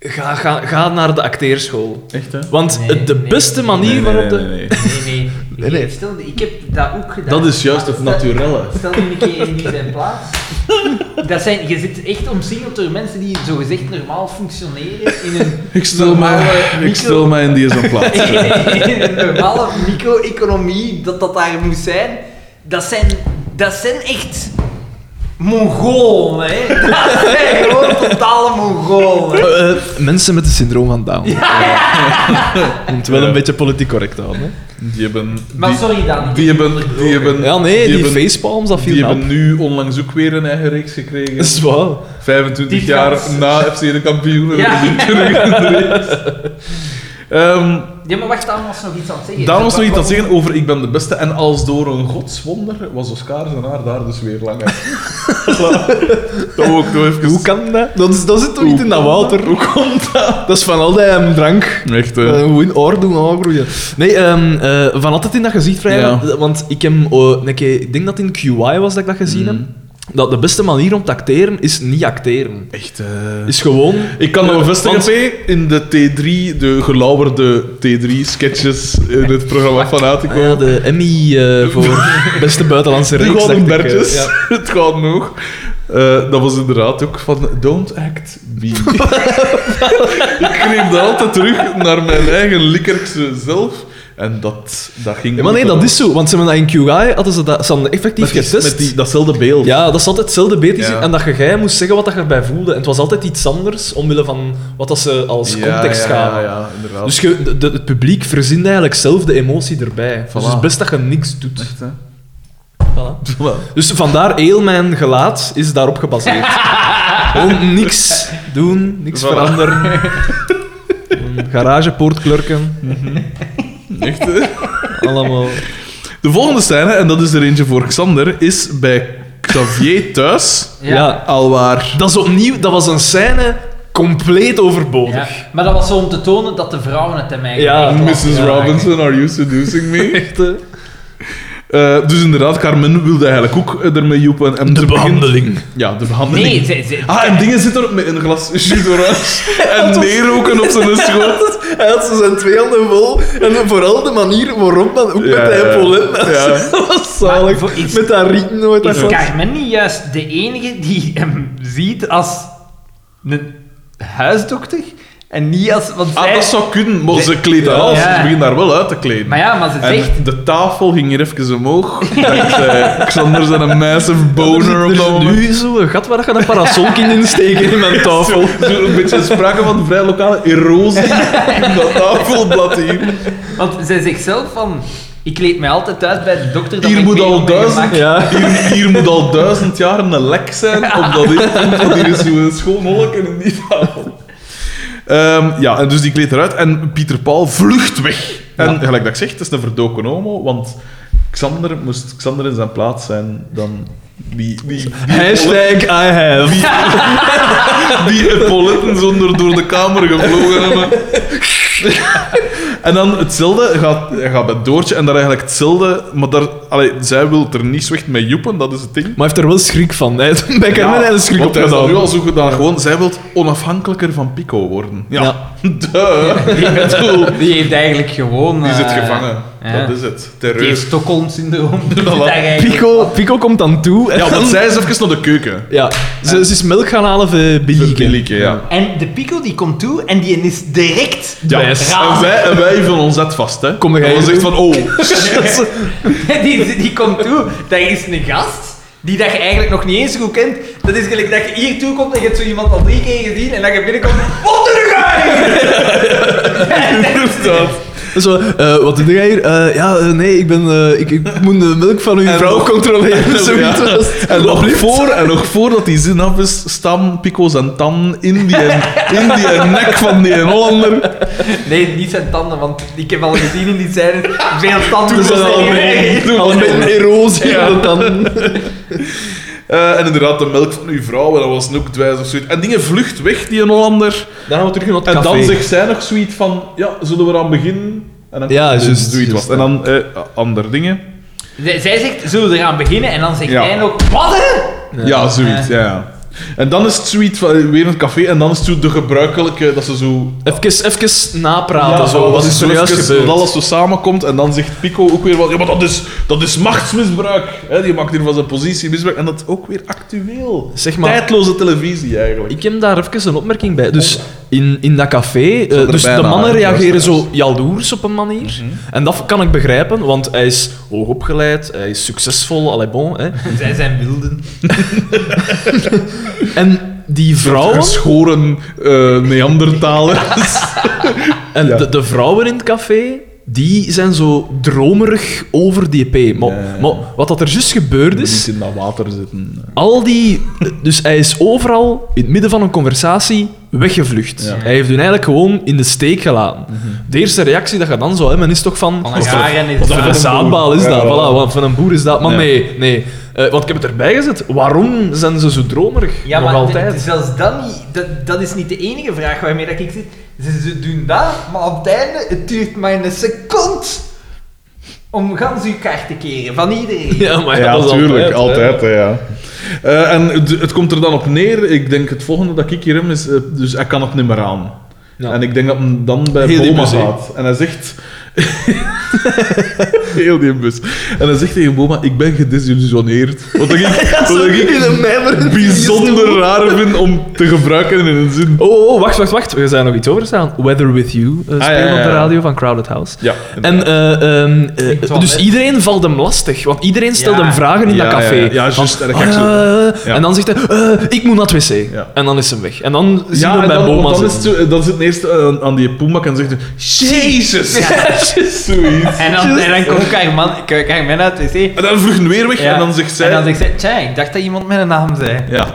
S2: ga, ga, ga naar de acteerschool.
S1: Echt, hè?
S2: Want
S3: Nee,
S2: het- de
S3: nee,
S2: beste
S3: nee,
S2: manier
S1: Nee, nee,
S2: waarop
S1: nee,
S2: de...
S1: nee, nee.
S3: Nee, nee.
S2: Nee, nee.
S3: Stel, ik heb dat ook gedaan.
S1: Dat is juist
S3: Maar
S1: het naturelle.
S3: Stel nu een keer in zijn plaats. Dat zijn, je zit echt omsingeld door mensen die zogezegd normaal functioneren in een
S1: Ik stel, mij,
S3: normale
S1: ik stel mij in die zijn plaats.
S3: in een normale micro-economie dat dat daar moet zijn, dat zijn, dat zijn echt Mongolen, hè. Dat zijn gewoon totale Mongolen.
S2: Eh, eh, mensen met het syndroom van Down. Om het wel
S1: Ja.
S2: een beetje politiek correct te houden. hè.
S1: Die hebben...
S3: Maar
S1: die-
S3: sorry dan. ik
S1: Die
S3: heb
S1: hebben,
S3: het
S1: die
S3: onderbroken.
S1: hebben,
S2: Ja, nee, die,
S1: hebben,
S2: facepalms, dat viel
S1: die
S2: me
S1: hebben
S2: op.
S1: nu onlangs ook weer een eigen reeks
S2: Dat is
S1: gekregen.
S2: waar.
S1: 25
S3: Die
S1: jaar
S3: Fransen.
S1: na FC de kampioen.
S3: Ja.
S1: hebben die terug in de reeks. Ehm,
S3: Ja, maar wacht, Daan was nog iets aan het zeggen.
S1: Daarom was nog iets aan het zeggen over Ik ben de beste. En als door een godswonder was Oscar zijn haar daar dus weer langer. Voilà. Dat ook nog even.
S2: Hoe kan dat? Dat, is, dat zit toch
S1: Hoe
S2: niet in dat
S1: kan
S2: water? Hoe komt dat? Dat is van al die ehm, drank.
S1: Echt,
S2: Eh,
S1: hè.
S2: Gewoon oor doen aangroeien. Nee, ehm, eh, van altijd in dat gezicht vrijen.
S1: Ja.
S2: Want ik, heb, oh, een keer, ik denk dat het in QI was dat ik dat gezien heb.
S1: Mm.
S2: Dat de beste manier om te acteren is niet acteren.
S1: Echt, eh.
S2: Is gewoon...
S1: Ik kan dat bevestigen,
S2: Want-
S1: P. In de T3, de gelauwerde T3-sketches in het programma van
S2: Ah
S1: Atico.
S2: ja, de Emmy eh, voor beste buitenlandse
S1: De
S2: reeks.
S1: Gouden
S2: dacht ik, eh,
S1: Bertjes.
S2: ja.
S1: Het gaat nog. Eh, dat was inderdaad ook van Don't Act Be. ik neem dat altijd terug naar mijn eigen likkerkse zelf. En dat, dat ging...
S2: Ja, maar nee,
S1: ook
S2: dat
S1: wel.
S2: is zo. Want ze hebben dat in QI, hadden ze dat, ze hadden effectief
S1: Met die-
S2: getest.
S1: Met die, datzelfde beeld.
S2: Ja, dat is altijd hetzelfde beeld.
S1: Ja.
S2: En dat je jij moest zeggen wat dat je erbij voelde. En het was altijd iets anders, omwille van wat dat ze als
S1: Ja,
S2: context
S1: ja,
S2: gaven.
S1: Ja, ja, inderdaad.
S2: Dus je- de- de- het publiek verzint eigenlijk zelf de emotie erbij. Dus het is best dat je niks doet.
S1: Echt, hè?
S2: Voilà. Dus vandaar heel mijn gelaat is daarop gebaseerd. Gewoon niks doen, niks
S1: Voilà.
S2: veranderen. Gewoon Garagepoortklurken,
S1: Echt, hè?
S2: allemaal.
S1: De volgende scène, en dat is er eentje voor Xander, is bij Xavier thuis.
S2: Ja.
S3: Ja.
S1: Alwaar.
S2: dat is opnieuw, dat was een scène compleet
S3: Ja,
S2: overbodig.
S3: Maar dat was zo om te tonen dat de vrouwen het hem eigenlijk
S2: Ja.
S3: echt lastig
S1: Mrs.
S3: maken.
S1: Robinson, are you seducing me?
S2: Echt, hè?
S1: Eh, dus inderdaad, Carmen wilde eigenlijk ook eh, ermee joepen. En
S2: De
S1: ze begint-
S2: behandeling.
S1: Ja, de behandeling.
S3: Nee, ze, ze,
S1: Ah, en dingen zit er met een glas jus orange en neerroken op zijn schoot.
S2: Hij had zo zijn twee handen vol. En vooral de manier waarop dan ook
S1: Ja,
S2: met die
S1: ja,
S2: epaulet.
S1: ja.
S2: Dat was
S3: Maar
S2: zalig.
S3: voor iets-
S2: Met dat riet nooit.
S3: is
S2: dat-
S3: Carmen niet juist de enige die hem ziet als een huisdokter? En niet als... Want
S1: Ah,
S3: zij-
S1: dat zou kunnen, maar ze kleedt haar
S2: Ja.
S1: alles.
S3: Ja.
S1: Ze begint daar wel uit te kleden.
S3: Maar ja, maar ze
S1: En
S3: zegt...
S1: de tafel ging hier even omhoog. Dankzij Xander zijn een massive boner
S2: Er
S1: op
S2: is
S1: dat moment.
S2: nu zo een gat waar je een parasol kunt insteken in mijn tafel.
S1: Zo een beetje sprake van vrij lokale erosie in dat tafelblad hier.
S3: Want zij zegt zelf van... Ik kleed mij altijd thuis bij de dokter. dan
S1: Hier
S3: ben ik
S1: moet al
S3: meer op mijn
S1: duizend-
S3: gemak.
S2: Ja.
S1: Hier, hier moet al duizend jaar een lek zijn op dat inkomt, want hier is zo'n schoon holken in die tafel. Ehm, ja, en dus die kleedt eruit en Pieter Paul vlucht weg. En gelijk dat ik zeg, het is een verdoken homo, want Xander, moest Xander in zijn plaats zijn, dan die... die, die
S2: Hashtag I have.
S1: die epauletten zonder door de kamer gevlogen hebben. En dan hetzelfde gaat, gaat bij Doortje en daar eigenlijk hetzelfde, maar daar, allee, zij wil er niet slecht mee joepen, dat is het ding.
S2: Maar hij heeft er wel schrik van. Hij heeft bij Carmen een schrik
S1: want hij is dat nu
S2: opgedaan.
S1: al zo gedaan. Gewoon, zij wil onafhankelijker van Pico worden. Ja,
S2: Ja.
S1: duh. Ik bedoel,
S3: Die heeft eigenlijk gewoon...
S1: die zit
S3: eh,
S1: gevangen.
S3: ja.
S1: Dat is het.
S3: Die heeft
S1: Terreus.
S3: Stockholm-syndroom. Die zit
S1: Voilà.
S3: daar eigenlijk
S2: Pico, Pico komt dan toe. En
S1: Ja,
S2: dan-
S1: want zij is even naar de keuken.
S2: ja. Ze, ze is melk gaan halen voor Billy.
S1: Lieke, ja.
S3: En de Pico die komt toe en die is direct
S1: Ja, en
S2: Best.
S1: wij, en wij vullen ons dat vast, hè.
S2: Kom, ga
S1: en
S2: je
S1: dan zegt
S2: doen?
S1: van, oh,
S3: die, die komt toe, daar is een gast die dat je eigenlijk nog niet eens goed kent. Dat is gelijk dat je hier toe komt en je hebt zo iemand al drie keer gezien en dat je binnenkomt. Wat doe
S1: inderdaad.
S2: Zo, eh, wat doe jij hier? Eh, ja, eh, nee, ik, ben, eh, ik, ik moet de melk van uw
S1: En
S2: vrouw
S1: nog-
S2: controleren.
S1: En,
S2: zoiets
S1: ja.
S2: was.
S1: en, nog
S2: Alsjeblieft.
S1: voor, en nog voordat die zin af is, staan Pico's en Tan in die, in die nek van die Hollander.
S3: Nee, niet zijn tanden, want ik heb al gezien in die scène veel tanden.
S1: Toen was
S3: zijn
S1: het al
S3: er
S1: mee.
S3: niet.
S1: Toen
S2: Al
S1: was
S2: met
S1: het
S2: een
S1: al-
S2: erosie
S1: Ja.
S2: aan de tanden.
S1: Eh, en inderdaad, de melk van uw vrouw, en dat was ook dwijs of zoiets. En dingen vlucht weg, die een Hollander.
S2: Dan gaan we terug naar het
S1: En
S2: café.
S1: dan zegt zij nog zoiets van, ja, zullen we eraan beginnen? En dan
S2: Ja,
S1: dus
S2: juist,
S1: doe iets
S2: juist,
S1: wat. En dan eh, andere dingen.
S3: Z- Zij zegt, zullen we eraan beginnen? En dan zegt
S1: Ja.
S3: hij nog, wat hè?
S1: Ja, zoiets, ja. ja. En dan is het zoiets van, eh, weer een café, en dan is het zo de gebruikelijke, dat ze zo...
S2: Even, even napraten,
S1: Ja,
S2: zo. wat Ah, is er
S1: zo
S2: juist
S1: even
S2: gebeurd?
S1: Dat alles zo samenkomt en dan zegt Pico ook weer wat. Ja, maar dat is, dat is machtsmisbruik. Hè, die maakt hier van zijn positie misbruik. En dat is ook weer actueel.
S2: Zeg maar-
S1: Tijdloze televisie eigenlijk.
S2: Ik heb daar even een opmerking bij. Dus in, in dat café, eh,
S1: zat er
S2: dus de
S1: bijna Mhm.
S2: mannen
S1: aan,
S2: reageren
S1: luisteraars.
S2: zo jaloers op een manier. En dat kan ik begrijpen, want hij is hoogopgeleid, hij is succesvol, allez bon. Hè.
S3: Zij zijn wilden.
S2: En die vrouwen,
S1: dus- Geschoren eh Neandertalers.
S2: en
S1: Ja.
S2: de, de vrouwen in het café, die zijn zo dromerig over die EP. Maar,
S1: Ja, ja, ja.
S2: maar wat dat er juist gebeurd
S1: Dus
S2: is,
S1: in dat water zitten.
S2: al die... Dus hij is overal, in het midden van een conversatie, weggevlucht.
S1: Ja.
S2: Hij heeft hun eigenlijk gewoon in de steek gelaten. De eerste reactie dat je dan zou hebben, is toch van...
S3: Van
S2: "Wat
S3: een
S2: voor-
S3: garen
S2: Wat
S3: is
S2: voor
S1: dat
S2: een
S1: voor een
S2: zaadbaal
S1: boer?
S2: is dat?
S1: Ja,
S2: Voilà,
S1: ja.
S2: wat voor een boer is dat? Maar
S1: Ja.
S2: nee, nee. Eh, want ik heb het erbij gezet. Waarom zijn ze zo dromerig?
S3: Ja,
S2: Nog
S3: maar
S2: altijd.
S3: d- zelfs dat niet. Dat, dat is niet de enige vraag waarmee dat ik zit. Ze, ze doen dat, maar op het einde, het duurt maar een seconde om gans uw kaart te keren van iedereen.
S2: Ah Ja, maar
S1: ja,
S2: dat is
S1: natuurlijk.
S2: hè.
S1: Altijd, hè, ja. Eh, en het, het komt er dan op neer. Ik denk het volgende dat ik hier heb is. eh, dus hij kan het niet meer aan.
S2: Ja.
S1: En ik denk dat hem dan bij
S2: Heel die
S1: Boma
S2: bus, hè?
S1: gaat. En hij zegt. Heel die bus. En hij zegt tegen Boma: Ik ben gedesillusioneerd. Wat dat ik, wat dat ik
S2: een mijmer.
S1: bijzonder raar vind om te gebruiken in een zin.
S2: Oh, oh, wacht, wacht, wacht. We zijn nog iets overstaan. Weather With You eh spelen
S1: Ah, ja, ja,
S2: op de
S1: ja.
S2: radio van Crowded House.
S1: Ja,
S2: En eh, ehm, eh,
S3: Ik wel,
S2: dus
S3: hè.
S2: iedereen valt hem lastig, want iedereen stelt
S3: Ja.
S2: hem vragen in
S1: Ja,
S2: dat
S1: ja,
S2: café.
S1: ja. Ja,
S2: Van,
S1: juist, en dan ga ik
S2: "Ah,
S1: zo-
S2: eh,
S1: Ja.
S2: En dan zegt hij, eh, ik moet naar het wc.
S1: Ja.
S2: En dan is hem weg. En dan zien we
S1: ja,
S2: hem
S1: en
S2: bij
S1: dan,
S2: Boma
S1: want dan is
S2: zitten.
S1: het, zo- eh, dan zit het eerst aan, aan die poemak en zegt hij: Jezus! Zoiets.
S3: En dan, en dan komt Carmen, Car- Carmen uit het wc.
S1: En dan vroeg hij weer weg
S3: Ja.
S1: en dan zegt zij.
S3: En dan zegt zij, tja, ik dacht dat iemand mijn naam zei.
S1: Ja.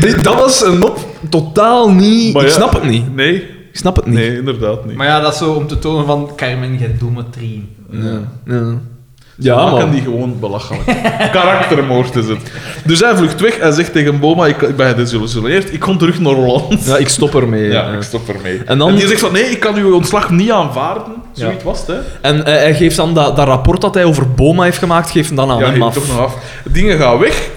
S2: Dit- Dat was een op totaal niet...
S1: Maar
S2: ik
S1: ja,
S2: snap het niet.
S1: Nee,
S2: Ik snap het niet.
S1: nee, inderdaad niet.
S3: Maar ja, dat is zo om te tonen van, Carmen, je domme trien.
S2: Ja,
S1: Ja,
S2: ja
S1: maken
S2: man.
S1: die gewoon belachelijk. Karaktermoord is het. Dus hij vlucht weg en zegt tegen Boma, ik, ik ben gedesillusioneerd, ik kom terug naar Holland.
S2: Ja, ik stop ermee.
S1: Ja,
S2: eh.
S1: ik stop ermee.
S2: En
S1: En,
S2: dan-
S1: die zegt van, nee, ik kan uw ontslag niet aanvaarden. Zoiets
S2: Ja.
S1: was het, hè.
S2: En eh, hij geeft dan dat, dat rapport dat hij over Boma heeft gemaakt, geeft hem dan aan
S1: ja,
S2: hem
S1: geef het
S2: af.
S1: toch nog af. Dingen gaan weg.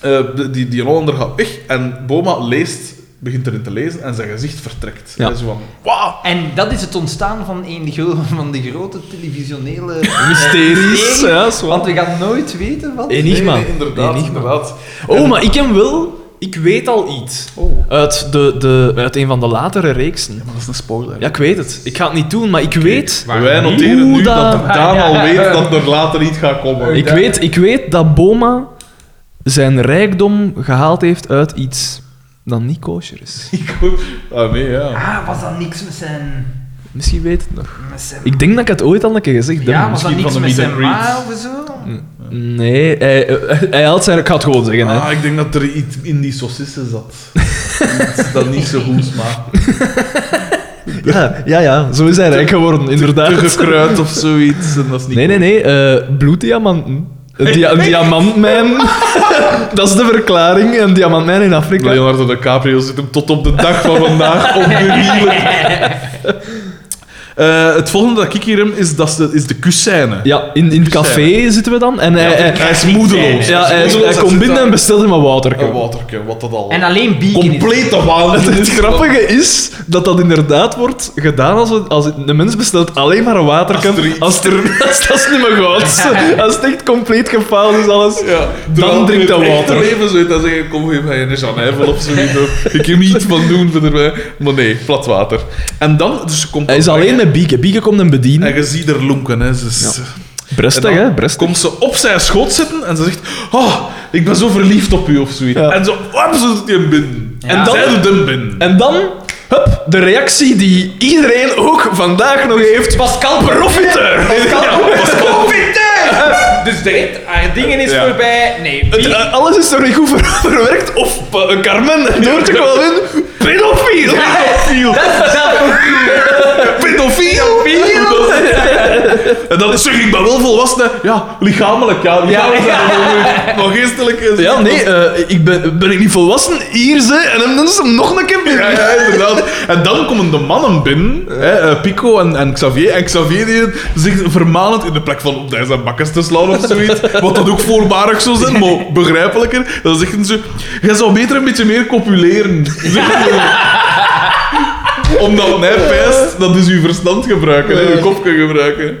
S1: Eh, de- die, die Hollander gaat weg. En Boma leest, begint erin te lezen en zijn gezicht vertrekt.
S2: Ja.
S1: En zo van, wauw.
S3: En dat is het ontstaan van een gro- van de grote televisionele...
S2: Mysteries.
S3: Nee,
S2: Ja, zo.
S3: Want we gaan nooit weten wat...
S2: Enigma.
S1: Nee, nee, inderdaad,
S2: Enigma.
S1: inderdaad.
S2: Oh, maar ik hem wel... Ik weet al iets.
S1: Oh.
S2: Uit, de, de, uit een van de latere reeksen.
S1: Maar dat is een spoiler.
S2: Ja, ik weet het. Ik ga het niet doen, maar ik weet...
S3: Waarom
S1: Wij
S3: niet?
S1: noteren nu
S2: Oeh,
S1: dat
S2: dat-
S1: Daan al
S3: Ja.
S1: weet dat er later niet gaat komen.
S2: Ik weet, ik weet dat Boma zijn rijkdom gehaald heeft uit iets dat niet kosher is.
S1: Ah, nee, ja.
S3: Ah, was dat niks met zijn...
S2: Misschien weet het nog.
S3: Met zijn
S2: Ik denk dat ik het ooit al een keer gezegd heb.
S3: ja, was dat
S1: misschien van
S3: niks
S1: de
S3: met
S1: meet
S3: zijn
S1: and greets.
S3: ma of zo?
S2: Nee, hij, eh, hij had zijn... Ik ga het gewoon zeggen, hè.
S1: Ah, ik denk dat er iets in die saucissen zat. Iets dat niet zo goed smaakt.
S2: Ja, ja, ja, zo is hij rijk geworden,
S1: Te
S2: inderdaad.
S1: gekruid of zoiets. En dat is niet
S2: Nee, nee, nee. eh, bloeddiamanten. Een, dia- een diamantmijn. dat is de verklaring. Een diamantmijn in
S1: goed.
S2: Afrika.
S1: Leonardo DiCaprio zit hem tot op de dag van vandaag op de wielen. Eh, het volgende dat ik hier heb, is, dat ze- is de kusscène.
S2: Ja, in, in het café zitten we dan. En
S1: eh,
S2: hij, hij,
S1: hij is moedeloos.
S2: ja, hij,
S1: is
S2: hij
S1: moedeloos.
S2: komt
S1: zit
S2: binnen
S1: daar.
S2: en bestelt hem een water.
S1: Een waterke, wat dat al.
S3: En alleen Beacon is...
S1: Complete waanzin.
S2: Het
S1: is.
S2: grappige is dat dat inderdaad wordt gedaan als, het- als het- een mens bestelt alleen maar een waterkan.
S1: Als er iets-
S2: Als, er, als dat is niet meer goed. Als het echt compleet gefaald is, alles.
S1: Ja,
S2: Dan drinkt dat water.
S1: Ik leven zoiets dat zeggen, kom geef mij een Janijvel of zoiets. hoor. Ik heb niet van doen verder bij. Maar nee, plat water. En dan, dus ze komt
S2: Hij is
S1: op-
S2: alleen met Bieke. Bieke komt hem
S1: En
S2: bedienen.
S1: je ziet er lonken, hè. Ze is- En
S2: Brestig,
S1: dan
S2: hè? Brestig.
S1: komt ze op zijn schoot zitten en ze zegt, oh, ik ben zo verliefd op u of zoiets.
S2: Ja.
S1: En zo, wap, ze doet hem binnen.
S3: En
S2: dan-
S1: En dan, zij doet hem binnen.
S2: En dan, hup, de reactie die iedereen ook vandaag nog heeft. Pascal Profiteur!
S1: Ja, Pascal.
S3: Dus direct, haar dingen is
S1: Ja.
S3: voorbij. Nee,
S2: Het,
S3: Beacon-
S2: eh, alles is er niet goed ver- verwerkt. Of eh, Carmen door te komen in. Pedofiel!
S3: dat is zelf ook
S1: Pedofiel! En dan zeg ik, ben wel volwassen. hè. Ja, lichamelijk. Ja, lichamelijk zijn we wel goed. Maar geestelijk... is-
S2: Ja, nee, eh, ik ben, ben ik niet volwassen? Hier ze, en hem- dan is hem nog een keer
S1: Ja,
S2: binnen.
S1: ja, inderdaad. En dan komen de mannen binnen, hè, eh, Pico en, en Xavier. En Xavier die zich vermanend in de plek van op de zijn bakkes te slaan of zoiets. Wat dat ook voorbarig zou zijn, maar begrijpelijker. Dan zeggen ze: Jij zou beter een beetje meer copuleren. Zeggen ze. Omdat mij pijst, dat is uw verstand gebruiken, hè, uw kopje gebruiken.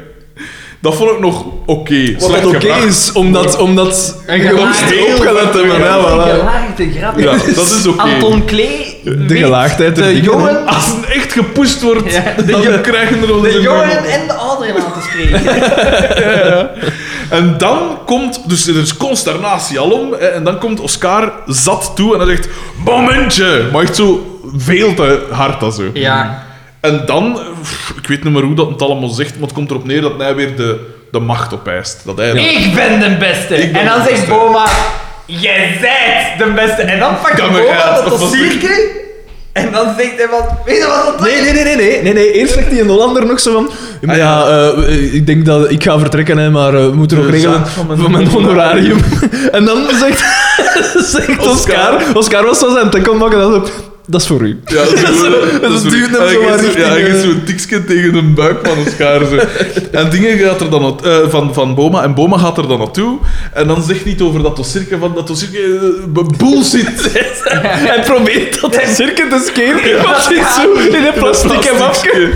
S1: Dat vond ik nog oké.
S2: Wat
S1: Slecht
S2: oké
S1: gebracht.
S2: is, omdat... omdat
S3: En
S2: je
S3: gelaagd.
S2: moest opgelet hebben. Ja, voilà.
S3: Gelaagde grap.
S1: Ja, dat is oké.
S3: Anton Klee.
S2: De
S3: weet
S2: gelaagdheid der
S3: De
S2: dingen,
S3: jongen,
S1: Als het echt gepusht wordt,
S3: Ja, de
S1: dan
S3: jong-
S1: krijgen we er onze
S3: de jongen
S1: nummer.
S3: en de ouderen aan te spreken.
S1: En dan komt, dus er is consternatie alom, hè, en dan komt Oscar zat toe en hij zegt: Momentje! Maar echt zo veel te hard als zo.
S3: Ja.
S1: En dan, pff, ik weet niet meer hoe dat het allemaal zegt, maar het komt erop neer dat hij weer de, de macht opeist. Dat hij
S3: Ik ben de beste.
S1: Ik ben
S3: en dan
S1: de
S3: zegt
S1: beste.
S3: Boma, jij zijt de beste. En dan pakt
S1: Kan me
S3: Boma
S1: gaan,
S3: dat
S1: dat was
S3: dossierke. En dan zegt hij van, weet je wat dat
S2: Nee, nee, nee, nee, nee, nee, nee. Eerst zegt die een Hollander nog zo van... Maar ja, eh, ik denk dat ik ga vertrekken, hè, maar eh, we moeten nog
S1: De
S2: regelen
S1: zaak van mijn-
S2: van mijn honorarium. en dan zegt, zegt
S1: Oscar.
S2: Oscar... Oscar was zo zijn tekst maken en dan zo, Dat is voor u.
S1: Ja, dat is
S2: zo-
S1: wel-
S2: dat
S1: is
S2: duwt
S1: wel-
S2: hem zo
S1: en
S2: maar
S1: hij geeft
S2: richting,
S1: Ja, hij geeft
S2: eh,
S1: zo'n tikje tegen de buik van Oscar. Zo. En dingen gaat er dan nat- eh, van, van Boma. En Boma gaat er dan naartoe. En dan zegt niet over dat dossierke van dat dossierke eh, bullshit.
S2: Hij probeert dat cirkel te scheren, maar zit zo in een plastic mafje.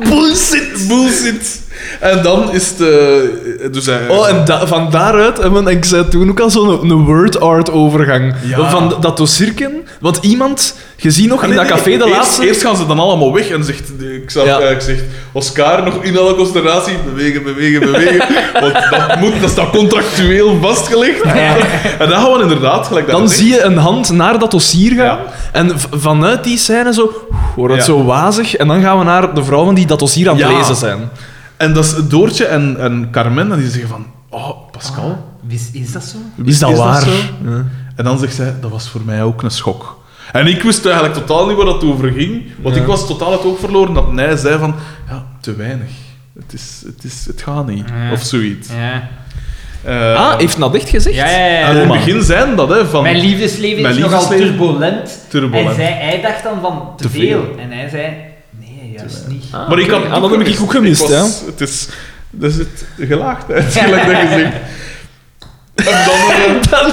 S2: Bullshit.
S1: Bullshit. En dan is het... eh, dus hij,
S2: Oh, en da- van daaruit hebben we, ik zei toen ook al zo'n een word art overgang.
S1: Ja.
S2: Van dat dossierken, want iemand, gezien nog
S1: Ah,
S2: in
S1: nee,
S2: dat
S1: nee,
S2: café de
S1: eerst,
S2: laatste...
S1: Eerst gaan ze dan allemaal weg en zegt, de- ik zag,
S2: Ja.
S1: eh, ik zeg, Oscar nog in alle consternatie, bewegen, bewegen, bewegen. Want dat, moet, dat staat contractueel vastgelegd. En dan gaan we inderdaad gelijk dat
S2: Dan
S1: je
S2: zie je een hand naar dat dossier gaan.
S1: Ja.
S2: En v- vanuit die scène zo, wordt het
S1: Ja.
S2: zo wazig. En dan gaan we naar de vrouwen die dat dossier aan het
S1: Ja.
S2: lezen zijn.
S1: En dat is Doortje en, en Carmen, en die zeggen van, oh, Pascal,
S3: Is, is dat zo?
S2: Is dat waar?
S1: zo?
S2: Ja.
S1: En dan zegt zij, dat was voor mij ook een schok. En ik wist eigenlijk totaal niet waar dat over ging, want
S2: Ja.
S1: ik was totaal het oog verloren dat hij zei van, ja, te weinig. Het, is, het, is, het gaat niet,
S3: Ja.
S1: of zoiets.
S3: Ja.
S1: Eh,
S2: Ah, heeft dat echt gezegd?
S3: Ja, ja, ja.
S1: aan het
S3: ja.
S1: begin zijn dat, hè, van...
S3: Mijn liefdesleven
S1: Mijn
S3: is nogal
S1: liefdesleven-
S3: turbulent.
S1: Turbulent.
S3: En zij, hij dacht dan van, te,
S1: Te
S3: veel.
S1: veel.
S3: En hij zei, nee, juist niet.
S2: Ah,
S1: Maar ik had
S2: oké. Ah, dat heb ik ook gemist,
S1: Ik was-
S2: ja.
S1: Het is... Dat is het gelaagdheid, gelijk dat je zegt. En dan... eh,
S2: Dan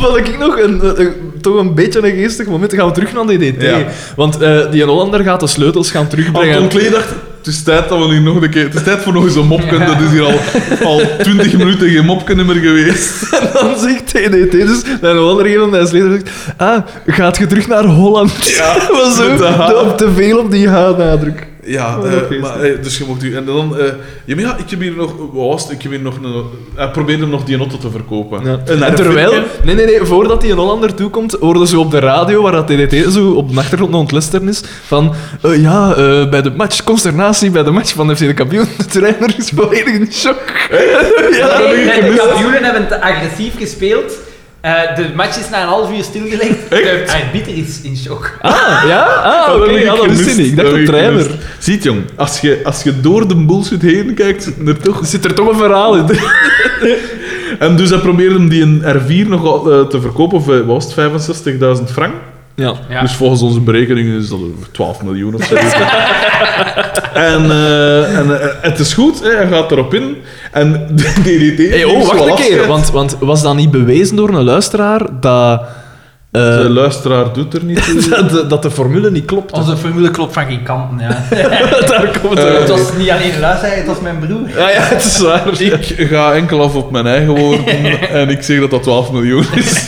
S2: vond ik nog een, eh, eh, toch een beetje een geestig moment. Dan gaan we terug naar DDT.
S1: Ja.
S2: Want eh, die Hollander gaat de sleutels gaan terugbrengen.
S1: Anton Klee dacht, het is tijd dat we hier nog een keer... Het is tijd voor nog eens een mopken. Dat is hier al, al 20 minuten geen mopken meer geweest.
S2: En dan zegt DDT dus, mijn Hollander geeft hem en sleutels zegt, ah, gaat je terug naar Holland?
S1: Ja,
S2: was zo,
S1: met de H.
S2: te- te veel op die H-nadruk.
S1: Ja,
S2: Wat
S1: eh,
S2: een feest,
S1: maar,
S2: hè.
S1: eh, dus je mocht u... En dan... eh, ja, maar ja, ik heb hier nog... Wat was het? Ik heb hier nog een... Hij probeerde nog die auto te verkopen. Eh,
S2: Ja.
S1: naar
S2: En
S1: de
S2: terwijl,
S1: Finken.
S2: nee, nee, nee, voordat die een Hollander toekomt, hoorden ze op de radio, waar dat DDT zo op de achtergrond aan het luisteren is, van eh, ja, eh, bij de match, consternatie bij de match van FC de kampioen, de trainer is volledig in shock.
S1: Eh? dat heb
S3: Nee,
S1: ik
S3: de
S1: gemist.
S3: kampioenen hebben te agressief gespeeld. Eh, de match is na een half uur stilgelegd. De arbiter is in shock.
S2: Ah, ja? Ah,
S1: Dat
S2: oké,
S1: heb
S2: ja, dat wist
S1: gemist.
S2: ik niet. Ik dacht
S1: Dat
S2: een
S1: heb ik
S2: trainer.
S1: gemist. Ziet, jong, als je, als je door de bullshit heen kijkt, zit er toch...
S2: Er zit er toch een verhaal in.
S1: En dus hij probeerde hem die een R4 nog al, eh, te verkopen voor, wat was het, 65.000 frank?
S2: Ja.
S3: Ja.
S1: Dus volgens onze berekeningen is dat over 12 miljoen of zo. en eh, en eh, het is goed, hè, hij gaat erop in. En de DDT...
S2: Hey, oh,
S1: neemt
S2: wacht
S1: wel
S2: een keer.
S1: afscheid.
S2: Want, want was dat niet bewezen door een luisteraar dat, eh,
S1: De luisteraar doet er niet toe.
S2: dat, de, dat de formule niet klopt?
S1: Oh.
S3: Onze formule klopt van geen kanten, ja.
S2: Daar komt
S1: Eh,
S3: het
S2: uit.
S3: was niet alleen de luisteraar, het was mijn broer.
S2: Ja, ja, het is waar.
S1: Ik ga enkel af op mijn eigen woorden en ik zeg dat dat 12 miljoen is.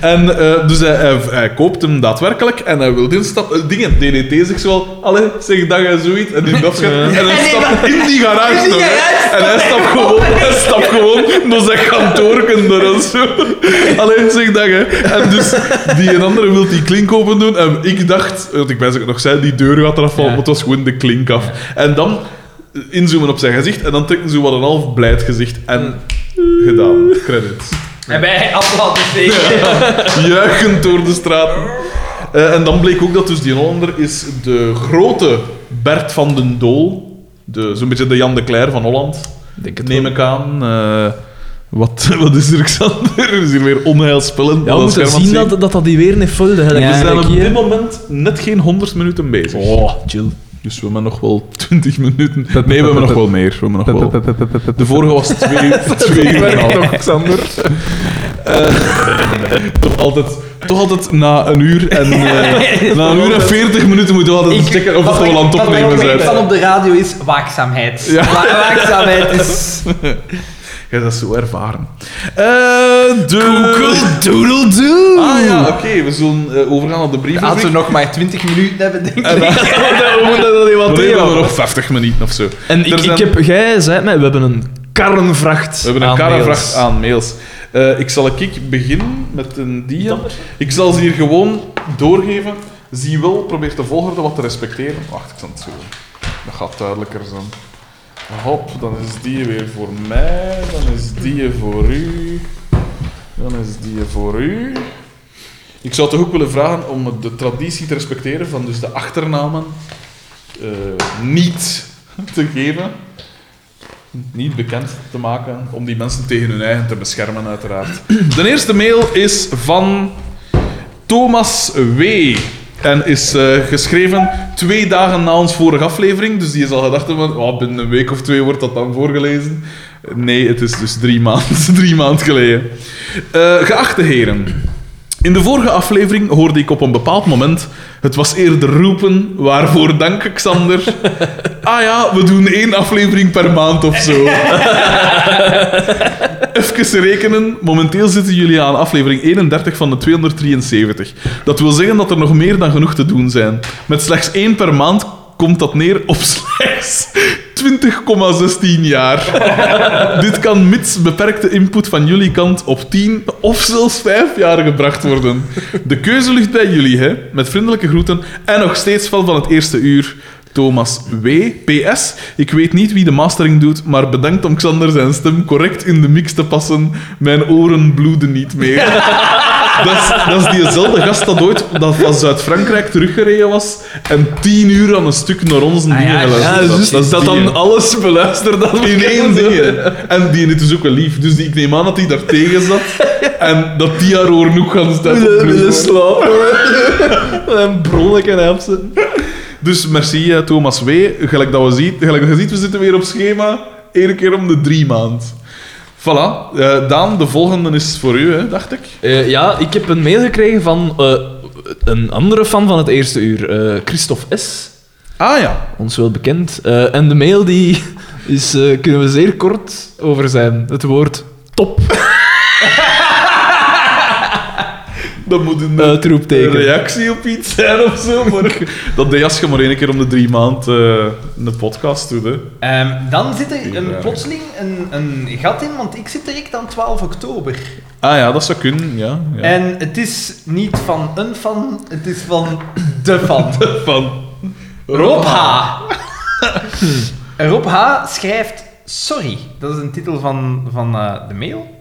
S1: En eh, dus hij, hij, hij koopt hem daadwerkelijk en hij wil instappen. Eh, dingen, DDT zegt zo wel, allee, zeg dag en zoiets. En die dat En hij stapt in die garage.
S3: In die
S1: door, hè.
S3: garage
S1: en hij stapt gewoon, hij stapt gewoon door zijn kantoorken door en zo. Allee, zeg dag hè. En dus die een andere wil die klink open doen. En ik dacht, want ik ben zo- nog zei, die deur gaat eraf vallen,
S3: Ja.
S1: maar het was gewoon de klink af. En dan inzoomen op zijn gezicht en dan trekken ze wat een half blijd gezicht. En gedaan. Credits.
S3: En wij aflaten tegen.
S1: Juichend door de straten. Eh, en dan bleek ook dat dus die Hollander is de grote Bert van den Dool. de- Zo'n beetje de Jan de Cler van Holland,
S2: Denk het
S1: neem
S2: wel.
S1: ik aan. Eh, wat, wat is er, Xander? Er is hier weer onheilspellend.
S2: Ja, we moeten zien dat, dat dat die weer niet vulde. hè. Dat
S1: we
S4: Ja,
S1: zijn
S2: kijk
S1: op
S2: hier.
S1: dit moment net geen 100 minuten bezig.
S2: Oh, chill.
S1: Dus we hebben nog wel 20 minuten. Nee, we hebben nog wel meer. We hebben nog wel... De vorige was twee uur. Twee uur en een half.
S2: Xander.
S1: Toch altijd, toch altijd na een uur en, eh, na een uur en 40 minuten moeten we altijd checken of dat we al aan het opnemen
S3: Wat ik van
S1: zijn.
S3: op de radio is, waakzaamheid.
S1: Ja.
S3: Wa- waakzaamheid is...
S1: Jij dat zo ervaren. Eh de...
S4: Google Doodle Doo!
S1: Ah ja, oké. We zullen eh, overgaan op de
S3: Laten we
S1: brievenbrief.
S3: nog maar 20 minuten hebben, denk ik.
S2: We moeten dat niet wat
S1: Nee, we
S2: doen.
S1: hebben nog 50 minuten of zo.
S2: En ik,
S1: Er
S2: ik
S1: zijn-
S2: heb, jij zei mij, we hebben een karrenvracht.
S1: We hebben een
S2: aan
S1: karrevracht
S2: mails.
S1: aan mails. Eh, ik zal ik beginnen met een dia. Ik zal ze hier gewoon doorgeven. Zie wel, probeer de volgorde wat te respecteren. Wacht, ik zal het zo doen. Dat gaat duidelijker zijn. Hop, dan is die weer voor mij. Dan is die voor u. Dan is die voor u. Ik zou toch ook willen vragen om de traditie te respecteren van dus de achternamen eh, niet te geven niet bekend te maken, om die mensen tegen hun eigen te beschermen, uiteraard. De eerste mail is van Thomas W. En is eh, geschreven twee dagen na ons vorige aflevering. Dus die is al gedacht van, oh, binnen een week of twee wordt dat dan voorgelezen. Nee, het is dus drie maanden drie maand geleden. Eh, geachte heren. In de vorige aflevering hoorde ik op een bepaald moment... Het was eerder roepen, waarvoor dank, Xander. Ah ja, we doen één aflevering per maand of zo. Even rekenen. Momenteel zitten jullie aan aflevering 31 van de 273. Dat wil zeggen dat er nog meer dan genoeg te doen zijn. Met slechts één per maand komt dat neer op slechts 20,16 jaar. Dit kan mits beperkte input van jullie kant op 10 of zelfs 5 jaar gebracht worden. De keuze ligt bij jullie, hè? Met vriendelijke groeten en nog steeds wel van het eerste uur. Thomas W. PS. Ik weet niet wie de mastering doet, maar bedankt om Xander zijn stem correct in de mix te passen. Mijn oren bloeden niet meer. Dat is, dat is diezelfde gast dat ooit dat van Zuid-Frankrijk teruggereden was en 10 uur aan een stuk naar ons
S3: ja,
S1: dingen geluisterd
S2: Ah Ja,
S1: had.
S2: dus dat,
S1: die, hè.
S2: dan alles beluisterd dat
S1: In één ding. hè. En die is dus ook wel lief. Dus die, ik neem aan dat hij daar tegen zat. En dat die haar oren ook gaan staan.
S2: Willen slapen. Een bronnetje en opzetten.
S1: Dus merci eh, Thomas W. Gelijk dat we zien, gelijk dat je ziet, we zitten weer op schema. Eén keer om de drie maand. Voilà. Eh, Daan, de volgende is voor u, hè, dacht ik.
S2: Eh, ja, ik heb een mail gekregen van eh, een andere fan van het eerste uur, eh, Christophe S.
S1: Ah ja.
S2: Ons wel bekend. Eh, en de mail die is, eh, kunnen we zeer kort over zijn. Het woord top,
S1: Dat moet een
S2: Eh,
S1: een
S2: uitroepteken.
S1: reactie op iets zijn of zo. Maar dat de jas je maar één keer om de drie maand eh, een podcast doet. Hè.
S3: Ehm, dan zit er een,
S1: Ja.
S3: plotseling een, een gat in, want ik zit direct aan 12 oktober.
S1: Ah ja, dat zou kunnen. Ja, ja.
S3: En het is niet van een fan, het is van de fan.
S1: Van
S3: Rob H. Rob H. schrijft Sorry. Dat is een titel van, van eh, de mail.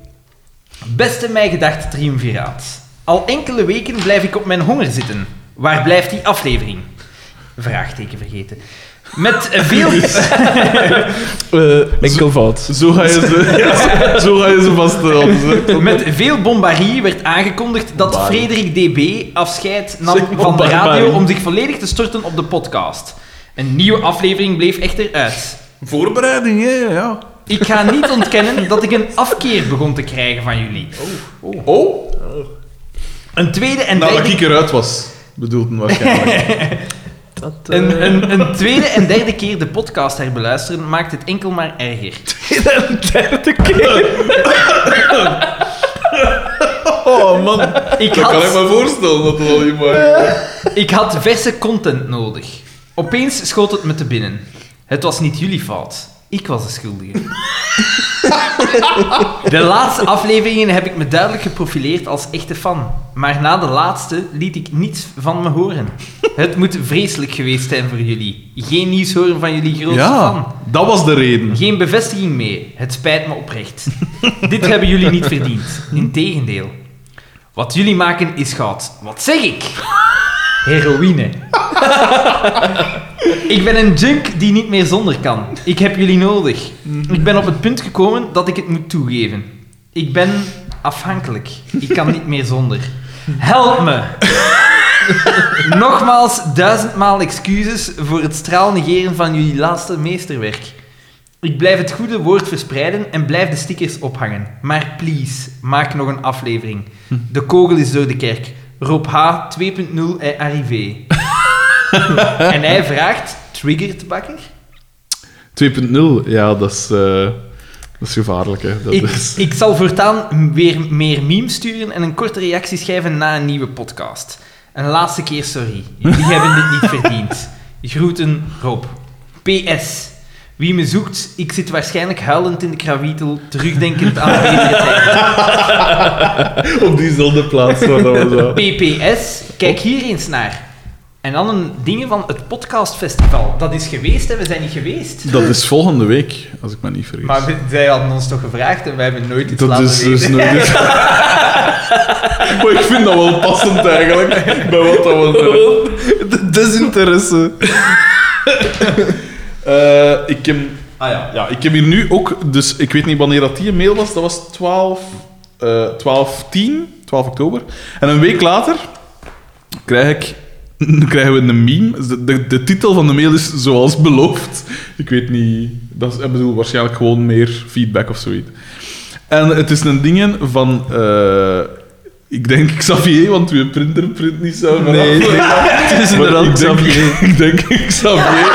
S3: Beste mij gedacht triumviraat. Al enkele weken blijf ik op mijn honger zitten. Waar blijft die aflevering? Vraagteken vergeten. Met veel...
S2: Eh, enkelvoud.
S1: Zo ga je ze, ja, zo ga je ze vaststellen. Ze-
S3: Met veel bombarie werd aangekondigd dat
S1: Bombarie.
S3: Frederik DB afscheid nam
S1: Zeg,
S3: van de
S1: bombarie.
S3: radio om zich volledig te storten op de podcast. Een nieuwe aflevering bleef echter uit.
S1: Voorbereiding, hè? Ja.
S3: Ik ga niet ontkennen dat ik een afkeer begon te krijgen van jullie.
S1: Oh,
S3: Een tweede en
S1: nadat
S3: derde,
S1: Nou, ik eruit was, bedoelden waarschijnlijk.
S3: een, een, een tweede en derde keer de podcast herbeluisteren maakt het enkel maar erger.
S2: derde keer.
S1: Oh man,
S3: Ik
S1: dat kan ik
S3: had,
S1: me voorstellen dat dat al niet maar.
S3: ik had verse content nodig. Opeens schoot het me te binnen. Het was niet jullie fout. Ik was de schuldige. De laatste afleveringen heb ik me duidelijk geprofileerd als echte fan. Maar na de laatste liet ik niets van me horen. Het moet vreselijk geweest zijn voor jullie. Geen nieuws horen van jullie grootste fan.
S1: Ja, dat was de reden.
S3: Geen bevestiging meer. Het spijt me oprecht. Dit hebben jullie niet verdiend. Integendeel. Wat jullie maken is goud. Wat zeg ik? Heroïne. Ik ben een junk die niet meer zonder kan. Ik heb jullie nodig. Ik ben op het punt gekomen dat ik het moet toegeven. Ik ben afhankelijk. Ik kan niet meer zonder. Help me. Nogmaals duizendmaal excuses voor het straal negeren van jullie laatste meesterwerk. Ik blijf het goede woord verspreiden en blijf de stickers ophangen. Maar please, maak nog een aflevering.
S1: Hm.
S3: De kogel is door de kerk. Rob H. 2.0 est arrivé. En hij vraagt, triggert bakker?
S1: 2.0, ja, dat is, eh, dat is gevaarlijk, hè. Dat
S3: Ik,
S1: is...
S3: ik zal voortaan weer meer memes sturen en een korte reactie schrijven na een nieuwe podcast. Een laatste keer sorry. Jullie hebben dit niet verdiend. Groeten, Rob. PS. Wie me zoekt, ik zit waarschijnlijk huilend in de krawietel, terugdenkend aan betere tijden.
S1: Op diezelfde plaats waar dat was. hè.
S3: PPS, kijk hier eens naar. En dan een dingen van het podcastfestival. Dat is geweest en we zijn niet geweest.
S1: Dat is volgende week, als ik me niet vergis.
S3: Maar we- zij hadden ons toch gevraagd en wij hebben nooit iets
S1: Dat
S3: laten
S1: is dus
S3: weten.
S1: nooit... maar ik vind dat wel passend, eigenlijk, bij wat dat we doen.
S2: De Desinteresse.
S1: Eh, ik heb... Ah ja. ja, ik heb hier nu ook... Dus ik weet niet wanneer dat die mail was. Dat was 12... eh 12 10, 12 oktober. En een week later krijg ik... krijgen we een meme. Dus De, de, de titel van de mail is zoals beloofd. Ik weet niet... Dat is, ik bedoel, waarschijnlijk gewoon meer feedback of zoiets. En het is een dingen van... eh, ik denk Xavier, want uw printer print niet zo.
S2: Nee, nee, het is
S1: Maar
S2: inderdaad Xavier.
S1: ik denk- Ik denk Xavier.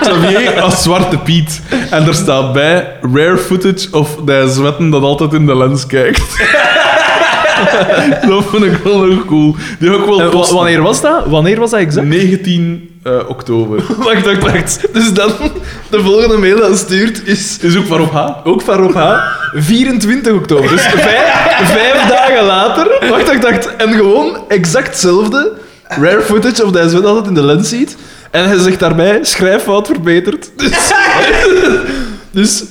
S1: Xavier als Zwarte Piet. En er staat bij rare footage of de zwetten dat altijd in de lens kijkt. dat vond ik wel nog cool. Die heb ik wel
S2: Eh, wa-
S1: posten.
S2: wanneer was dat? Wanneer was dat exact?
S1: 19 eh, oktober.
S2: Wacht, wacht, wacht. Dus dan, de volgende mail dat stuurt is
S1: Is ook waarop H.
S2: ook van Rob H. 24 oktober. Dus vijf, vijf dagen later. Wacht, wacht, wacht. En gewoon exact hetzelfde. Rare footage of dat je dat altijd in de lens ziet. En hij zegt daarbij, schrijffout verbeterd. Dus, dus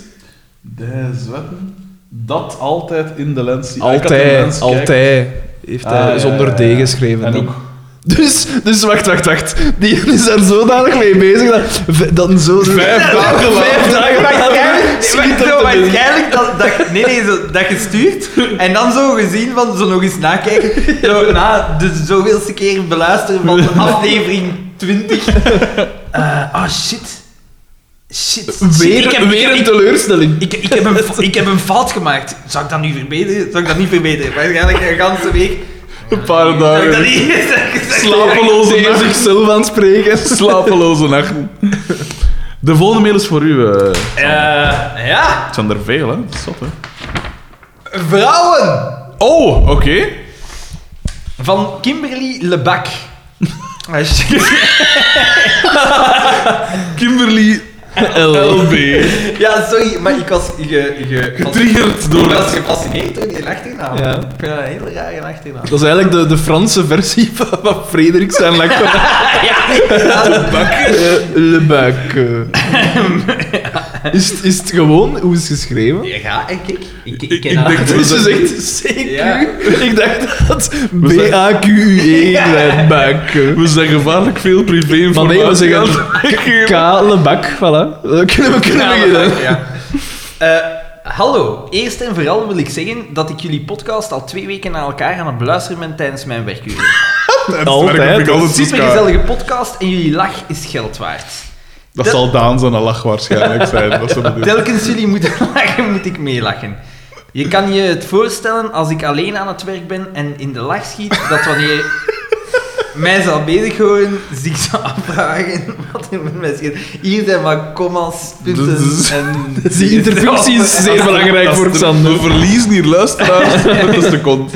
S1: De zwetten dat altijd in de lens ziet.
S2: altijd, altijd heeft hij
S1: Ah, ja,
S2: zonder
S1: ja, ja.
S2: D geschreven.
S1: En
S2: dan.
S1: ook
S2: Dus, dus wacht, wacht, wacht. Die is daar zodanig mee bezig dat, v- dat zo...
S1: vijf dagen
S2: Vijf
S1: later.
S2: dagen later
S3: Waarschijnlijk,
S2: schiet
S3: zo,
S2: op de binnen.
S3: waarschijnlijk dat, dat, nee, nee, zo, dat gestuurd en dan zo gezien van zo nog eens nakijken. Zo, na de zoveelste keer beluisteren van aflevering 20. Ah oh shit. Shit. shit.
S2: Weer,
S3: ik, heb,
S2: weer een
S3: ik,
S2: teleurstelling.
S3: ik, ik, heb een, fa- ik heb een fout gemaakt. Zou ik dat nu verbeteren? Zou ik dat niet verbeteren? Waarschijnlijk de hele week.
S1: Een paar
S3: Zou ik dat
S1: dagen.
S3: niet? zou ik- zou ik-
S1: Slapeloze
S2: Tegen
S1: nachten.
S2: zichzelf aan het spreken.
S1: Slapeloze nachten. De volgende mail is voor u. eh.
S3: Eh, ja.
S1: Het zijn er veel, hè? Dat is zot, hè?
S3: Vrouwen.
S1: Oh, oké.
S3: Van Kimberly Lebak. Ah, shit.
S1: Kimberly LB.
S3: Ja, sorry, maar ik was ge, ge,
S1: Getriggerd
S3: ik
S1: door
S3: was
S1: het.
S3: gefascineerd door die achternaam.
S2: Ja.
S3: Ik vind dat een hele rare achternaam.
S2: Dat is eigenlijk de, de Franse versie van, van Frederik zijn lekker.
S1: Eh,
S2: Le Bac. eh. Is, het- is het gewoon hoe is het geschreven?
S3: Ja, ga, en kijk. Ik, ik,
S1: Ik-
S3: ken
S1: ik denk-
S3: dat.
S2: Dus ze zegt CQ.
S3: Ja.
S2: Ik dacht dat
S1: zijn-
S2: B-A-Q-U-E E Le Bac.
S1: We zijn gevaarlijk veel privé
S2: Maar nee, we
S1: informatie
S2: zeggen
S1: aan het
S2: K.
S1: geven.
S2: Le Bac, voilà. Dat kunnen we kunnen
S3: Ja,
S2: beginnen.
S3: maar- ja. Eh, hallo, eerst en vooral wil ik zeggen dat ik jullie podcast al twee weken na elkaar aan het beluisteren ben tijdens mijn werkuren.
S1: Daar heb ik altijd
S3: Super
S1: elkaar.
S3: gezellige podcast en jullie lach is geld waard.
S1: Dat zal Daan zijn lach waarschijnlijk zijn. Dat ze bedoelen.
S3: Telkens jullie moeten lachen, moet ik meelachen. Je kan je het voorstellen als ik alleen aan het werk ben en in de lach schiet, dat wanneer mij zal bezig horen, zich zou afvragen wat er met mij schiet. Hier zijn maar commas, punten
S1: Dus-
S3: en...
S2: Dus die interpunctie is zeer belangrijk
S1: Dat is
S2: voor
S1: de-
S2: Xander.
S1: We verliezen hier luisteraars. Dat is de kont.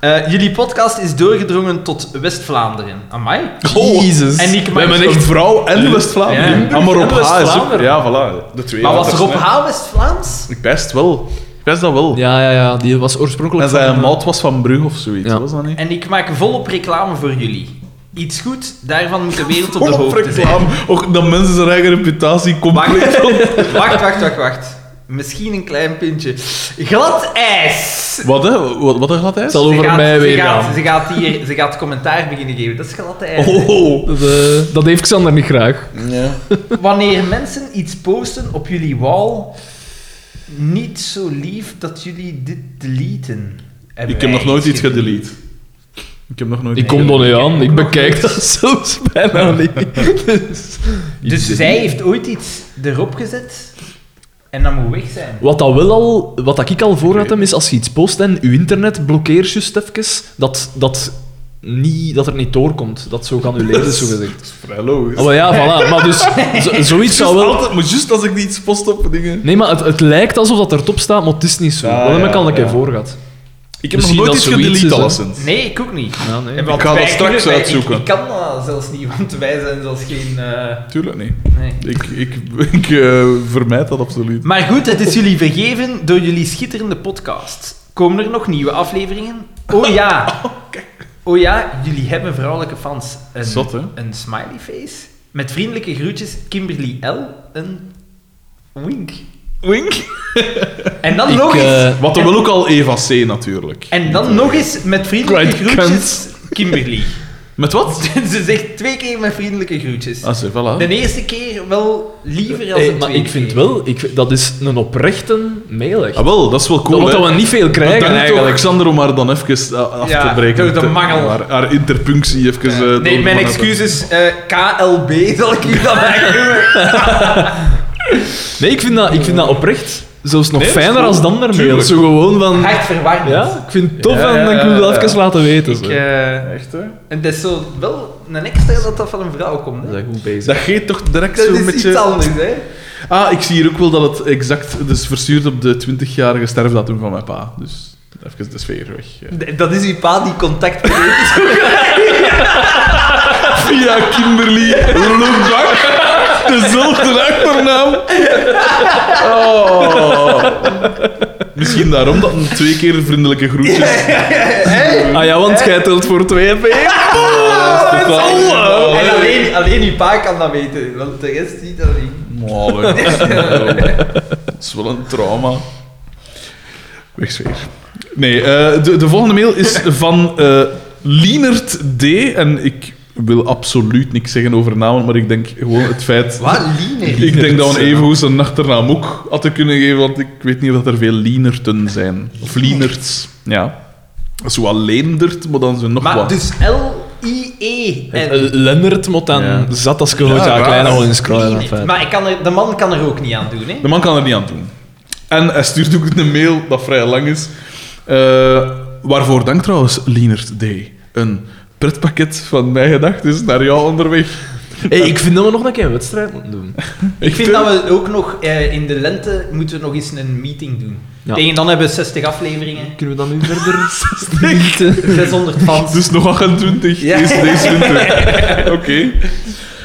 S3: Eh, jullie podcast is doorgedrongen tot West-Vlaanderen. Amai.
S1: Oh,
S2: Jezus.
S3: En ik
S1: We
S3: mag...
S1: hebben echt vrouw en West-Vlaanderen.
S3: Ja.
S1: Ah, maar Rob
S2: En
S1: H. is ook...
S2: West-Vlaanderen.
S1: Ja, voilà. De twee.
S3: Maar was
S1: letters,
S3: Rob
S1: hè.
S3: H. West-Vlaams?
S1: Ik best wel. Ik best dat wel.
S2: Ja, ja, ja. Die was
S1: En
S2: oorspronkelijk...
S1: zij een
S2: van-
S1: maat was van Brugge of zoiets.
S2: Ja.
S1: Was dat niet?
S3: En ik maak volop reclame voor jullie. Iets goed, daarvan moet de wereld op de
S1: Volop
S3: hoogte zijn.
S1: reclame. Ook dat mensen zijn eigen reputatie compleet
S3: Wacht, wacht, wacht, wacht. Misschien een klein pintje. Glad ijs!
S1: Wat, hè? Wat, wat een glad ijs?
S2: Zal
S3: Ze
S2: over
S3: gaat-
S2: mij
S3: ze
S2: weer
S3: gaat-
S2: gaan.
S3: Ze gaat hier ze gaat commentaar beginnen geven. Dat is glad ijs.
S1: Oh, oh.
S2: Dat, eh, dat heeft Xander niet graag.
S3: Wanneer mensen iets posten op jullie wall, niet zo lief dat jullie dit deleten. Hebben
S1: Ik heb
S3: wij
S1: nog nooit iets
S3: gedelete.
S1: gedelete. Ik heb nog nooit
S2: Ik
S1: iets
S2: kom
S1: gedelete.
S2: er niet aan. Ik bekijk dat zelfs bijna niet. Dus-
S3: Dus zij heeft ooit iets erop gezet en dat moet weg zijn.
S2: Wat, dat wel al, wat dat ik al voor had, hem, is als je iets post en je internet blokkeert just even, dat, dat, niet, dat er niet doorkomt. Dat zo geannuleerd is, zogezegd.
S1: Dat is vrij logisch.
S2: Oh, maar ja, voilà. Maar dus, zo- zoiets
S1: Just
S2: zou wel...
S1: altijd, maar juist als ik iets post op dingen...
S2: Nee, maar het, het lijkt alsof dat er top staat, maar het is niet zo.
S1: Ja,
S2: dat heb
S1: ja,
S2: ik al een
S1: ja.
S2: keer voor gehad.
S1: Ik heb
S2: Misschien
S1: nog nooit
S2: dat
S1: iets
S2: zoiets is,
S1: gedelete,
S2: hè.
S1: alleszins.
S3: Nee, ik ook niet.
S2: Ja, nee.
S3: En want
S1: Nou, Ik ga dat
S3: wij
S1: straks
S3: kunnen- wij- ik-
S1: uitzoeken.
S3: Ik, kan dat zelfs niet, want wij zijn zelfs geen... eh,
S1: Tuurlijk niet.
S3: nee.
S1: Ik, ik, ik eh, vermijd dat absoluut.
S3: Maar goed, het is jullie vergeven door jullie schitterende podcast. Komen er nog nieuwe afleveringen? Oh ja. Oh ja, jullie hebben vrouwelijke fans. Een,
S1: Zot, hè?
S3: Een smiley face. Met vriendelijke groetjes Kimberly L. Een wink. Wink. En dan
S2: Ik,
S3: nog eens...
S2: eh,
S1: Wat dan wel ook al Eva C natuurlijk.
S3: En dan nog eens met vriendelijke
S2: Great
S3: groetjes Kimberly.
S1: Met wat?
S3: Ze zegt twee keer met vriendelijke groetjes.
S1: Ah, ze, voilà.
S3: De eerste keer wel liever
S2: Hey,
S3: als de
S2: Eh, maar
S3: tweede
S2: ik vind
S3: keer.
S2: wel, ik, vind- dat is een oprechte mail. echt.
S1: Ah, wel, dat is wel cool.
S2: dat,
S1: hè.
S2: wat we niet veel
S1: Bedankt
S2: krijgen
S1: ook,
S2: eigenlijk.
S1: Alexander, om haar dan even eh, af
S3: Ja,
S1: te breken.
S3: door de
S1: Te-
S3: mangel.
S1: Haar, haar interpunctie even... eh, door
S3: Nee,
S1: de
S3: mijn
S1: mangel.
S3: excuus is eh, KLB, zal ik u dan eigenlijk
S2: Nee, ik vind dat, ik vind dat oprecht zelfs nog
S1: Nee, dat is
S2: fijner
S1: cool.
S2: als dan maar mail.
S1: Tuurlijk.
S2: Zo gewoon van...
S3: hartverwarmend.
S2: Ja, ik vind het tof
S1: Ja, ja,
S2: en ik wil
S1: ja,
S2: dat
S1: ja.
S2: even laten weten.
S3: Ik,
S2: zo.
S3: eh,
S1: Echt, hè?
S3: en dat is zo wel een extra dat dat van een vrouw komt. Hè?
S2: zijn goed bezig.
S1: Dat geeft toch direct
S3: Dat
S1: zo
S3: is
S1: met
S3: iets
S1: je...
S3: anders, hè?
S1: Ah, ik zie hier ook wel dat het exact... Dus verstuurd op de 20-jarige sterfdatum van mijn pa. Dus even de sfeer weg. eh. ja.
S3: D- Dat is uw pa die contact heeft.
S1: Via Kimberly Roelbach. Dezelfde achternaam. Oh. Misschien daarom dat een twee keer vriendelijke groetjes...
S2: Ah ja, want jij telt voor twee en
S1: Oh,
S3: Oh, en alleen, alleen uw pa kan dat weten, want de rest niet dat niet.
S1: Wow, dat is wel een trauma. Wegsfeer. Nee, eh, de, de volgende mail is van eh Lienert D. En ik wil absoluut niks zeggen over namen, maar ik denk gewoon het feit...
S3: Wat, Liener?
S1: Ik denk dat we even goed zijn achternaam ook hadden kunnen geven, want ik weet niet of dat er veel Lienerten zijn. Of Lienerts, ja. Zo Leendert, maar dan zijn nog
S3: Maar
S1: wat.
S3: dus E L-I-E. Eh, en
S2: Eh, Lennart moet dan
S1: Ja.
S2: zat als kunnen we
S1: Ja,
S2: daar
S1: raar.
S2: klein al in scrollen.
S3: Liener. Maar ik kan er, de man kan er ook niet aan doen, hè?
S1: De man kan er niet aan doen. En hij stuurt ook een mail dat vrij lang is. Eh, waarvoor dank trouwens, Lienert D. Een pretpakket van mijn gedachten is naar jou onderweg.
S2: Hey, ik vind dat we nog een keer een wedstrijd moeten doen. Ah,
S3: Ik vind
S1: eh,
S3: dat we ook nog eh, in de lente moeten we nog eens een meeting doen.
S2: Ja.
S3: Tegen dan hebben we 60 afleveringen,
S2: Kunnen we dan nu verder stilten?
S3: 600 fans.
S1: Dus nog 28
S3: Ja.
S1: deze, deze winter. Oké.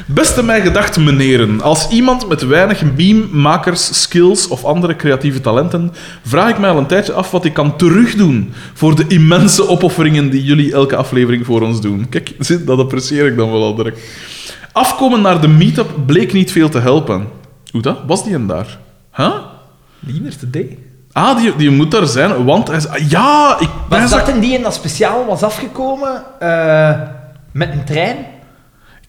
S1: Beste mij gedacht, meneren. Als iemand met weinig mememakers, skills of andere creatieve talenten, vraag ik mij al een tijdje af wat ik kan terugdoen voor de immense opofferingen die jullie elke aflevering voor ons doen. Kijk, zit, dat apprecieer ik dan wel al direct. Afkomen naar de meetup bleek niet veel te helpen. Hoe dat? Was die hem daar? Huh?
S2: Lienert D.
S1: Ah, die, die moet daar zijn, want hij is... ah, Ja, ik...
S3: Was dat een die en dat speciaal was afgekomen eh, met een trein?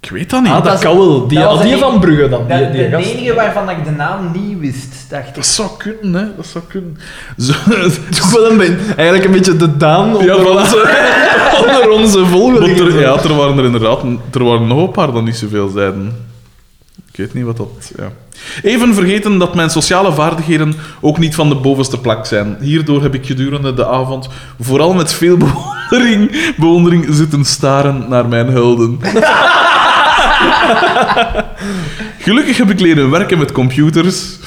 S1: Ik weet dat niet.
S2: Ah, dat
S3: dat is-
S2: kan wel. Die,
S3: dat was
S2: ah, die
S3: een-
S2: van Brugge dan. Die,
S3: Dat
S2: die
S3: de
S2: gast.
S3: enige waarvan ik de naam niet wist, dacht ik.
S1: Dat zou kunnen, hè. Dat zou kunnen. Zo,
S2: Toch wel een beetje, eigenlijk een beetje de Daan onder,
S1: Ja, voilà.
S2: onze, onder onze
S1: Want
S2: volgelingen.
S1: er, ja, er waren er inderdaad er waren nog een paar dan niet zoveel zeiden. Ik weet niet wat dat... Ja. Even vergeten dat mijn sociale vaardigheden ook niet van de bovenste plak zijn. Hierdoor heb ik gedurende de avond vooral met veel bewondering, bewondering zitten staren naar mijn helden. Gelukkig heb ik leren werken met computers.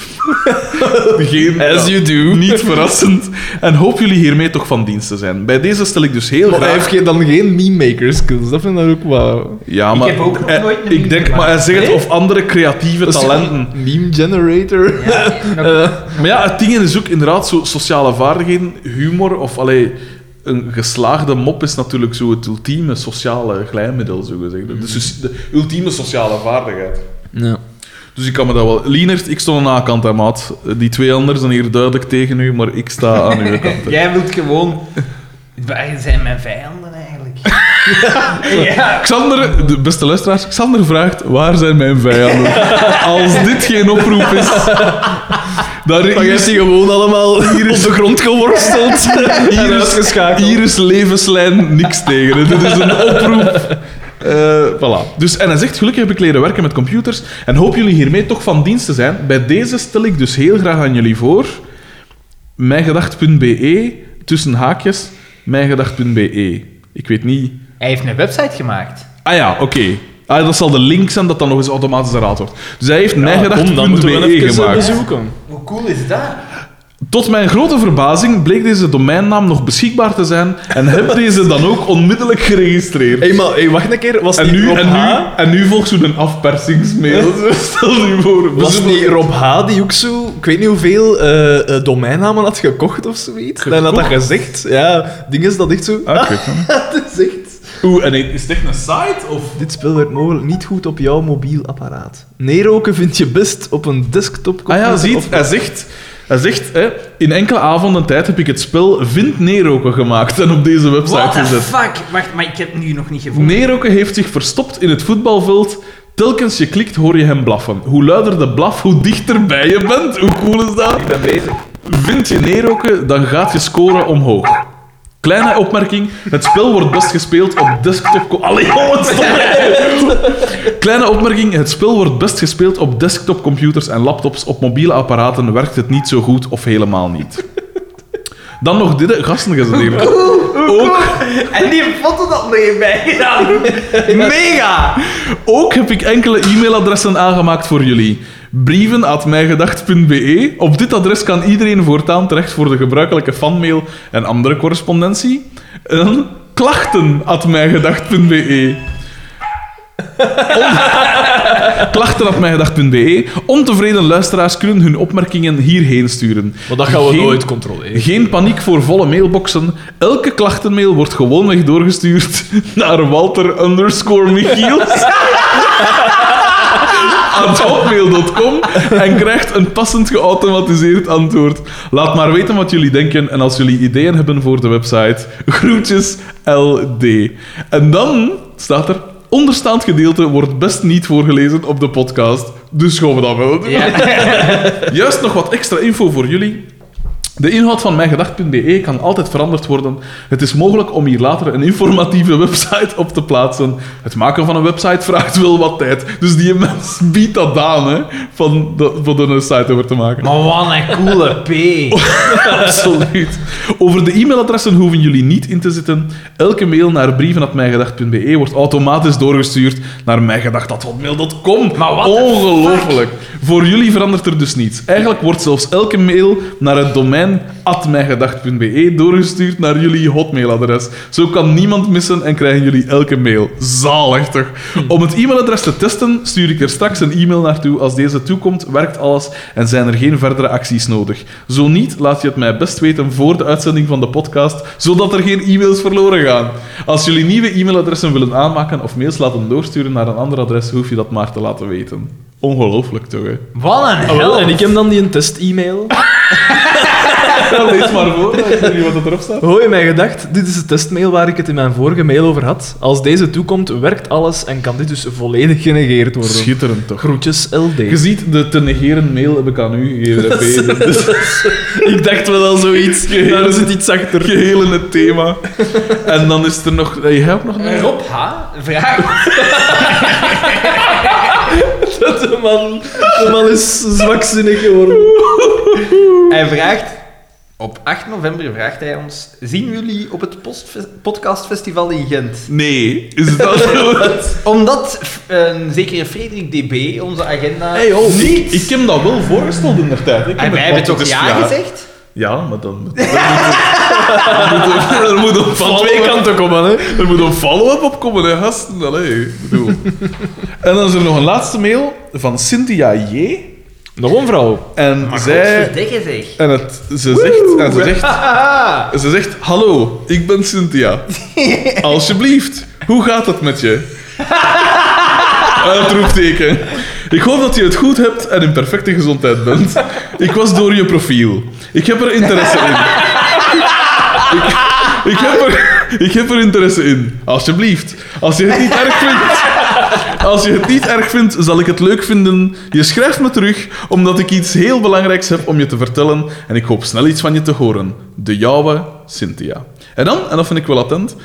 S1: Geen,
S2: As you do.
S1: Niet verrassend. En hoop jullie hiermee toch van dienst te zijn. Bij deze stel ik dus heel
S2: Maar hij
S1: graag...
S2: heeft geen- dan geen meme-maker skills. Dat vind ik ook wel...
S1: Ja, maar
S3: heb ook nog
S1: eh,
S3: nooit een
S1: ik
S3: meme
S1: denk,
S3: gemaakt.
S1: maar hij zegt
S2: Nee?
S1: of andere creatieve talenten.
S2: Meme-generator.
S3: Ja, nog-
S2: Eh,
S1: Maar ja, het ding is ook inderdaad zo sociale vaardigheden, humor of allee, een geslaagde mop is natuurlijk zo het ultieme sociale glijmiddel, zo gezegd. Dus de ultieme sociale vaardigheid.
S2: Ja.
S1: Dus ik kan me dat wel... Lienert, ik stond aan haar kant, hè, maat. Die twee anderen zijn hier duidelijk tegen u, maar ik sta aan uw kant. hè.
S3: Jij wilt gewoon... Wij zijn mijn vijanden eigenlijk. ja.
S1: Xander, de beste luisteraars, Xander vraagt, waar zijn mijn vijanden? Als dit geen oproep is... Daar
S2: Dan
S1: hier
S2: is
S1: is,
S2: hij gewoon allemaal hier op de grond geworsteld en
S1: is-
S2: uitgeschakeld.
S1: hier is levenslijn niks tegen. hè. Dit is een oproep. Eh, voilà. Dus, en hij zegt, gelukkig heb ik leren werken met computers en hoop jullie hiermee toch van dienst te zijn. Bij deze stel ik dus heel graag aan jullie voor mijngedacht.be E, tussen haakjes mijngedacht.be. E. Ik weet niet...
S3: Hij heeft een website gemaakt.
S1: Ah ja, oké. Ah, dat zal de link zijn dat dan nog eens automatisch herhaald wordt. Dus hij heeft mijn
S2: Kom, dan moeten we
S1: mijngedacht.be
S2: even eh,
S1: E gemaakt.
S2: bezoeken.
S3: Hoe cool is dat?
S1: Tot mijn grote verbazing bleek deze domeinnaam nog beschikbaar te zijn en heb deze dan ook onmiddellijk geregistreerd.
S2: Hé, maar hey, wacht een keer. Was
S1: en,
S2: die
S1: nu,
S2: Rob
S1: en,
S2: H?
S1: nu, en nu volgt zo'n afpersingsmail. Stel je voor. we
S2: Was
S1: zullen-
S2: die Rob H. die ook zo, ik weet niet hoeveel, eh, eh, domeinnamen had gekocht of zoiets? En had dat gezegd. Ja, ding is dat echt zo.
S1: Ah, ik weet het niet.
S2: dat is echt.
S1: Oeh, en is het echt een site? Of...
S2: Dit spel werd mogelijk niet goed op jouw mobiel apparaat. Neeroken vind je best op een desktop
S1: Ah ja, ziet, hij zegt, hij zegt hè, in enkele avonden tijd heb ik het spel Vind Neroken gemaakt en op deze website
S3: What the
S1: gezet.
S3: fuck? Wacht, maar ik heb het nu nog niet gevonden.
S1: Neroke heeft zich verstopt in het voetbalveld. Telkens je klikt, hoor je hem blaffen. Hoe luider de blaf, hoe dichterbij je bent. Hoe cool is dat?
S2: ben bezig.
S1: Vind je Neroke, dan gaat je score omhoog. Kleine opmerking, het spel wordt best gespeeld op desktop... co- Allee, jongens, stop hè. Kleine opmerking, het spel wordt best gespeeld op desktopcomputers en laptops. Op mobiele apparaten werkt het niet zo goed of helemaal niet. Dan nog dit, hè. gasten gezegd. Ook
S3: En die foto dat nog even bijgedaan. Mega!
S1: Ook heb ik enkele e-mailadressen aangemaakt voor jullie. Brieven Op dit adres kan iedereen voortaan terecht voor de gebruikelijke fanmail en andere correspondentie. En klachten klachten Ontevreden luisteraars kunnen hun opmerkingen hierheen sturen.
S2: Maar dat gaan we
S1: Geen-
S2: nooit controleren.
S1: geen paniek voor volle mailboxen. Elke klachtenmail wordt gewoonweg doorgestuurd naar Walter underscore Michiels. aan hotmail.com en krijgt een passend geautomatiseerd antwoord. Laat maar weten wat jullie denken en als jullie ideeën hebben voor de website. Groetjes LD. En dan staat er. Onderstaand gedeelte wordt best niet voorgelezen op de podcast. Dus gaan we dat wel doen. Juist nog wat extra info voor jullie. De inhoud van mijngedacht.be E kan altijd veranderd worden. Het is mogelijk om hier later een informatieve website op te plaatsen. Het maken van een website vraagt wel wat tijd. Dus die mens biedt dat aan, hè, van de, van er een site over te maken.
S3: Maar wat een coole P.
S1: Absoluut. Over de e-mailadressen hoeven jullie niet in te zitten. Elke mail naar brieven.mijgedacht.be wordt automatisch doorgestuurd naar mijgedacht.hotmail.com.
S3: Maar what the
S1: Ongelooflijk. Voor jullie verandert er dus niets. Eigenlijk wordt zelfs elke mail naar het domein atmijgedacht.be doorgestuurd naar jullie hotmailadres. Zo kan niemand missen en krijgen jullie elke mail. Zalig toch? Om het e-mailadres te testen stuur ik er straks een e-mail naartoe. Als deze toekomt, werkt alles en zijn er geen verdere acties nodig. Zo niet, laat je het mij best weten voor de uitzending van de podcast, zodat er geen e-mails verloren gaan. Als jullie nieuwe e-mailadressen willen aanmaken of mails laten doorsturen naar een ander adres, hoef je dat maar te laten weten. Ongelooflijk toch, hè?
S3: Wat een
S2: Ah, wel,
S3: hel.
S2: en ik heb dan die een test-e-mail.
S1: Lees maar voor, ik weet niet wat erop staat.
S2: Hoi, mijn gedacht. Dit is de testmail waar ik het in mijn vorige mail over had. Als deze toekomt, werkt alles en kan dit dus volledig genegeerd worden.
S1: Schitterend toch?
S2: Groetjes, LD.
S1: Je ziet, de te negeren mail heb ik aan u gegeven. hè, Peter. Dus-
S2: ik dacht wel al zoiets.
S1: Daar zit
S2: iets achter.
S1: Geheel in het thema. En dan is er nog... eh, Jij ook nog een...
S3: Rob H. Vraag.
S2: De man, de man is zwakzinnig geworden.
S3: Hij vraagt... Op 8 november vraagt hij ons... Zien jullie op het postfe- podcastfestival in Gent?
S1: Nee, is dat het?
S3: Omdat f- een zekere Frederik DB onze agenda...
S1: Hey, oh, ik, ik heb dat wel voorgesteld in de tijd. Ik
S3: en
S1: heb
S3: wij
S1: het-
S3: hebben
S1: want
S3: toch
S1: het is-
S3: ja gezegd?
S1: Ja, maar dan... dan moet er- Er moet een
S2: Van twee kanten komen, hè.
S1: Er moet een follow-up op komen, hè, gasten. Allee, ik bedoel. En dan is er nog een laatste mail van Cynthia J.
S2: Nog een vrouw.
S1: En zij...
S3: Godverdikke zeg.
S1: En het, ze zegt... En ze zegt Ze zegt: Hallo, ik ben Cynthia. Alsjeblieft, hoe gaat het met je? Uitroepteken. Ik hoop dat je het goed hebt en in perfecte gezondheid bent. Ik was door je profiel. Ik heb er interesse in. Ik, ik, heb, er, ik heb er interesse in. Alsjeblieft. Als je het niet erg vindt... Als je het niet erg vindt, zal ik het leuk vinden. Je schrijft me terug, omdat ik iets heel belangrijks heb om je te vertellen. En ik hoop snel iets van je te horen. De jouwe, Cynthia. En dan, en dat vind ik wel attent,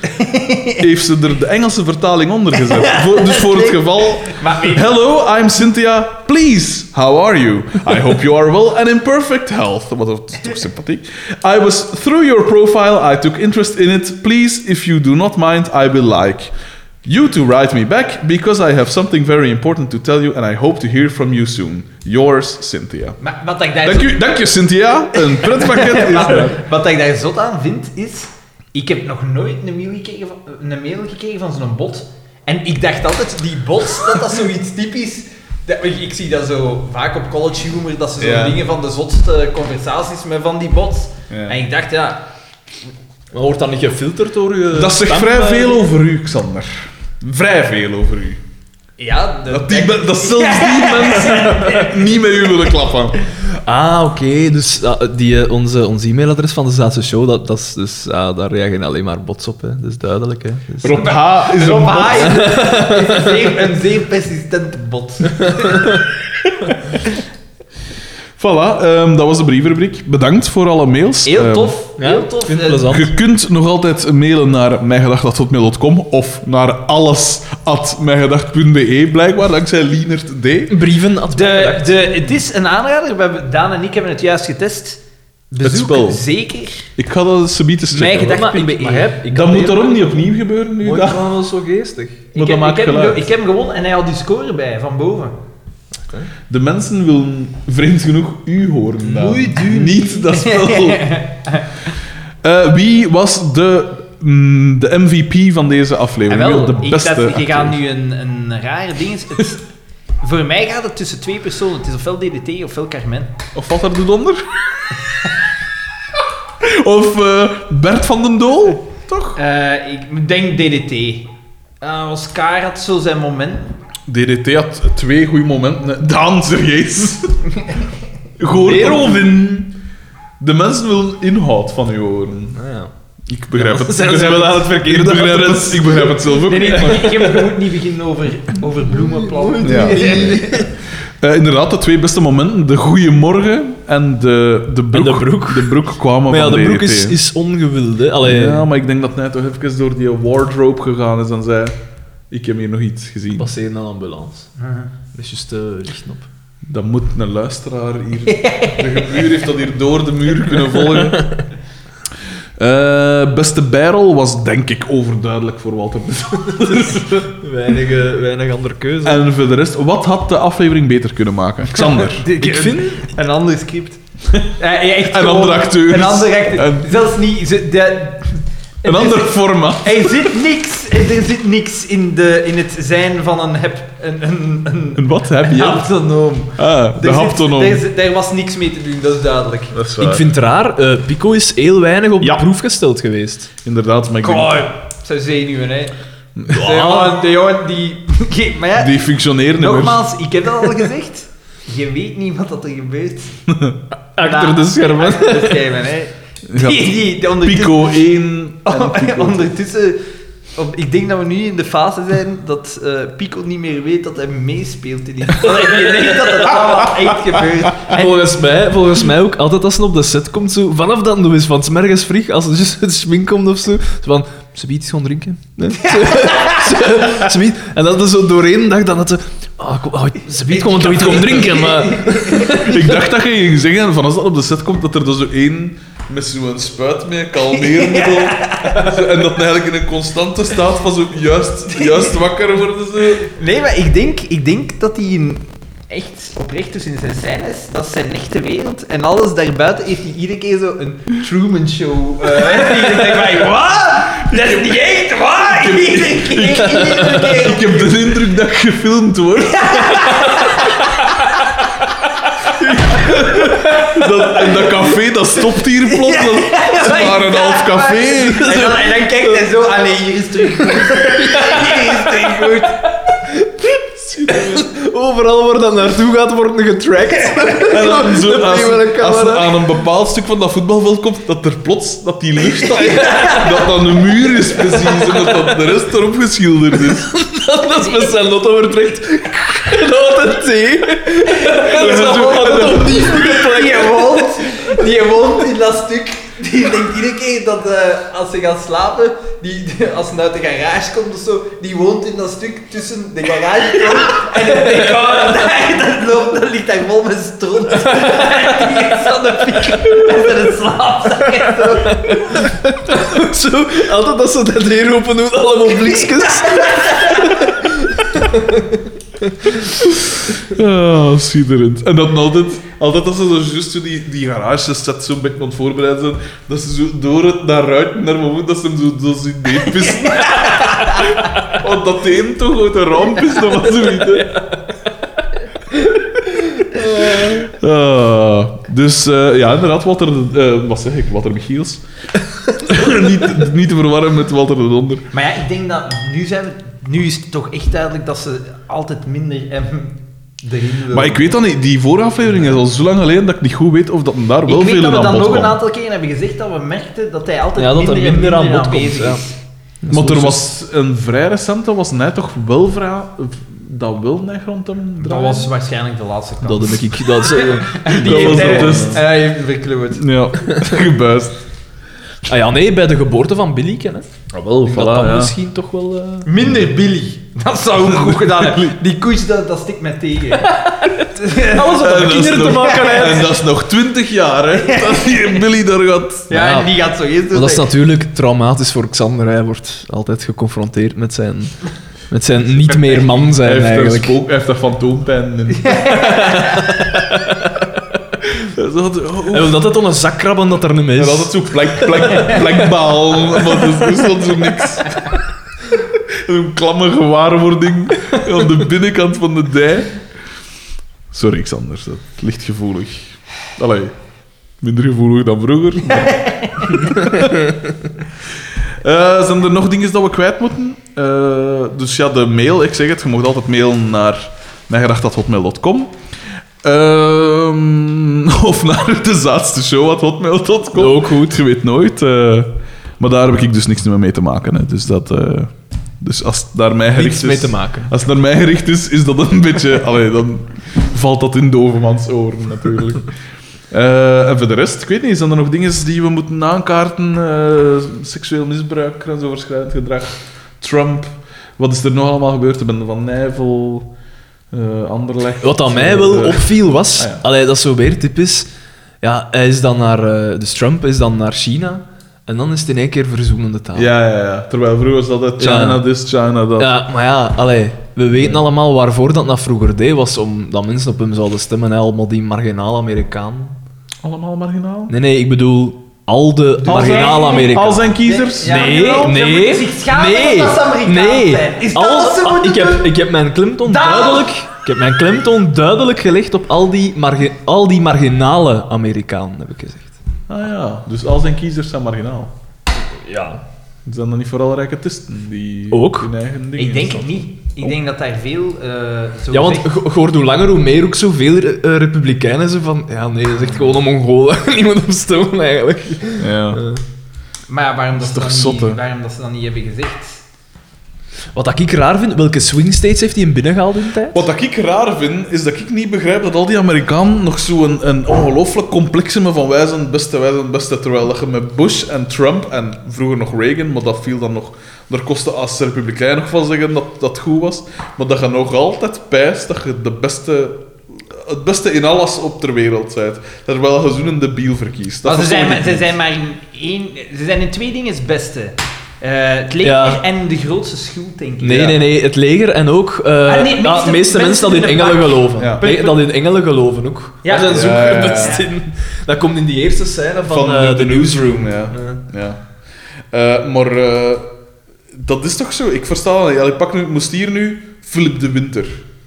S1: heeft ze er de Engelse vertaling onder gezet. Voor- dus voor het geval... Hello, I'm Cynthia. Please, how are you? I hope you are well and in perfect health. Wat dat is toch sympathiek. I was through your profile, I took interest in it. Please, if you do not mind, I will like... You to write me back because I have something very important to tell you and I hope to hear from you soon. Yours, Cynthia.
S3: Maar wat dat ik daar
S1: Dank u, dank je, Cynthia. Een pretpakket is er.
S3: Maar wat ik daar zot aan vind, is... Ik heb nog nooit een mail gekregen van, eh, een mail gekregen van zo'n bot. En ik dacht altijd, die bots, dat dat zoiets typisch... Dat, ik, ik zie dat zo vaak op college humor, dat ze zo
S1: Ja.
S3: dingen van de zotste conversaties met van die bots.
S1: Ja.
S3: En ik dacht, ja...
S2: Maar wordt dat niet gefilterd door je...
S1: Dat zegt
S2: stem,
S1: vrij
S2: eh?
S1: veel over u, Xander. Vrij veel over u.
S3: ja de-
S1: Dat, die, men- dat zelfs die mensen niet met u willen klappen.
S2: Ah, oké. Dus ah, die, eh, onze, ons e-mailadres van de Zaanse Show, dat, dat is dus, ah, daar reageren alleen maar bots op. Hè. Dat is duidelijk. Hè. Dus-
S1: Rob H. is een
S3: Rob
S1: bot.
S3: H. is een zeer, een zeer persistent bot.
S2: Ehm,
S1: Voilà, ehm, dat was de brievenrubriek. Bedankt voor alle mails.
S3: Heel
S1: Ehm,
S3: tof,
S2: ja,
S3: heel tof.
S2: vind ik
S3: Eh,
S2: plezant.
S1: Je kunt nog altijd mailen naar mijngedacht.hotmail.com of naar alles.mijngedacht.be, blijkbaar, dankzij Lienert D.
S2: eh, Brieven at
S3: De, de, het is een aanrader. We hebben, Daan en ik hebben het juist getest. Bezoek
S1: spel.
S3: zeker.
S1: Ik ga dat subiet eens checken.
S3: Mijn gedachten
S2: Maar ik- maar heb- ik
S1: Dat
S2: kan
S1: moet
S2: leren-
S1: daarom niet opnieuw gebeuren nu.
S2: Mooi,
S1: dat-
S2: dat wel zo geestig.
S1: Maar
S3: Ik
S1: dat
S3: heb,
S1: maakt
S3: ik, heb, hem
S1: geluid.
S3: ge- ik heb hem gewonnen en hij had die score bij van boven.
S1: De mensen willen vreemd genoeg u horen. Daan.
S3: Moei duur.
S1: Niet dat spel. Eh, wie was de, mm, de MVP van deze
S3: En
S1: aflevering?
S3: Ah,
S1: Wie
S3: wel,
S1: was de
S3: ik
S1: beste.
S3: dacht, je gaat
S1: acteur?
S3: nu een, een rare ding. Het, voor mij gaat het tussen twee personen. Het is ofwel DDT ofwel Carmen.
S1: Of wat er de donder? of eh, Bert van den Dool? Toch?
S3: Eh, ik denk DDT. Eh, Oscar had zo zijn moment.
S1: DDT had twee goede momenten. Daan, serieus. Goor
S2: Weer
S1: Orwin. De mensen willen inhoud van u horen.
S2: Nou
S1: Ik begrijp het.
S2: Zijn ze
S1: Ik begrijp
S2: wel
S1: het.
S2: aan het verkeerde
S1: Ik begrijp het, ik begrijp het zelf ook
S3: Nee, nee,
S1: niet.
S3: nee, je moet- je moet niet beginnen over, over bloemenplannen.
S1: Ja. Eh, inderdaad, de twee beste momenten. De goeiemorgen en de, de, broek,
S2: En de broek.
S1: De broek kwamen
S2: Maar ja,
S1: van
S2: de broek
S1: DDT.
S2: is, eh, is ongewild, hè. Allee,
S1: Ja, maar ik denk dat hij toch even door die wardrobe gegaan is en zei... Ik heb hier nog iets gezien.
S2: passeren aan ambulance. Dat is juist eh, richten op.
S1: Dat moet een luisteraar hier. De gebuur heeft dat hier door de muur kunnen volgen. Eh, beste bijrol was denk ik overduidelijk voor Walter. de Zonder.
S2: Weinig, eh, weinig andere keuze.
S1: en voor de rest, wat had de aflevering beter kunnen maken? Xander.
S2: ik vind...
S3: Een ander script. Eh, echt
S1: En
S3: gewoon
S1: andere acteurs.
S3: Een andere acteur.
S1: En-
S3: Zelfs niet... ze- de-
S1: Een
S3: het
S1: ander
S3: is-
S1: formaat.
S3: Er zit niks, er zit niks in, de, in het zijn van een heb... Een, een, een,
S1: En wat heb je?
S3: haptonoom.
S1: Ah, de
S3: Er zit-
S1: haptonoom.
S3: er zit- Daar was niks mee te doen, dat is duidelijk.
S1: Dat is waar.
S2: Ik vind het raar, eh, Pico is heel weinig op
S1: Ja.
S2: de proef gesteld geweest.
S1: Inderdaad, maar ik denk-
S3: Kooi. Zo zenuwen, hè. De jongen, de jongen die... Ge- Maar ja,
S1: die functioneren niet meer.
S3: nogmaals, ik heb dat al gezegd. Je weet niet wat dat er gebeurt.
S1: Achter
S3: Na-
S1: de schermen.
S3: Achter de schermen, hè.
S1: Ja.
S3: Die, die, die ondertussen-
S1: Pico 1
S3: Oh,
S1: en Pico
S3: Ondertussen, op- ik denk dat we nu in de fase zijn dat eh, Pico niet meer weet dat hij meespeelt in die. Ik denk dat het allemaal echt gebeurt. En
S2: volgens, mij, volgens mij ook, altijd als ze op de set komt, zo, vanaf dan doen we van 's morgens vroeg, als ze dus het schmink komt of zo, zo van, ze biedt iets gaan drinken. Nee? Zo- zo- ze biedt- en dat is zo doorheen dag dan dat ze, ah, kom, ah, ze biedt gewoon toch iets gaan drinken, maar...
S1: Ik dacht dat je ging zeggen, van als dat op de set komt, dat er dan zo één met zo'n spuit mee, kalmeermiddel. Zo, En dat hij eigenlijk in een constante staat van zo juist, juist wakker worden ze.
S3: nee, maar ik denk, ik denk dat hij in echt oprecht dus in zijn scènes, dat is zijn echte wereld. En alles daarbuiten heeft hij iedere keer zo een Truman Show. Uh, ik denk wat? Dat is niet echt waar! Iedere keer, iedere keer.
S1: Ik heb de indruk dat gefilmd wordt. Dat, en dat café, dat stopt hier plots. Dat is maar een half café.
S3: En dan, en dan kijkt hij zo, allee, hier is terug goed. Hier is terug goed.
S2: Overal waar dat naartoe gaat, wordt getracked.
S1: En dan zo,
S2: Dat
S1: als,
S2: is niet met een
S1: als er
S2: camera.
S1: aan een bepaald stuk van dat voetbalveld komt, dat er plots dat die lucht dat, dat dan een muur is precies en dat, dat de rest erop geschilderd is.
S2: Dat is met zijn lotto vertrekt. Grote thee.
S1: En dan zo- en dan-
S3: Die woont, die woont in dat stuk. Die denkt iedere keer dat eh, als ze gaat slapen, die, die- als ze uit de garage komt of zo, die woont in dat stuk tussen de garage en het decor. En daar- Dat, loopt, dat ligt daar vol met stront. Die is aan de piek onder het slaapzak. en zo.
S2: Zo, altijd als ze dat deur open doen, allemaal blikjes.
S1: Ah, schitterend. En dan altijd, altijd als ze zo juist zo die, die garage set zo'n beetje aan het voorbereiden zijn, dat ze zo door het naar ruiten naar moment dat ze hem zo, zo zien neerpissen. Want dat de een toch uit de ramp is, dat was zoiets. hè. Ah, dus eh, ja, inderdaad, Walter, eh, wat zeg ik, Walter Michiels. niet, niet te verwarren met Walter de Donder.
S3: Maar ja, ik denk dat nu zijn we- Nu is het toch echt duidelijk dat ze altijd minder hem erin willen.
S1: Maar ik weet dan niet, die vorige aflevering is al zo lang geleden dat ik niet goed weet of dat hem daar wel
S3: ik
S1: veel
S3: weet dat
S1: in
S3: we
S1: aan
S3: dan
S1: bod
S3: nog een
S1: kwam.
S3: aantal keer hebben gezegd dat we merkten dat hij altijd
S2: Ja, dat er
S3: minder, en
S2: minder aan bod komt,
S3: aanwezig
S2: ja.
S3: is.
S1: Maar er was een vrij recente, was net toch wel vrij... Dat wil net rond hem
S3: Dat
S1: draaien?
S3: was waarschijnlijk de laatste kans.
S2: Dat heb ik... Dat, dus.
S1: dat was
S3: hij-
S1: de best.
S3: hij heeft verkleurd.
S1: Ja, gebuist.
S2: Ah ja, nee, bij de geboorte van Billy kennen.
S1: Ah, wel,
S2: Dat dan misschien toch wel... eh,
S3: Minder Billy. Dat zou ook goed gedaan hebben. Die koets, dat, dat stikt mij tegen.
S2: Alles wat met kinderen te maken heeft.
S1: En dat is nog twintig jaar, hè. Dat hier Billy daar gaat...
S3: Ja,
S2: Ja.
S3: en die gaat zo eens
S2: Maar
S3: doen.
S2: dat is natuurlijk traumatisch voor Xander. Hij wordt altijd geconfronteerd met zijn, met zijn niet meer man
S1: Hij
S2: zijn
S1: heeft, er
S2: eigenlijk.
S1: spook, hij heeft er fantoompijn in. Dat, oh,
S2: Hij wil altijd om een zak krabben dat er niet meer
S1: En
S2: is.
S1: altijd zo plek, plek, plekbaal, maar dat is dan zo niks. Zo'n klamme gewaarwording aan de binnenkant van de dij. Sorry, Xander, dat ligt gevoelig. Allee, minder gevoelig dan vroeger. maar- Eh, zijn er nog dingen dat we kwijt moeten? Eh, dus ja, de mail, ik zeg het, je mag altijd mailen naar mijngedacht.hotmail.com. Ehm, of naar de zaadste show at hotmail.com. Ook goed. Je weet nooit. eh, maar daar heb ik dus niks meer mee te maken. Hè. Dus, dat, eh, dus als het naar mij gericht
S2: niets
S1: is...
S2: mee te maken.
S1: Als het naar mij gericht is, is dat een beetje... Allee, dan valt dat in dovermans oren natuurlijk. Eh, en voor de rest, ik weet niet, zijn er nog dingen die we moeten aankaarten? Eh, seksueel misbruik, grensoverschrijdend gedrag, Trump. Wat is er nog allemaal gebeurd? De Bende van Nijvel, eh Anderlecht.
S2: Wat aan mij wel
S1: eh,
S2: opviel was,
S1: Ah, ja.
S2: allee, dat is zo weer typisch. Ja, hij is dan naar, eh, dus Trump is dan naar China en dan is het in één keer verzoenende taal.
S1: Ja, ja, ja. Terwijl vroeger was dat het China
S2: Ja.
S1: this, China dat.
S2: Ja, maar ja, allee, we weten allemaal waarvoor dat dat vroeger deed, was omdat mensen op hem zouden stemmen, hè, allemaal die marginaal Amerikaan.
S1: Allemaal marginaal?
S2: Nee, nee, ik bedoel al de marginaal Amerikaan.
S1: Al zijn kiezers?
S3: Ja.
S2: Nee,
S3: jawel, ze
S2: nee,
S3: moeten zich schamen
S2: nee,
S3: dat ze Amerikaan
S2: nee.
S3: zijn. Is dat
S2: Alles-
S3: wat ze
S2: ah,
S3: moeten
S2: ik, heb,
S3: doen?
S2: ik heb mijn klemtoon
S3: Daarom.
S2: duidelijk, ik heb mijn klemtoon duidelijk gelegd op al die, marge- al die marginale Amerikanen, heb ik gezegd.
S1: Ah ja, dus al zijn kiezers zijn marginaal.
S2: Ja.
S1: Zijn dan niet vooral rijke tisten die
S2: Ook.
S1: hun eigen dingen
S3: Ik denk het
S1: instaan?
S3: niet. Ik denk dat daar veel... eh zo
S2: Ja, want
S3: gezegd-
S2: ge- gehoord hoe langer, hoe meer ook zoveel eh, republikeinen ze van... Ja, nee, dat is echt gewoon een Mongool. Niemand op stoom, eigenlijk.
S1: Ja.
S2: Eh,
S3: Maar ja, waarom dat,
S1: is
S3: ze
S1: toch
S3: dan
S1: zot, hè?
S3: niet, waarom dat ze dan niet hebben gezegd...
S2: Wat dat ik raar vind, welke swing states heeft hij in binnengehaald in de tijd?
S1: Wat dat ik raar vind, is dat ik niet begrijp dat al die Amerikanen nog zo'n een ongelooflijk complex hebben van wij zijn het beste, wij zijn het beste. Terwijl dat je met Bush en Trump en vroeger nog Reagan, maar dat viel dan nog... Daar kostte als republikein nog van zeggen dat dat goed was. Maar dat je nog altijd pijst dat je de beste, het beste in alles op ter wereld bent. Terwijl je zo'n debiel verkiest. Dat
S3: Maar ze, zijn,
S1: verstoor
S3: maar-
S1: ik
S3: ze
S1: niet.
S3: zijn maar in één... Ze zijn in twee dingen het beste. Eh, het leger
S2: Ja.
S3: en de grootste schuld, denk ik.
S2: Nee,
S1: Ja.
S2: nee, nee. Het leger en ook... eh
S3: Ah, nee,
S2: ah,
S3: mensen-
S2: de meeste mensen dat in
S3: mensen in de
S2: engelen
S3: bank.
S2: geloven.
S1: Ja.
S2: Nee, dat in engelen geloven ook.
S3: Ja.
S2: Daar zijn ze ook
S1: Ja, ja, ja.
S2: best in. Dat komt in die eerste scène van,
S1: van,
S2: eh,
S1: de,
S2: de
S1: newsroom. Ja. ja. Eh, maar eh, dat is toch zo? Ik versta dat niet. Allee, pak nu, moest hier nu Philip de Winter.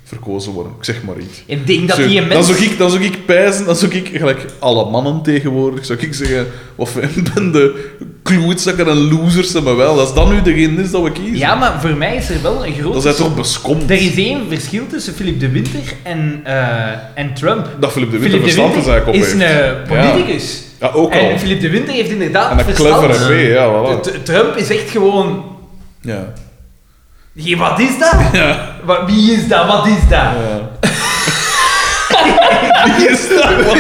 S1: verkozen worden. Ik zeg maar iets.
S3: Ik denk dat
S1: Zo,
S3: die een
S1: Dan
S3: mens...
S1: zou ik, dan zou ik pijzen, dan zou ik, gelijk alle mannen tegenwoordig, zou ik zeggen, wat vinden de kloetzakken en losers zijn, maar wel, als dat nu degene is dat we kiezen,
S3: Ja, maar voor mij is er wel een groot...
S1: dan zijn ze toch beskomd.
S3: Er is één verschil tussen Philip de Winter en, eh, en Trump.
S1: Dat Philip de Winter
S3: Philip de
S1: verstand is
S3: Winter
S1: eigenlijk op
S3: is een
S1: heeft.
S3: eh, politicus.
S1: Ja, ook al.
S3: En Philip de Winter heeft inderdaad
S1: En een
S3: verstand.
S1: clevere V, ja, voilà.
S3: T- Trump is echt gewoon...
S1: Ja.
S3: "Hé, wat is dat?
S1: Ja.
S3: Wat, wie is dat? Wat is dat?
S1: ja. Die is daar, man.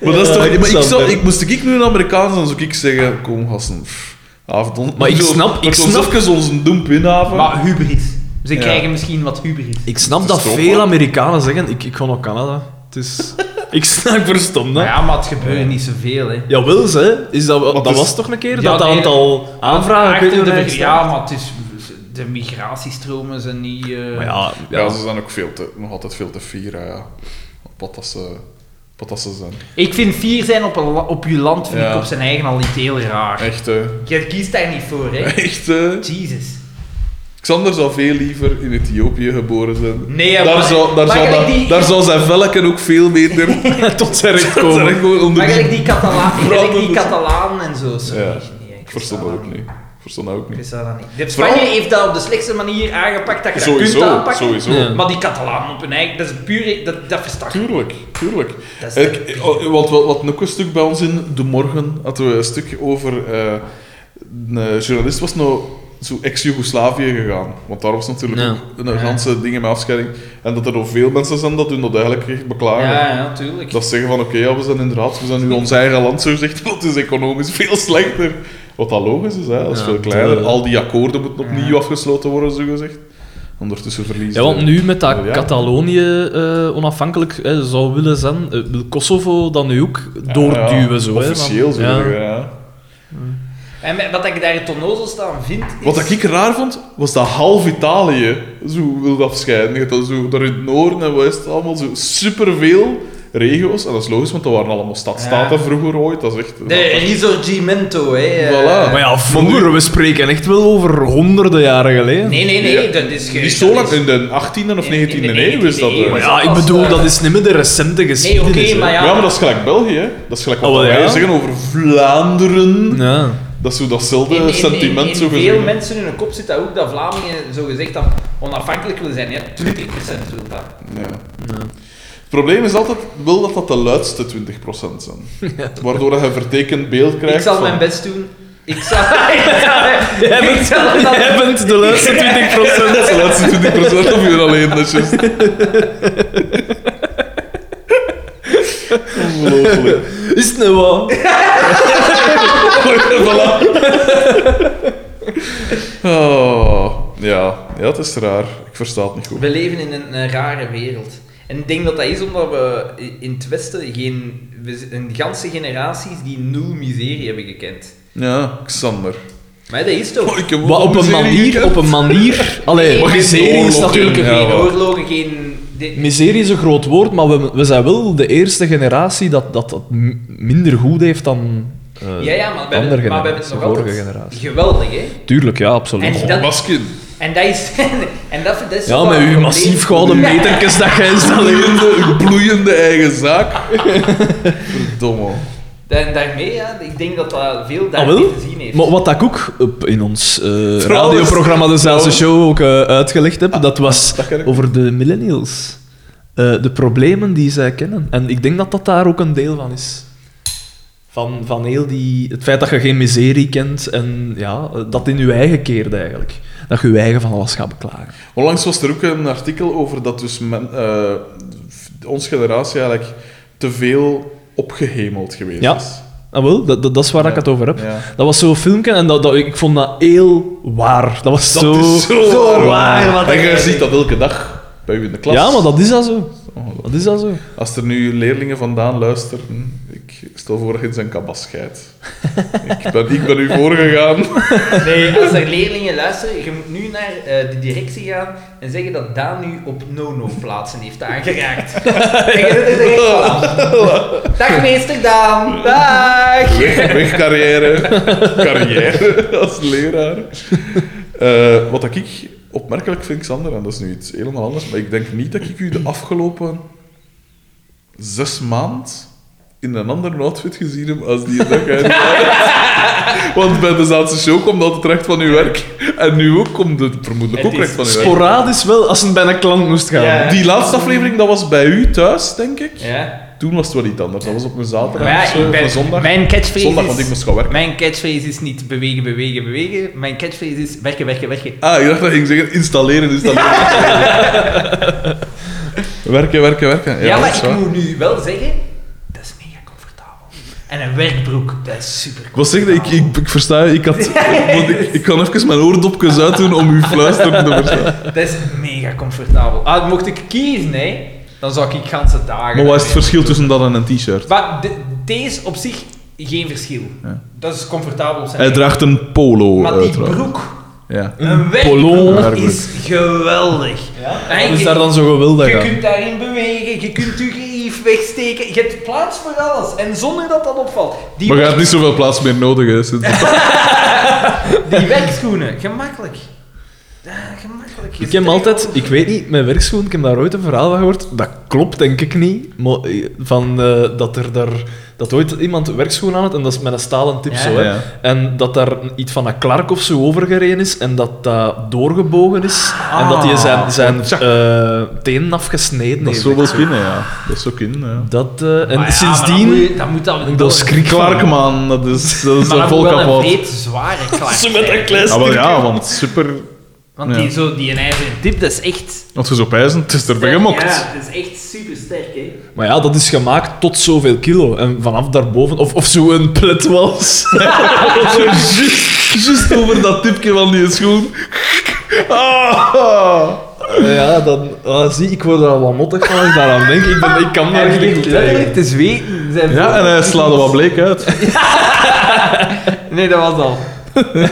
S1: Maar dat is toch...
S2: Ja,
S1: maar ik
S2: interessant,
S1: zou,
S2: hè.
S1: ik, moest ik nu een Amerikaan zijn, zou ik zeggen, kom gasten, pff, avond...
S2: Maar ik snap- ik snap-
S1: Even onze doemp inhaven.
S3: Maar hubris. Ze
S1: Ja.
S3: krijgen misschien wat hubris.
S2: Ik snap
S1: Dat
S2: dat
S1: is toch
S2: veel
S1: wel-
S2: Amerikanen zeggen, ik, ik ga naar Canada. Het is... ik snap, ik verstom dat.
S3: Maar ja, maar het gebeurt niet zoveel, hè.
S2: Jawel, ze. Is dat, dat
S1: is-
S2: was toch een keer
S3: Ja,
S2: dat
S3: nee.
S2: aantal aanvragen? ik weet
S3: Achter
S2: niet
S3: de
S2: hoe dat
S3: ver-
S2: staat.
S3: ja, maar het is... De migratiestromen zijn niet... eh,
S2: Maar ja,
S1: Ja,
S2: ja.
S1: ze zijn ook veel te, nog altijd veel te fier, hè, ja. Op wat dat ze, op wat dat ze zijn.
S3: Ik vind fier zijn op, een la- op je land vind
S1: Ja.
S3: ik op zijn eigen al niet heel raar.
S1: Echt, hè.
S3: Je kiest daar niet voor, hè?
S1: Echt, hè.
S3: Jesus.
S1: Xander zou veel liever in Ethiopië geboren zijn.
S3: Nee, ja,
S1: daar,
S3: maar-
S1: zou, daar,
S3: maar
S1: zou,
S3: gelijk
S1: dat-
S3: die-
S1: daar zou zijn velken ook veel beter
S2: tot zijn recht
S1: Dat zijn
S2: komen.
S1: echt gewoon onder
S3: Maar
S1: die-
S3: gelijk die Catalaan, gelijk die
S1: brandende-
S3: Catalaan en zo. sorry.
S1: Ja,
S3: Nee, ik
S1: Ik verstond dat ook niet. Ik verstond dat ook
S3: Ik
S1: niet.
S3: zou dat niet. De
S1: Vooral-
S3: Spanje heeft dat op de slechtste manier aangepakt dat je dat kunt
S1: Sowieso,
S3: aanpakken.
S1: sowieso.
S2: Ja.
S3: Maar die Catalaan op hun eigen, dat is puur, dat, dat verstaat.
S1: Tuurlijk, tuurlijk.
S3: Dat is
S1: Ik, oh, wat, wat, wat nog een stuk bij ons in De Morgen hadden we een stuk over. eh, een journalist was nou zo ex-Jugoslavië gegaan. Want daar was natuurlijk
S2: Ja.
S1: ook een ganse dingen met afscheiding. En dat er nog veel mensen zijn dat hun dat eigenlijk echt beklagen.
S3: Ja, ja, tuurlijk.
S1: Dat ze zeggen van oké, ja, we zijn inderdaad, we zijn nu ons eigen land, zo gezegd, want het is economisch veel slechter. Wat dat logisch is, hè? dat is
S2: Ja,
S1: veel kleiner.
S2: tuurlijk.
S1: Al die akkoorden moeten opnieuw afgesloten worden, zo gezegd. Ondertussen verliezen
S2: Ja, want nu met dat
S1: Oh, Ja.
S2: Catalonië eh, onafhankelijk eh, zou willen zijn, eh, wil Kosovo dan nu ook
S1: Ja,
S2: doorduwen.
S1: ja,
S2: zo, hè,
S1: Officieel
S2: want-
S1: zo,
S2: ja.
S1: zeggen, ja.
S3: En met- wat ik daar ten nozel staan vind, is...
S1: Wat dat ik raar vond, was dat half Italië zo wilde afscheiden. Je hebt dat zo daar in het noorden en westen allemaal zo superveel regio's. En dat is logisch, want dat waren allemaal stadstaten
S3: Ja.
S1: vroeger ooit. Dat is echt...
S3: De risorgimento, hè. eh.
S1: Voilà.
S2: Maar ja, vroeger, we spreken echt wel over honderden jaren geleden.
S3: Nee, nee, nee,
S1: Ja.
S3: dat is... ge-
S1: Niet zo
S3: dat
S1: lang,
S3: is-
S1: in de 18e of
S3: In- in de
S1: 19e eeuw is dat...
S3: 19e eeuw.
S1: eh.
S2: Maar ja, ik bedoel, dat is niet meer de recente
S3: Nee, oké,
S2: geschiedenis. hè.
S3: maar ja...
S1: Ja, maar dat is gelijk België. hè. Dat is gelijk wat
S2: Oh, wel,
S1: wij
S2: ja.
S1: zeggen over Vlaanderen.
S2: Ja.
S1: Dat is zo
S3: In-
S1: datzelfde
S3: in- in-
S1: Eh, sentiment,
S3: in
S1: zo
S3: veel
S1: gezegd.
S3: mensen in hun kop zit dat ook, dat Vlamingen zo gezegd dan onafhankelijk willen zijn. Ja, 20% wil dat.
S1: Ja. Het probleem is altijd wel dat dat de luidste 20% zijn. Waardoor dat je een vertekend beeld krijgt.
S3: Ik zal
S1: van-
S3: mijn best doen. Ik zal... ik zal-
S2: Jij
S3: ik
S2: bent,
S3: zal dat-
S2: jij bent de laatste 20
S1: Dat is de laatste 20% of je alleen, dat is juist. Ongelooflijk.
S2: Is het nou wat?
S1: voilà. Oh, ja. ja, het is raar. Ik versta het niet goed.
S3: We leven in een, een rare wereld. En ik denk dat dat is omdat we i- in het Westen geen, we z- een ganse generaties die nul miserie hebben gekend.
S1: Ja, Xander.
S3: Maar dat is toch...
S1: Oh, ik heb
S2: Maar op een
S1: miserie gekend.
S2: manier, op een manier... Allee,
S3: Maar
S2: miserie is
S1: oorlog,
S2: natuurlijk...
S1: ja.
S3: geen
S1: wel.
S3: oorlogen, geen... dit-
S2: Miserie is een groot woord, maar we, we zijn wel de eerste generatie dat dat, dat m- minder goed heeft dan eh,
S3: ja, ja, maar we
S2: de andere
S3: hebben, maar we hebben het
S2: generatie,
S3: nog
S2: de vorige
S3: altijd
S2: generatie.
S3: geweldig, hè?
S2: Tuurlijk, ja, absoluut.
S3: En-
S1: Oh,
S3: Dat-
S1: Baskin.
S3: En dat is... en dat, dat is
S2: ja,
S3: wel
S2: met
S3: een
S2: uw
S3: probleem.
S2: massief gouden
S3: Ja.
S2: metertjes dat jij installeert.
S1: Bloeiende, bloeiende eigen zaak. Verdomme.
S3: En daarmee, ja, ik denk dat dat veel
S2: Ah,
S3: daarmee
S2: wel?
S3: te zien heeft.
S2: Maar wat dat ik ook op- in ons eh,
S1: Trouwens,
S2: radioprogramma Dezelfde
S1: trouwens. Ah,
S2: Show ook eh, uitgelegd heb, dat was
S1: dat ken ik.
S2: over de millennials. Eh, de problemen die zij kennen. En ik denk dat dat daar ook een deel van is. Van, van heel die... Het feit dat je geen miserie kent en ja, eh, dat in je eigen keert eigenlijk. Dat je je eigen van alles gaat beklagen.
S1: Onlangs was er ook een artikel over dat dus men, eh, onze generatie eigenlijk te veel opgehemeld geweest
S2: Ja.
S1: is.
S2: Ah, wel, dat, dat, dat is waar ik
S1: Ja.
S2: het over heb.
S1: Ja.
S2: Dat was zo'n filmpje en dat, dat, ik vond dat heel waar. Dat was
S1: Dat
S2: zo...
S1: is zo,
S2: zo
S1: waar.
S2: waar, wat
S1: en
S2: ik-
S1: jij ziet dat elke dag bij u in de klas.
S2: Ja, maar dat is dat zo.
S1: Ongelooflijk.
S2: Dat is dat zo.
S1: Als er nu leerlingen vandaan luisteren, ik stel voor dat je in zijn kabas scheidt. ik, ben, ik ben u voorgegaan.
S3: Nee, als er leerlingen luisteren, je moet nu naar eh, de directie gaan en zeggen dat Daan nu op no-no plaatsen heeft aangeraakt. En je doet het echt voilà. Dag meester Daan, dag!
S1: Weg, weg carrière. carrière als leraar. Eh, wat dat ik opmerkelijk vind ik Sander, en dat is nu iets helemaal anders, maar ik denk niet dat ik u de afgelopen zes maand in een andere outfit gezien heb als die dag uit. Want bij de Zaanse show komt altijd recht van uw werk. En nu ook komt het vermoedelijk
S3: Het
S1: ook
S3: is
S1: recht van uw werk.
S2: Sporadisch wel, als het bij een klant moest gaan.
S3: Ja.
S1: Die laatste aflevering, dat was bij u thuis, denk ik.
S3: Ja.
S1: Toen was het wel iets anders. Dat was op een zaterdag
S3: Maar ja,
S1: of zo,
S3: ik
S1: of
S3: ben-
S1: een zondag.
S3: Mijn catchphrase
S1: Zondag,
S3: is...
S1: want ik moest gaan werken.
S3: Mijn catchphrase is niet bewegen, bewegen, bewegen. Mijn catchphrase is werken, werken, werken.
S1: Ah, ik dacht dat je ging zeggen installeren, installeren. werken, werken, werken. Ja,
S3: Ja,
S1: dat
S3: maar
S1: is
S3: ik
S1: waar.
S3: moet nu wel zeggen, dat is mega comfortabel. En een werkbroek, dat is super
S1: Ik was zeggen, ik, ik, ik versta je. Ik, had, want ik, ik kan even mijn oordopjes uitdoen om uw fluisteren te verstaan.
S3: Dat is mega comfortabel. Ah, mocht ik kiezen, hè, dan zou ik ganse dagen...
S1: Maar wat is het verschil tussen dat en een t-shirt?
S3: Maar de- deze op zich geen verschil.
S1: Ja.
S3: Dat is comfortabel zijn.
S1: Hij draagt een polo,
S3: maar
S1: eh,
S3: die
S1: trouwens.
S3: broek,
S1: Ja.
S3: een
S1: Polon.
S3: werkbroek, is geweldig. En
S2: Hoe is
S3: je-
S2: daar dan zo geweldig
S3: je
S2: aan?
S3: kunt daarin bewegen, je kunt je gerief wegsteken. Je hebt plaats voor alles. En zonder dat dat opvalt. Die,
S1: Maar je
S3: werk-
S1: hebt niet zoveel plaats meer nodig. Hè, sinds-
S3: die werkschoenen, gemakkelijk. Ja, gemakkelijk. Je
S2: Ik heb
S3: zit er
S2: altijd,
S3: gewoon-
S2: ik weet niet, mijn werkschoen, ik heb daar ooit een verhaal van gehoord. Dat klopt denk ik niet. Maar eh, van eh, dat er daar, dat ooit iemand werkschoen aan had en dat is met een stalen tip
S3: Ja.
S2: zo. Hè.
S1: Ja.
S2: En dat daar iets van een klark of zo overgereden is en dat dat doorgebogen is. en dat
S3: Ah.
S2: hij zijn, zijn eh, tenen afgesneden
S1: dat
S2: heeft.
S1: is zo wel
S2: Ik zo-
S1: kunnen, ja. Dat is ook in, ja.
S2: Dat, eh, en
S3: Maar ja,
S2: sindsdien,
S3: maar dan moet je- dan moet dat, wel-
S2: dat is schrik van.
S1: Klarkman, dat is, dat is
S3: Maar
S1: een
S3: dat moet
S1: vol
S3: wel een
S1: kapot.
S3: breed, zware klark
S2: Zo met
S3: zijn.
S2: een klein
S1: Ja, Ah, wel
S2: stukje.
S1: ja, want super...
S3: Want
S1: Ja.
S3: die, zo, die een ijzeren tip, dat is echt...
S1: Als je zo pijzen, het is er bij gemokt.
S3: Ja, dat is echt super sterk, hè.
S2: Maar ja, dat is gemaakt tot zoveel kilo. En vanaf daarboven, of, of zo'n plet was.
S1: Just over dat tipje van die schoen.
S2: Ja, dan ah, zie ik word er al wat mottig van als ik daaraan denk. Ik, ben, ik kan daar
S3: Hij
S2: niet
S3: ligt
S2: goed
S3: letterlijk
S2: tegen.
S3: te zweten. Zijn
S1: Ja, en
S3: voorhoofd
S1: hij
S3: is
S1: slaat er
S3: niet-
S1: wat bleek uit.
S3: Nee, dat was al. Dat, eh,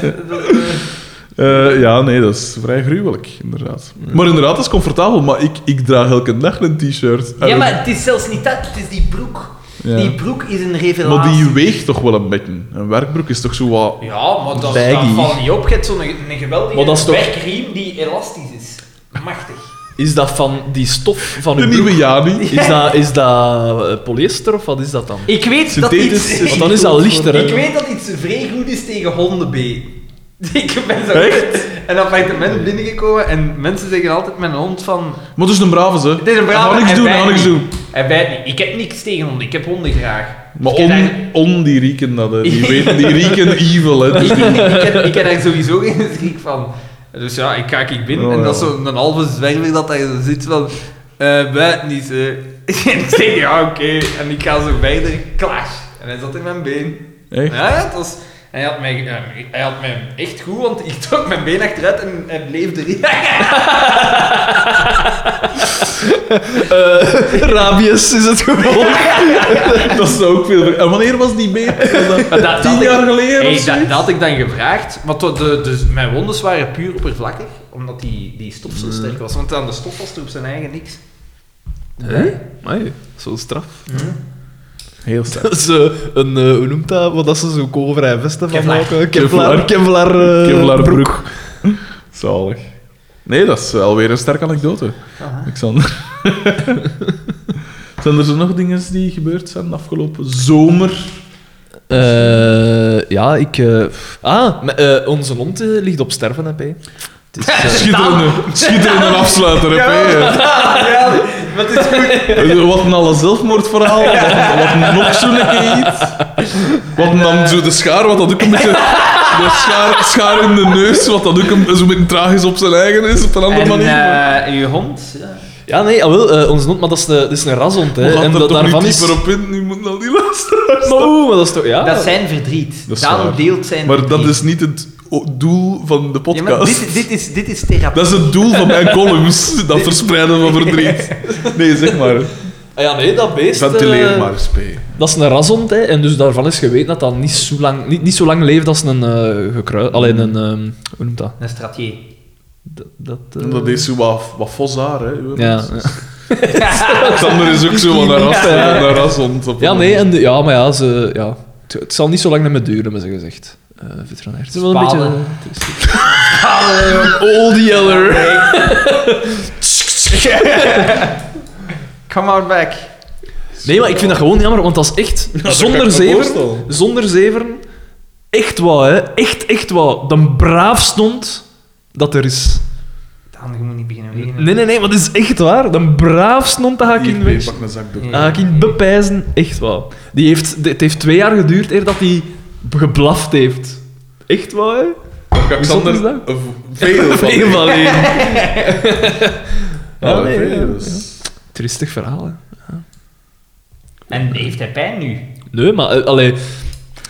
S1: Eh, ja, nee, dat is vrij gruwelijk, inderdaad. Maar inderdaad, dat is comfortabel, maar ik, ik draag elke dag een t-shirt. En
S3: ja,
S1: een-
S3: maar het is zelfs niet dat, het is die broek.
S1: Ja.
S3: Die broek is een revelatie.
S1: maar die weegt toch wel een beetje. Een werkbroek is toch zo wat...
S3: Ja, maar dat, dat
S2: Baggy.
S3: valt niet op. Je hebt zo'n een geweldige
S2: Maar dat is toch-
S3: werkriem die elastisch is. Machtig.
S2: Is dat van die stof van
S1: De
S2: uw broek?
S1: nieuwe Jani.
S2: Is dat, is dat eh, polyester of wat is dat dan?
S3: Ik weet dat
S1: Synthetisch
S3: iets...
S1: is
S2: Want dan is dat lichter, hè?
S3: Ik weet dat iets vrij goed is tegen hondenbeen. Ik ben zo
S1: Echt?
S3: een appartement binnengekomen en mensen zeggen altijd met een hond van...
S1: Maar het is een brave, hè.
S3: Het is een brave,
S1: Ga niks
S3: hij
S1: doen,
S3: bijt
S1: ga niks
S3: niet.
S1: doen.
S3: Hij bijt niet. Ik heb niks tegen honden. Ik heb honden graag.
S1: Maar
S3: ik, heb daar,
S1: on, on die rieken dat, hè. Die weten, die rieken evil, hè.
S3: ik, ik heb, ik heb daar sowieso geen schrik van. Dus ja, ik ga ik binnen
S1: Oh,
S3: en dat is
S1: ja.
S3: zo'n een halve zwerver dat daar zo zit van... eh buiten niet, hè. En ik zeg, ja, oké. En ik ga zo verder. Clash. En hij zat in mijn been.
S1: Echt?
S3: Ja, ja, het was... Hij had, mij, eh, hij had mij echt goed, want ik trok mijn been achteruit en hij bleef erin.
S2: rabies is het gewoon.
S1: Dat is ook veel... En wanneer was die beter? Was dat
S3: dat-
S1: Tien
S3: dat ik-
S1: jaar geleden
S3: Hey,
S1: of
S3: dat,
S1: zoiets?
S3: dat had ik dan gevraagd, want de, de, dus mijn wondes waren puur oppervlakkig, omdat die, die stof
S1: Mm.
S3: zo sterk was. Want aan de stof was er op zijn eigen niks.
S2: Hè? Amai, Zo'n straf.
S1: Heel sterk.
S2: Dat is eh, een, eh, hoe noemt dat? Wat dat ze zo'n koolvrij vesten van
S3: Kevlar.
S2: maken. Kevlar,
S1: Kevlar.
S2: Kevlar, eh,
S1: Kevlar
S2: broek.
S1: broek. Zalig. Nee, dat is wel weer een sterke anekdote,
S3: Aha.
S1: Alexander. zijn er zo nog dingen die gebeurd zijn de afgelopen zomer?
S2: Eh, ja, ik... eh, ah, maar, eh, onze hond eh, ligt op sterven, heb hè. Het is, eh,
S1: Schitterende, schitterende afsluiter, heb je.
S3: Ja, Ah, wat is goed.
S1: Eh, Wat een alle zelfmoordverhaal. Wat, wat nog zo'n keer iets. Wat nam zo de schaar, wat dat ook een beetje... De schaar, schaar in de neus, wat dat ook een, zo'n beetje tragisch op zijn eigen is, op een andere
S3: En
S1: manier.
S3: eh uw hond? Ja.
S2: Ja, nee, ah, wel, eh, onze hond, maar dat is, de, dat is een rashond.
S1: We
S2: Hè.
S1: gaan
S2: En
S1: er
S2: dat
S1: toch
S2: daarvan
S1: niet
S2: is...
S1: dieper op in, nu moeten al die luisteraars...
S2: Maar oeh, maar dat is toch... Ja.
S3: Dat is zijn verdriet.
S1: Ah. Dat is
S3: Daarom
S1: waar.
S3: deelt zijn
S1: Maar
S3: verdriet.
S1: dat is niet het o- doel van de
S3: Ja, maar
S1: podcast.
S3: dit, dit, is, dit is therapie.
S1: Dat is het doel van mijn columns, dat verspreiden van verdriet. Nee, zeg maar.
S2: Ah, ja, nee, dat beest...
S1: Ventileer
S2: eh,
S1: maar, SP.
S2: Dat is een rashond, hè. En dus daarvan is geweten dat dat niet zo lang, niet, niet zo lang leeft als een eh gekruid... Alleen
S1: Mm.
S2: een... ehm, hoe noemt dat?
S3: Een stratier.
S2: Dat... dat, eh,
S1: Dat is zo wat, wat fossaar, hè. uw-
S2: Ja, ja.
S1: Sander is ook zo van een ras, een ras ont. op
S2: ja,
S1: een-
S2: nee, en de- ja, maar ja, ze... Ja. Het, het zal niet zo lang naar me duren, hebben ze gezegd. Eh veterinair. Het is wel een
S3: Spalen.
S2: beetje... eh, triest. Old Yeller.
S3: Come on back.
S2: Nee, maar ik vind dat gewoon jammer, want dat is echt
S1: dat kan ik
S2: zonder
S1: me
S2: zeven.
S1: voorstellen.
S2: Zonder zeven. Echt wat, hè. Echt, echt wat. De braafste hond dat er is.
S3: Dan, je moet niet beginnen wegen.
S2: Nee, nee, nee, maar dat is echt waar. De braafste hond dat ga ik in
S1: Hier,
S2: weg.
S1: nee, pak een zakdoek.
S3: Ja.
S2: Ah, ik in bepijzen, echt wel. Die heeft, het heeft twee jaar geduurd eer dat hij geblaft heeft. Echt wel, hè?
S1: Pak
S2: Bijzonder is
S1: Alexander,
S2: dat?
S1: een v- veel van.
S2: Veel van één.
S1: Ja,
S2: Ah, nee,
S1: veel,
S2: ja.
S1: dus.
S2: Tristig verhaal, hè?
S3: En heeft hij pijn nu?
S2: Nee, maar eh, allee,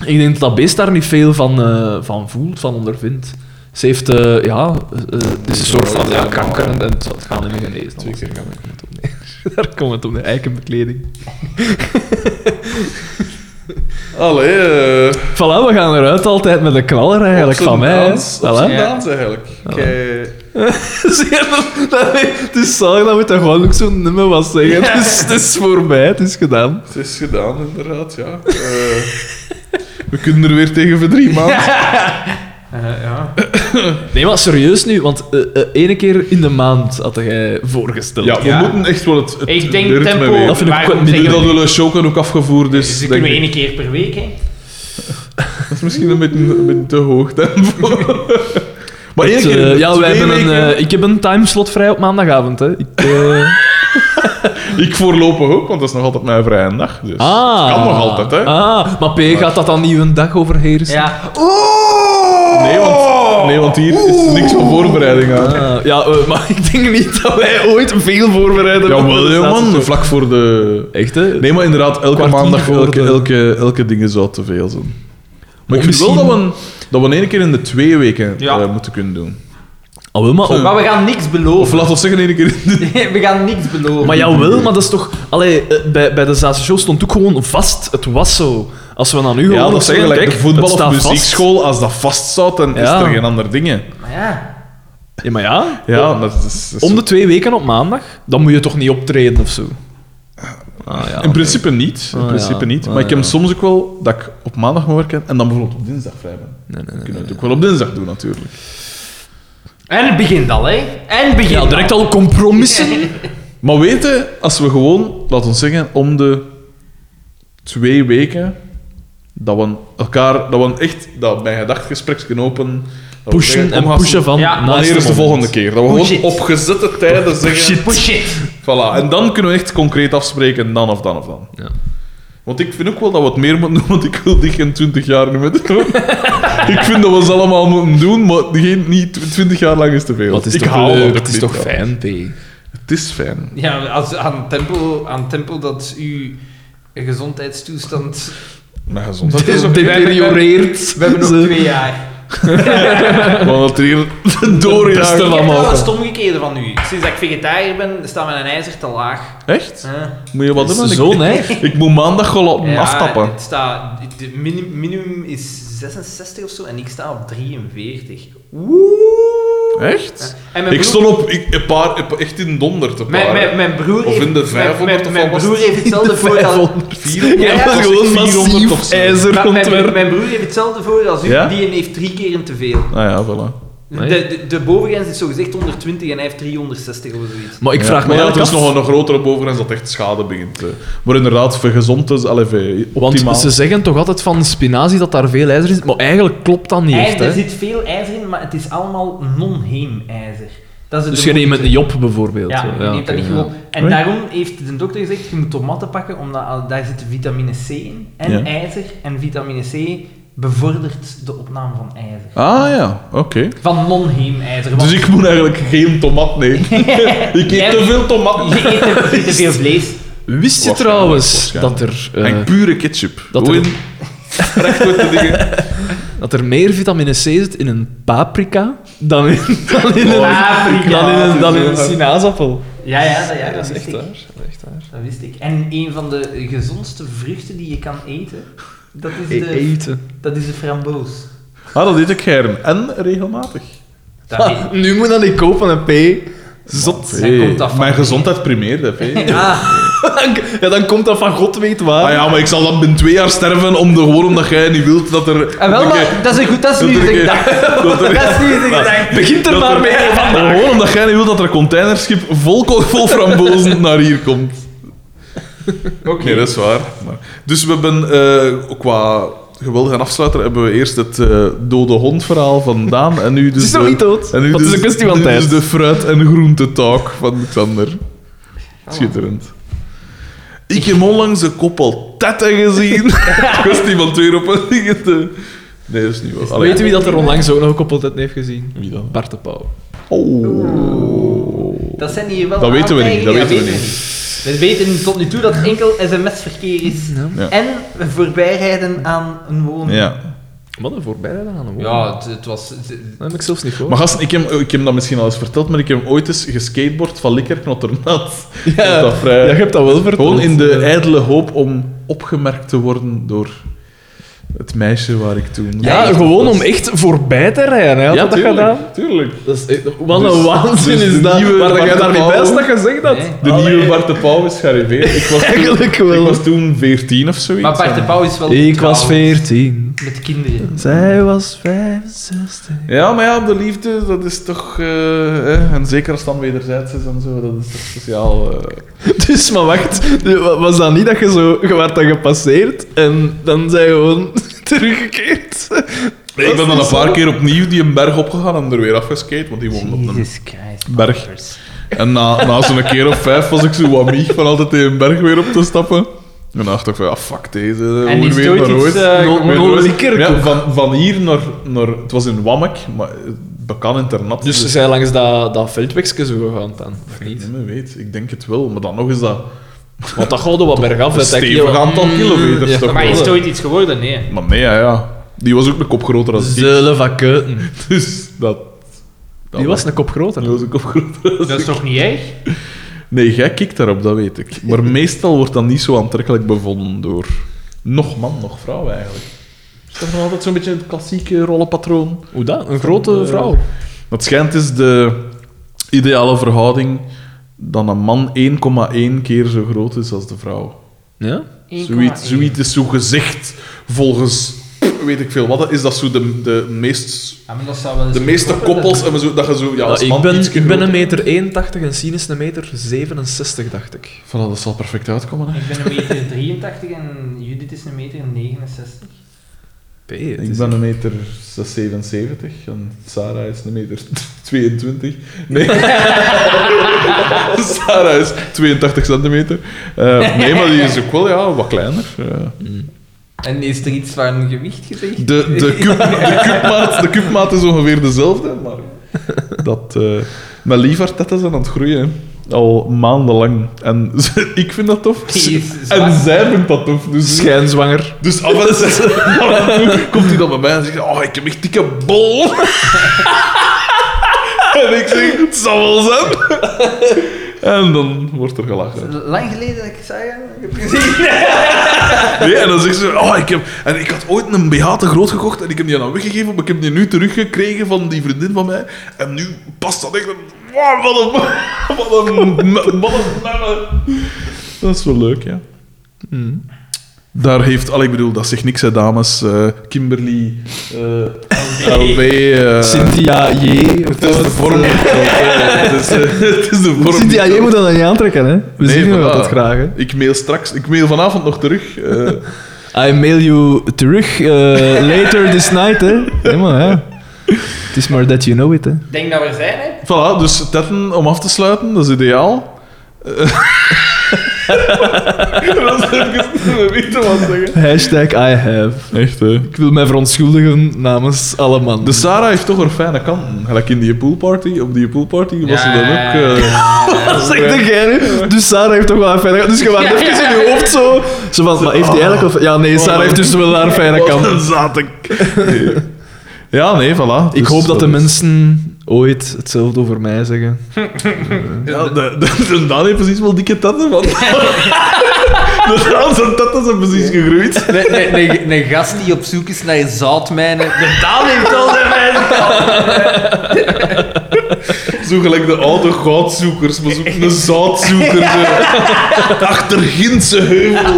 S2: ik denk dat dat beest daar niet veel van, eh, van voelt, van ondervindt. Ze heeft, eh, ja, eh, eh, het is een soort van ja, kanker en en het zal- het gaat niet meer genezen.
S1: Twee keer
S2: Daar komt het om neer. Daar komt het om neer, eikenbekleding.
S1: Allee, eh,
S2: Voilà, we gaan eruit altijd met een knaller eigenlijk
S1: op
S2: van
S1: z'n
S2: mij. hè.
S1: Daans, Op
S2: Voilà.
S1: z'n
S3: Ja.
S1: Daans eigenlijk. Kei-
S2: Zie je dat- dat- Het is zalig dat we daar gewoon ook zo'n nummer was zeggen. Het, is, het is voorbij, het is gedaan.
S1: Het is gedaan, inderdaad, ja. Eh, we kunnen er weer tegen voor drie maanden.
S3: Eh, ja.
S2: Nee, maar serieus nu, want eh eh, ene keer in de maand had jij voorgesteld.
S1: Ja, we
S3: Ja.
S1: moeten echt wel het, het
S3: Ik denk
S1: ritme
S3: tempo.
S1: weten.
S2: Dat vind ik
S3: waarom
S2: ook niet
S1: Nu
S3: zeggen
S1: dat
S3: we- Dus
S1: de Le Chocan ook afgevoerd is,
S3: Ze
S1: denk
S3: kunnen
S1: ik,
S3: één keer per week, hè?
S1: dat is misschien een beetje, een beetje te hoog tempo. maar één
S2: Het,
S1: keer in
S2: eh,
S1: de
S2: ja, wij
S1: twee
S2: hebben een,
S1: weken,
S2: eh, ik heb een timeslot vrij op maandagavond. Hè. Ik, eh,
S1: Ik voorlopig ook, want dat is nog altijd mijn vrije dag. Dus
S2: ah,
S1: het kan nog altijd, hè.
S2: Ah, maar P, gaat dat dan niet een dag overheersen?
S3: Ja.
S1: Nee, want, nee, want hier is niks van voorbereiding aan.
S2: Ah, ja, eh, maar ik denk niet dat wij ooit veel voorbereiden.
S1: Jawel,
S2: op de
S1: ja, man.
S2: status-
S1: Vlak voor de...
S2: Echt, hè?
S1: Nee, maar inderdaad, elke
S2: Kwartier
S1: maandag,
S2: voor
S1: elke,
S2: de-
S1: elke, elke dingen zou te veel zijn. Maar ik
S2: Of
S1: vind wel dat
S2: Oh, misschien-
S1: we, dat we één keer in de twee weken
S3: Ja.
S1: eh, moeten kunnen doen.
S2: Ah, wel, maar op-
S3: Oh, Maar we gaan niks
S1: Of
S3: beloven.
S1: laten we zeggen één keer in de...
S3: We gaan niks beloven.
S2: Maar jawel, maar dat is toch... Allee, eh, bij, bij de Zaanse show stond ook gewoon vast. Het was zo. Als we dan nu
S1: Ja,
S2: gewoon
S1: dat is
S2: zeggen,
S1: eigenlijk de
S2: kijk,
S1: voetbal-
S2: het
S1: of
S2: staat
S1: muziekschool. Als dat vast zou, dan
S2: Ja.
S1: is er geen ander dingen.
S3: Maar ja.
S2: vast- Ja, maar ja.
S1: Ja, dat is... dat is-
S2: Om de twee weken op maandag, dan moet je toch niet optreden of zo? Ah, ja.
S1: In principe niet. In
S2: Ah,
S1: principe
S2: ja.
S1: niet.
S2: Ah,
S1: Maar ik heb
S2: ja.
S1: soms ook wel dat ik op maandag moet werken en dan bijvoorbeeld op dinsdag vrij ben.
S2: Nee, nee,
S1: Dan
S2: nee.
S1: kunnen we het ook wel op dinsdag doen, natuurlijk.
S3: En het begint al, hè? En het begint
S2: Ja, direct al compromissen.
S1: Maar weten, als we gewoon, laten we zeggen, om de twee weken, dat we elkaar, dat we echt dat mijn gedachtgesprek kunnen open. dat we
S2: Pushen
S1: zeggen,
S2: en
S1: omgaan,
S2: pushen van...
S3: Ja,
S2: naast
S1: Wanneer is de
S2: moment. Oh,
S1: volgende keer? Dat we
S3: Push
S1: gewoon
S3: it.
S1: op gezette tijden zeggen.
S3: Push it.
S1: Voilà, en dan kunnen we echt concreet afspreken, dan of dan of dan.
S2: Ja.
S1: Want ik vind ook wel dat we het meer moeten doen, want ik wil die geen 20 jaar niet meer doen. ik vind dat we ze allemaal moeten doen, maar geen, niet tw- 20 jaar lang is te veel.
S2: Wat is
S1: ik
S2: toch
S1: hou
S2: leuk,
S1: dat
S2: Het is
S1: niet
S2: toch
S1: van.
S2: fijn, P.
S1: Het is fijn.
S3: Ja, als, aan, tempo, aan tempo dat uw gezondheidstoestand...
S1: Mijn gezondheid is ook
S2: Deterioreert.
S3: We hebben nog
S2: Ze-
S3: twee jaar.
S1: Gewoon dat er hier door is
S2: beste
S1: te
S2: van
S1: lang
S3: Ik heb
S2: maken.
S3: wel het omgekeerde van u. Sinds dat ik vegetariër ben, staat mijn ijzer te laag.
S1: Echt?
S3: Huh?
S1: Moet je wat
S2: Dat
S1: doen?
S2: is
S1: Ik-
S2: zo, hè?
S1: Ik moet maandag gewoon laten
S3: Ja,
S1: aftappen.
S3: Het staat, het- het minim- minimum is 66 of zo en ik sta op 43.
S1: Echt?
S3: En mijn
S1: Ik
S3: broer-
S1: stond op, ik, een paar, een paar- echt in donder te
S3: Mijn, mijn,
S1: paren.
S3: mijn broer
S1: Of in de
S3: heeft- mijn-
S1: 500
S3: mijn,
S1: of
S3: mijn
S1: wat was
S3: broer
S1: het?
S3: heeft hetzelfde voordeel...
S1: 400.
S3: Ja,
S2: Ja,
S3: dat
S2: maar
S3: is
S2: gewoon
S1: 400 of
S2: massief
S1: zo.
S2: ijzer
S3: Maar mijn,
S2: ontwerp.
S3: mijn broer heeft hetzelfde voordeel als u,
S1: Ja?
S3: die heeft drie keren te veel.
S1: Ah ja, voilà.
S2: Nee.
S3: De, de, de bovengrens is zogezegd 120 en hij heeft 360 of zoiets.
S2: Maar ik
S1: Ja.
S2: vraag me
S1: maar ja,
S2: eigenlijk
S1: er is
S2: af...
S1: nog een, een grotere bovengrens dat echt schade begint. eh. Maar inderdaad, voor gezond is allee, voor
S2: Want
S1: optimaal.
S2: ze zeggen toch altijd van spinazie dat daar veel ijzer is, maar eigenlijk klopt dat niet echt.
S3: IJzer, er
S2: Hè?
S3: zit veel ijzer in, maar het is allemaal non-heemijzer. Dat is het
S2: Dus je neemt het niet op, bijvoorbeeld.
S3: Ja, je neemt dat
S2: oké, ja.
S3: niet gewoon op. En
S1: Oei.
S3: daarom heeft de dokter gezegd, je moet tomaten pakken, omdat al- daar zit vitamine C in. En
S1: Ja.
S3: ijzer. En vitamine C bevordert de opname van ijzer.
S1: Ah ja, oké.
S3: Van non-heemijzer. want
S1: Dus ik moet eigenlijk geen tomat nemen. ik
S3: Jij-
S1: eet te veel tomaten.
S3: Je eet te- je eet te veel vlees.
S2: Wist je
S1: Waarschijnlijk,
S2: trouwens
S1: waarschijnlijk.
S2: dat er, eh,
S1: En pure ketchup.
S2: dat
S1: Gewoon
S2: er-
S1: recht met de dingen.
S2: dat er meer vitamine C zit in een paprika dan in, dan in, een,
S3: Paprika.
S2: dan in, een, dan in een
S1: Ja.
S2: sinaasappel?
S3: Ah, Ja, ja, dat, ja, dat,
S2: is
S3: wist
S2: echt
S3: ik.
S2: waar. Dat is echt waar.
S3: Dat wist ik. En een van de gezondste vruchten die je kan eten, dat is
S2: E-
S3: de,
S2: Eten.
S3: dat is de framboos.
S1: Ah, dat eet ik gern. En regelmatig.
S3: Dat weet
S2: Ah.
S3: ik.
S2: nu moet dat niet kopen, een P.
S1: Zot.
S3: Zij komt af van-
S1: Mijn gezondheid primeert, hè. P.
S3: Ah,
S2: ja, dan komt dat van God weet waar.
S1: Ah ja, maar ik zal dan binnen twee jaar sterven om de, gewoon omdat jij niet wilt dat er...
S3: En Ah, wel,
S1: dat jij-
S3: maar dat is, een goed, dat is
S1: dat
S3: nu
S1: er
S3: de
S1: geen-
S3: gedachte.
S1: dat er-
S3: Dat is nu de gedachte.
S2: Begint er maar mee.
S1: Gewoon omdat jij niet wilt dat er een containerschip vol, ko- vol frambozen naar hier komt. Oké. Nee, dat is waar. Maar... Dus we hebben eh, qua geweldige afsluiter hebben we eerst het eh, dode hond verhaal van Daan en nu dus...
S2: Het is nog
S1: de-
S2: niet dood.
S1: En nu
S2: Dat
S1: dus,
S2: is een kwestie van
S1: nu
S2: tijd.
S1: dus de fruit- en groente-talk van Xander.
S2: Ah.
S1: Schitterend. Ik heb onlangs een koppel tetten gezien. kwestie van twee euro per ticket. Nee, dat is niet waar. Allee,
S2: Weet je wie dat er onlangs ook nog gekoppeld heeft heeft gezien?
S1: wie dan?
S2: Bart de Pauw.
S1: Oh.
S3: Dat zijn hier wel
S1: Dat weten we niet, dat
S3: aantijgingen.
S1: weten we
S3: We weten tot nu toe dat enkel sms-verkeer is.
S1: Ja.
S3: En voorbijrijden aan een woning.
S1: Ja.
S2: Wat een voorbijrijden aan hem. hoor.
S3: Ja, het, het was... het-
S2: Dat heb ik zelfs niet gehoord.
S1: Maar gasten, ik heb, ik heb dat misschien al eens verteld, maar ik heb ooit eens geskateboard van Likkerk naar Ternat.
S2: ja,
S1: dat vrij-
S2: ja, je hebt dat wel eh, verteld.
S1: Gewoon in de ijdele hoop om opgemerkt te worden door het meisje waar ik toen...
S2: Ja, gewoon om echt voorbij te rijden. Hij had dat
S1: tuurlijk,
S2: gedaan.
S1: Tuurlijk.
S2: Dat is echt- wat
S1: Dus-
S2: een waanzin
S1: dus de
S2: is dat.
S1: nieuwe
S2: maar dat jij
S1: Bart
S2: daar
S1: de
S2: niet bij
S1: Pauw-
S2: staat gezegd dat.
S3: Nee.
S1: De
S2: Allee.
S1: nieuwe Bart de Pauw is gearriveerd. Ik was toen,
S2: Eigenlijk wel.
S1: ik was toen 14 of zoiets.
S3: Maar Bart de
S1: En-
S3: Pauw is wel...
S2: Ik was
S3: trouw
S2: veertien.
S3: Met kinderen.
S2: Zij was 65.
S1: Ja, maar ja, de liefde, dat is toch... eh, hè, en zeker als het dan wederzijds is en zo, dat is toch speciaal... eh.
S2: Dus, maar wacht. Was dat niet dat je zo... Je werd dan gepasseerd en dan zijn je gewoon teruggekeerd?
S1: Ik ben dan een paar keer opnieuw die een berg opgegaan en er weer afgeskate, want die woonde op een
S3: Jesus Christ.
S1: berg. En na, na zo'n keer of vijf was ik zo wat mieg van altijd tegen een berg weer op te stappen. En dacht ik van, ja, fuck deze, hoe
S3: die is
S1: weer
S3: nooit
S1: naar
S3: iets,
S1: ooit.
S3: eh,
S1: Weer
S2: gewoon-
S1: naar
S2: gewoon
S1: ooit.
S2: Liekerk
S1: Ja,
S2: ook.
S1: van, van hier naar, naar... Het was in Wammek, maar het bekan internat.
S2: Dus ze zijn langs dat, dat veldwegje zo gegaan dan, of niet?
S1: Nee, men weet, ik denk het wel. Maar dan nog is dat
S2: Want dat gaat er wat bergaf.
S1: een
S2: dat dat
S1: stevig
S2: kilo-
S1: aantal
S2: Mm,
S1: kilometers.
S2: ja.
S1: toch
S3: Maar is
S1: wel.
S3: het ooit iets geworden? Nee.
S1: Maar nee, ja, ja. Die was ook een kop groter dan ik.
S2: Zeulen van Keuten.
S1: Dus dat... dat
S2: Die was een kop groter.
S1: die was een kop groter dan
S3: Dat is toch niet erg?
S1: Nee, jij kikt daarop, dat weet ik. Maar meestal wordt dat niet zo aantrekkelijk bevonden door nog man, nog vrouw eigenlijk. Is dat nog altijd zo'n beetje het klassieke rollenpatroon?
S2: Hoe dat? Een grote
S1: Eh,
S2: vrouw.
S1: Dat schijnt is de ideale verhouding dat een man 1,1 keer zo groot is als de vrouw.
S2: Ja?
S1: Zoiets, zoiets is zo gezegd volgens weet ik veel wat. Is dat zo de, de, meest,
S3: Ja, maar dat zou wel eens
S1: de meeste
S3: kunnen worden.
S1: koppels en zo, dat je zo ja, als
S2: Ja,
S1: man
S2: Nou, ik, ben,
S1: ietsje
S2: ik ben
S1: groter-
S2: een meter 81 en Sien is een meter 67, dacht ik.
S1: Voilà, dat zal perfect uitkomen. Hè.
S3: Ik ben een meter 83 en Judith is een meter 69.
S2: P, het
S1: Ik
S2: is-
S1: ben een meter 77 en Sarah is een meter 22. Nee. Sarah is 82 centimeter. Eh, nee, maar die is ook wel ja, wat kleiner. eh.
S3: En is er iets van gewicht gezegd?
S1: De, de, kuub- de, kuubmaat, de kuubmaat is ongeveer dezelfde, maar dat, eh mijn lievertetten zijn aan het groeien. hè. Al maandenlang. En ze- ik vind dat tof.
S3: Die is zwak.
S1: En zij vindt dat tof. Dus
S2: Schijnzwanger.
S1: dus af en toe- af en toe komt hij dan bij mij en zegt: Oh, ik heb echt dikke bol. en ik zeg: Het zal wel zijn. en dan wordt er gelachen.
S3: Lang geleden dat ik zei, ik heb gezien.
S1: Nee, en dan zegt ze: Oh, ik heb. En ik had ooit een BH te groot gekocht en ik heb die dan weggegeven, maar ik heb die nu teruggekregen van die vriendin van mij. En nu past dat echt. Wow, wat een. Wat een. Wat een. Dat is wel leuk, ja.
S2: Mm.
S1: Daar heeft, al ik bedoel, dat zegt niks, hè, dames. eh, Kimberly, eh LB, eh,
S2: Cynthia J.
S1: het is de vorm. Het is, eh, het is de vorm.
S2: Cynthia J moet dat dan niet aantrekken, hè? We
S1: Nee,
S2: zien je
S1: voilà.
S2: dat graag, hè?
S1: Ik mail straks, ik mail vanavond nog terug. eh,
S2: I mail you terug eh, later this night, hè? Helemaal, ja. Het is maar that you know it, hè?
S3: Ik denk dat we er zijn, hè?
S1: Voilà, dus tetten om af te sluiten, dat is ideaal. Eh, dat is even een witte man zeggen.
S2: Hashtag I have.
S1: Echt, hè. Dus
S2: Ik wil mij verontschuldigen namens alle mannen.
S1: De Sarah heeft toch haar fijne kanten. Gelijk in die poolparty. Op die poolparty was ze dan ook... eh,
S2: dat zegt de gein, Dus Sarah heeft toch wel haar fijne kant. Dus je waart even in je hoofd zo. Zo van, maar heeft hij eigenlijk... Of... Ja, nee, Sarah heeft dus wel haar fijne
S1: wat
S2: kant.
S1: een zaten. eh, Nee. Ja, nee, voilà.
S2: Ik
S1: Dus,
S2: hoop dat de
S1: eh,
S2: mensen ooit hetzelfde over mij zeggen.
S1: Ja, de, de, de Daan heeft precies wel dikke tetten, want... de Daan zijn tetten zijn precies gegroeid.
S3: Een gast die op zoek is naar zoutmijnen. De Daan heeft al zijn mijnen.
S1: Zo gelijk de oude goudzoekers, maar zo een zoutzoeker. zo. Achter Gintse heuvel.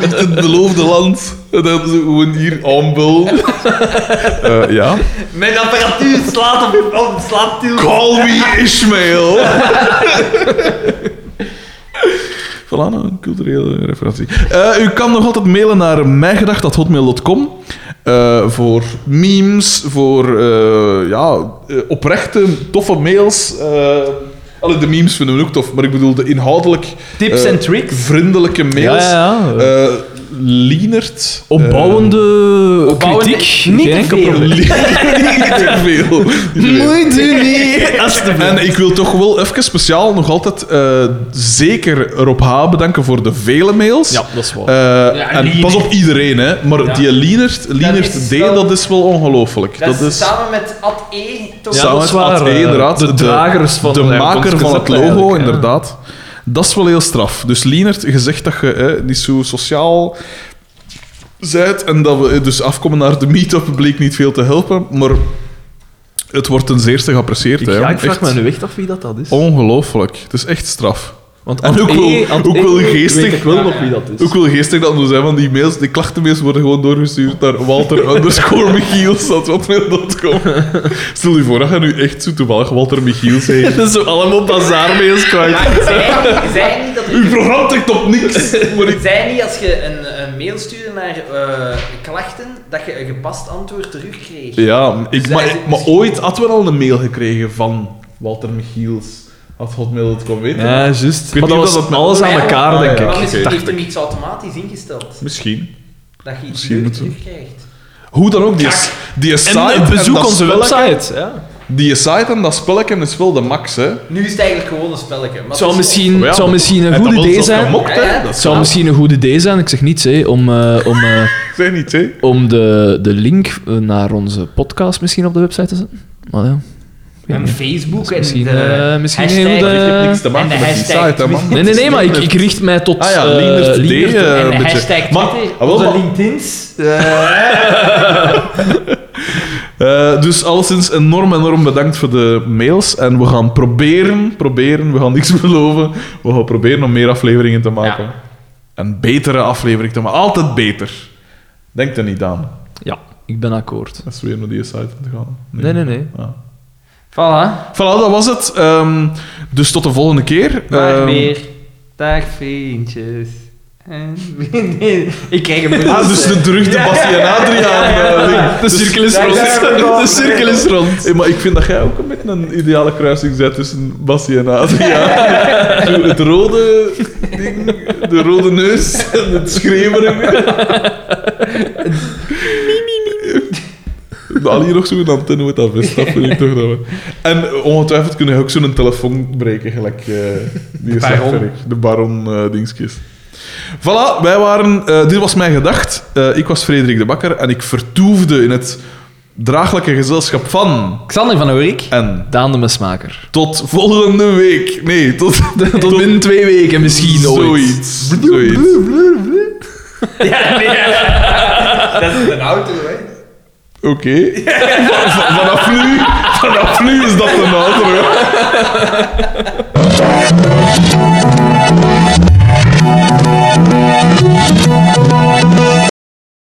S1: Niet het beloofde land. En dan zo gewoon hier aanbel. Eh, ja.
S3: Mijn apparatuur slaat op, op slaat toe.
S1: Call me Ishmael. Voilà, nou, een culturele referentie. Eh, u kan nog altijd mailen naar mijgedacht.hotmail.com eh, voor memes, voor eh, ja, eh, oprechte, toffe mails. eh allee, de memes vinden we ook tof, maar ik bedoel de inhoudelijk
S4: Tips
S1: eh,
S4: en tricks.
S1: vriendelijke mails.
S4: Ja, ja, ja.
S1: Eh, Lienert.
S4: Opbouwende,
S3: opbouwende-
S4: kritiek.
S3: niet
S4: Geen
S3: te
S4: enkel
S3: veel.
S1: eh,
S4: probleem.
S1: Li- niet te veel. Niet te veel.
S4: u niet.
S1: En ik wil toch wel even speciaal nog altijd eh, zeker Rob H. bedanken voor de vele mails.
S4: Ja, dat is waar.
S1: Eh,
S3: Ja,
S1: en
S3: Lienert.
S1: pas op iedereen, hè. Maar
S3: Ja.
S1: die Lienert, Lienert
S3: is
S1: D,
S3: wel-
S1: dat is wel ongelooflijk.
S3: Dat, is
S1: ja,
S3: samen met Ad E. toch
S4: Ja. dat
S1: samen
S4: is
S1: met
S4: waar,
S1: Ad E,
S4: eh,
S1: inderdaad.
S4: de dragers van
S1: de
S4: het
S1: maker van het
S4: concept
S1: logo,
S4: eigenlijk, hè.
S1: inderdaad. Dat is wel heel straf. Dus Lienert, gezegd dat je hè, niet zo sociaal zijt en dat we eh, dus afkomen naar de meet-up, bleek niet veel te helpen, maar het wordt ten zeerste geapprecieerd.
S2: Ik,
S1: hè,
S2: ja,
S1: want
S2: ik vraag
S1: echt-
S2: me nu echt af wie dat, dat is.
S1: Ongelooflijk. Het is echt straf.
S2: Want
S1: En ook wel- ook wel geestig.
S2: Weet ik wel nog wie dat is.
S1: Ook wel geestig dat we zijn van die mails, die klachtenmails worden gewoon doorgestuurd naar Walter underscore Michiels, dat hotmail.com. Stel je voor dat je nu echt zo toevallig Walter Michiels heet.
S2: Dat is zo allemaal bazaarmails kwijt.
S3: Maar zij, zij niet dat
S1: Uw programma tikt op niks. Maar ik...
S3: Het zijn niet als je een, een mail stuurde naar eh, klachten dat je een gepast antwoord terugkreeg.
S1: Ja, ik, maar, maar ooit hadden we al een mail gekregen van Walter Michiels, at hotmail.com, weet je?
S2: Ja, juist. Maar
S1: weet
S2: dat
S1: niet of
S2: was
S1: dat met-
S2: alles aan elkaar,
S1: Ah,
S2: denk
S1: ja.
S2: ik.
S3: Dan is het
S1: dacht
S3: heeft hem iets automatisch ingesteld.
S1: Misschien.
S3: Dat je iets
S1: Misschien
S3: leuk
S1: moeten we-
S3: terugkrijgt.
S1: Hoe dan ook, die, die site
S2: En eh,
S1: en
S2: bezoek
S1: dat
S2: onze
S1: spelletje-
S2: website. Ja.
S1: Die site en dat spelletje is wel de max, hè.
S3: Nu is het eigenlijk gewoon een spelletje. Maar
S2: Het zou
S3: het is-
S2: misschien,
S1: Maar Oh ja,
S2: het zou misschien een
S1: hij
S2: goed
S1: had ons
S2: idee
S1: dat
S2: zijn.
S1: gemokt, hè.
S3: Ja, ja.
S1: Dat
S2: Het zou misschien een goed idee zijn, ik zeg niets, hè, om, eh, om, eh,
S1: zijn niet, hè.
S2: om de, de link eh, naar onze podcast misschien op de website te zetten. Maar ja.
S3: En Facebook en
S2: Misschien,
S3: de
S2: eh, misschien
S3: hashtag-
S2: heel
S1: Ik heb
S2: de-
S1: niks te maken
S3: en de
S1: met die
S3: hashtag
S1: site, hè, man.
S2: Nee, nee, nee, maar ik, ik richt mij tot...
S1: Ah ja,
S2: eh,
S1: Lienert D,
S2: Lienert.
S1: eh,
S3: en
S1: een
S3: de
S1: beetje.
S3: hashtag
S1: Maar-
S3: Twitter,
S1: ah, wel,
S3: onze
S1: maar-
S3: LinkedIn's.
S1: Eh, dus alleszins enorm, enorm bedankt voor de mails. En we gaan proberen, proberen, we gaan niks beloven. We gaan proberen om meer afleveringen te maken.
S3: Ja.
S1: Een betere aflevering te maken. Altijd beter. Denk er niet aan.
S2: Ja, ik ben akkoord.
S1: Dat is weer naar die site aan te gaan.
S2: Nee, nee, nee.
S1: Ah.
S3: Voilà.
S1: Voilà, dat was het. Ehm, dus tot de volgende keer.
S3: Dag
S1: Ehm,
S3: weer. Dag vriendjes. En- Nee, ik krijg een
S1: Ah, dus de druk de Bassie en Adriaan. eh, link.
S2: De cirkel is
S3: Daar
S2: rond.
S3: zijn we nog.
S2: De cirkel is rond.
S1: Hey, maar ik vind dat jij ook een beetje een ideale kruising bent tussen Bassie en Adriaan. Zo het rode ding, de rode neus en het schreeuwerige. Al hier nog zo'n antenne met dat vest, dat vind ik toch dat we... En ongetwijfeld kunnen we ook zo'n telefoon breken, gelijk eh, die is
S3: baron.
S1: afwerkt. De baron eh dingskist. Voilà, wij waren... eh, dit was mijn gedacht. Eh, ik was Frederik de Bakker en ik vertoefde in het draaglijke gezelschap van...
S3: Xander van Oerik.
S1: En
S2: Daan de Mesmaker.
S1: tot volgende week. Nee, tot, tot,
S2: Tot binnen twee weken misschien ooit.
S1: zoiets. zoiets.
S3: Ja, nee, ja. Dat is een auto, hè.
S1: Oké. V- vanaf, nu, vanaf nu is dat een outro.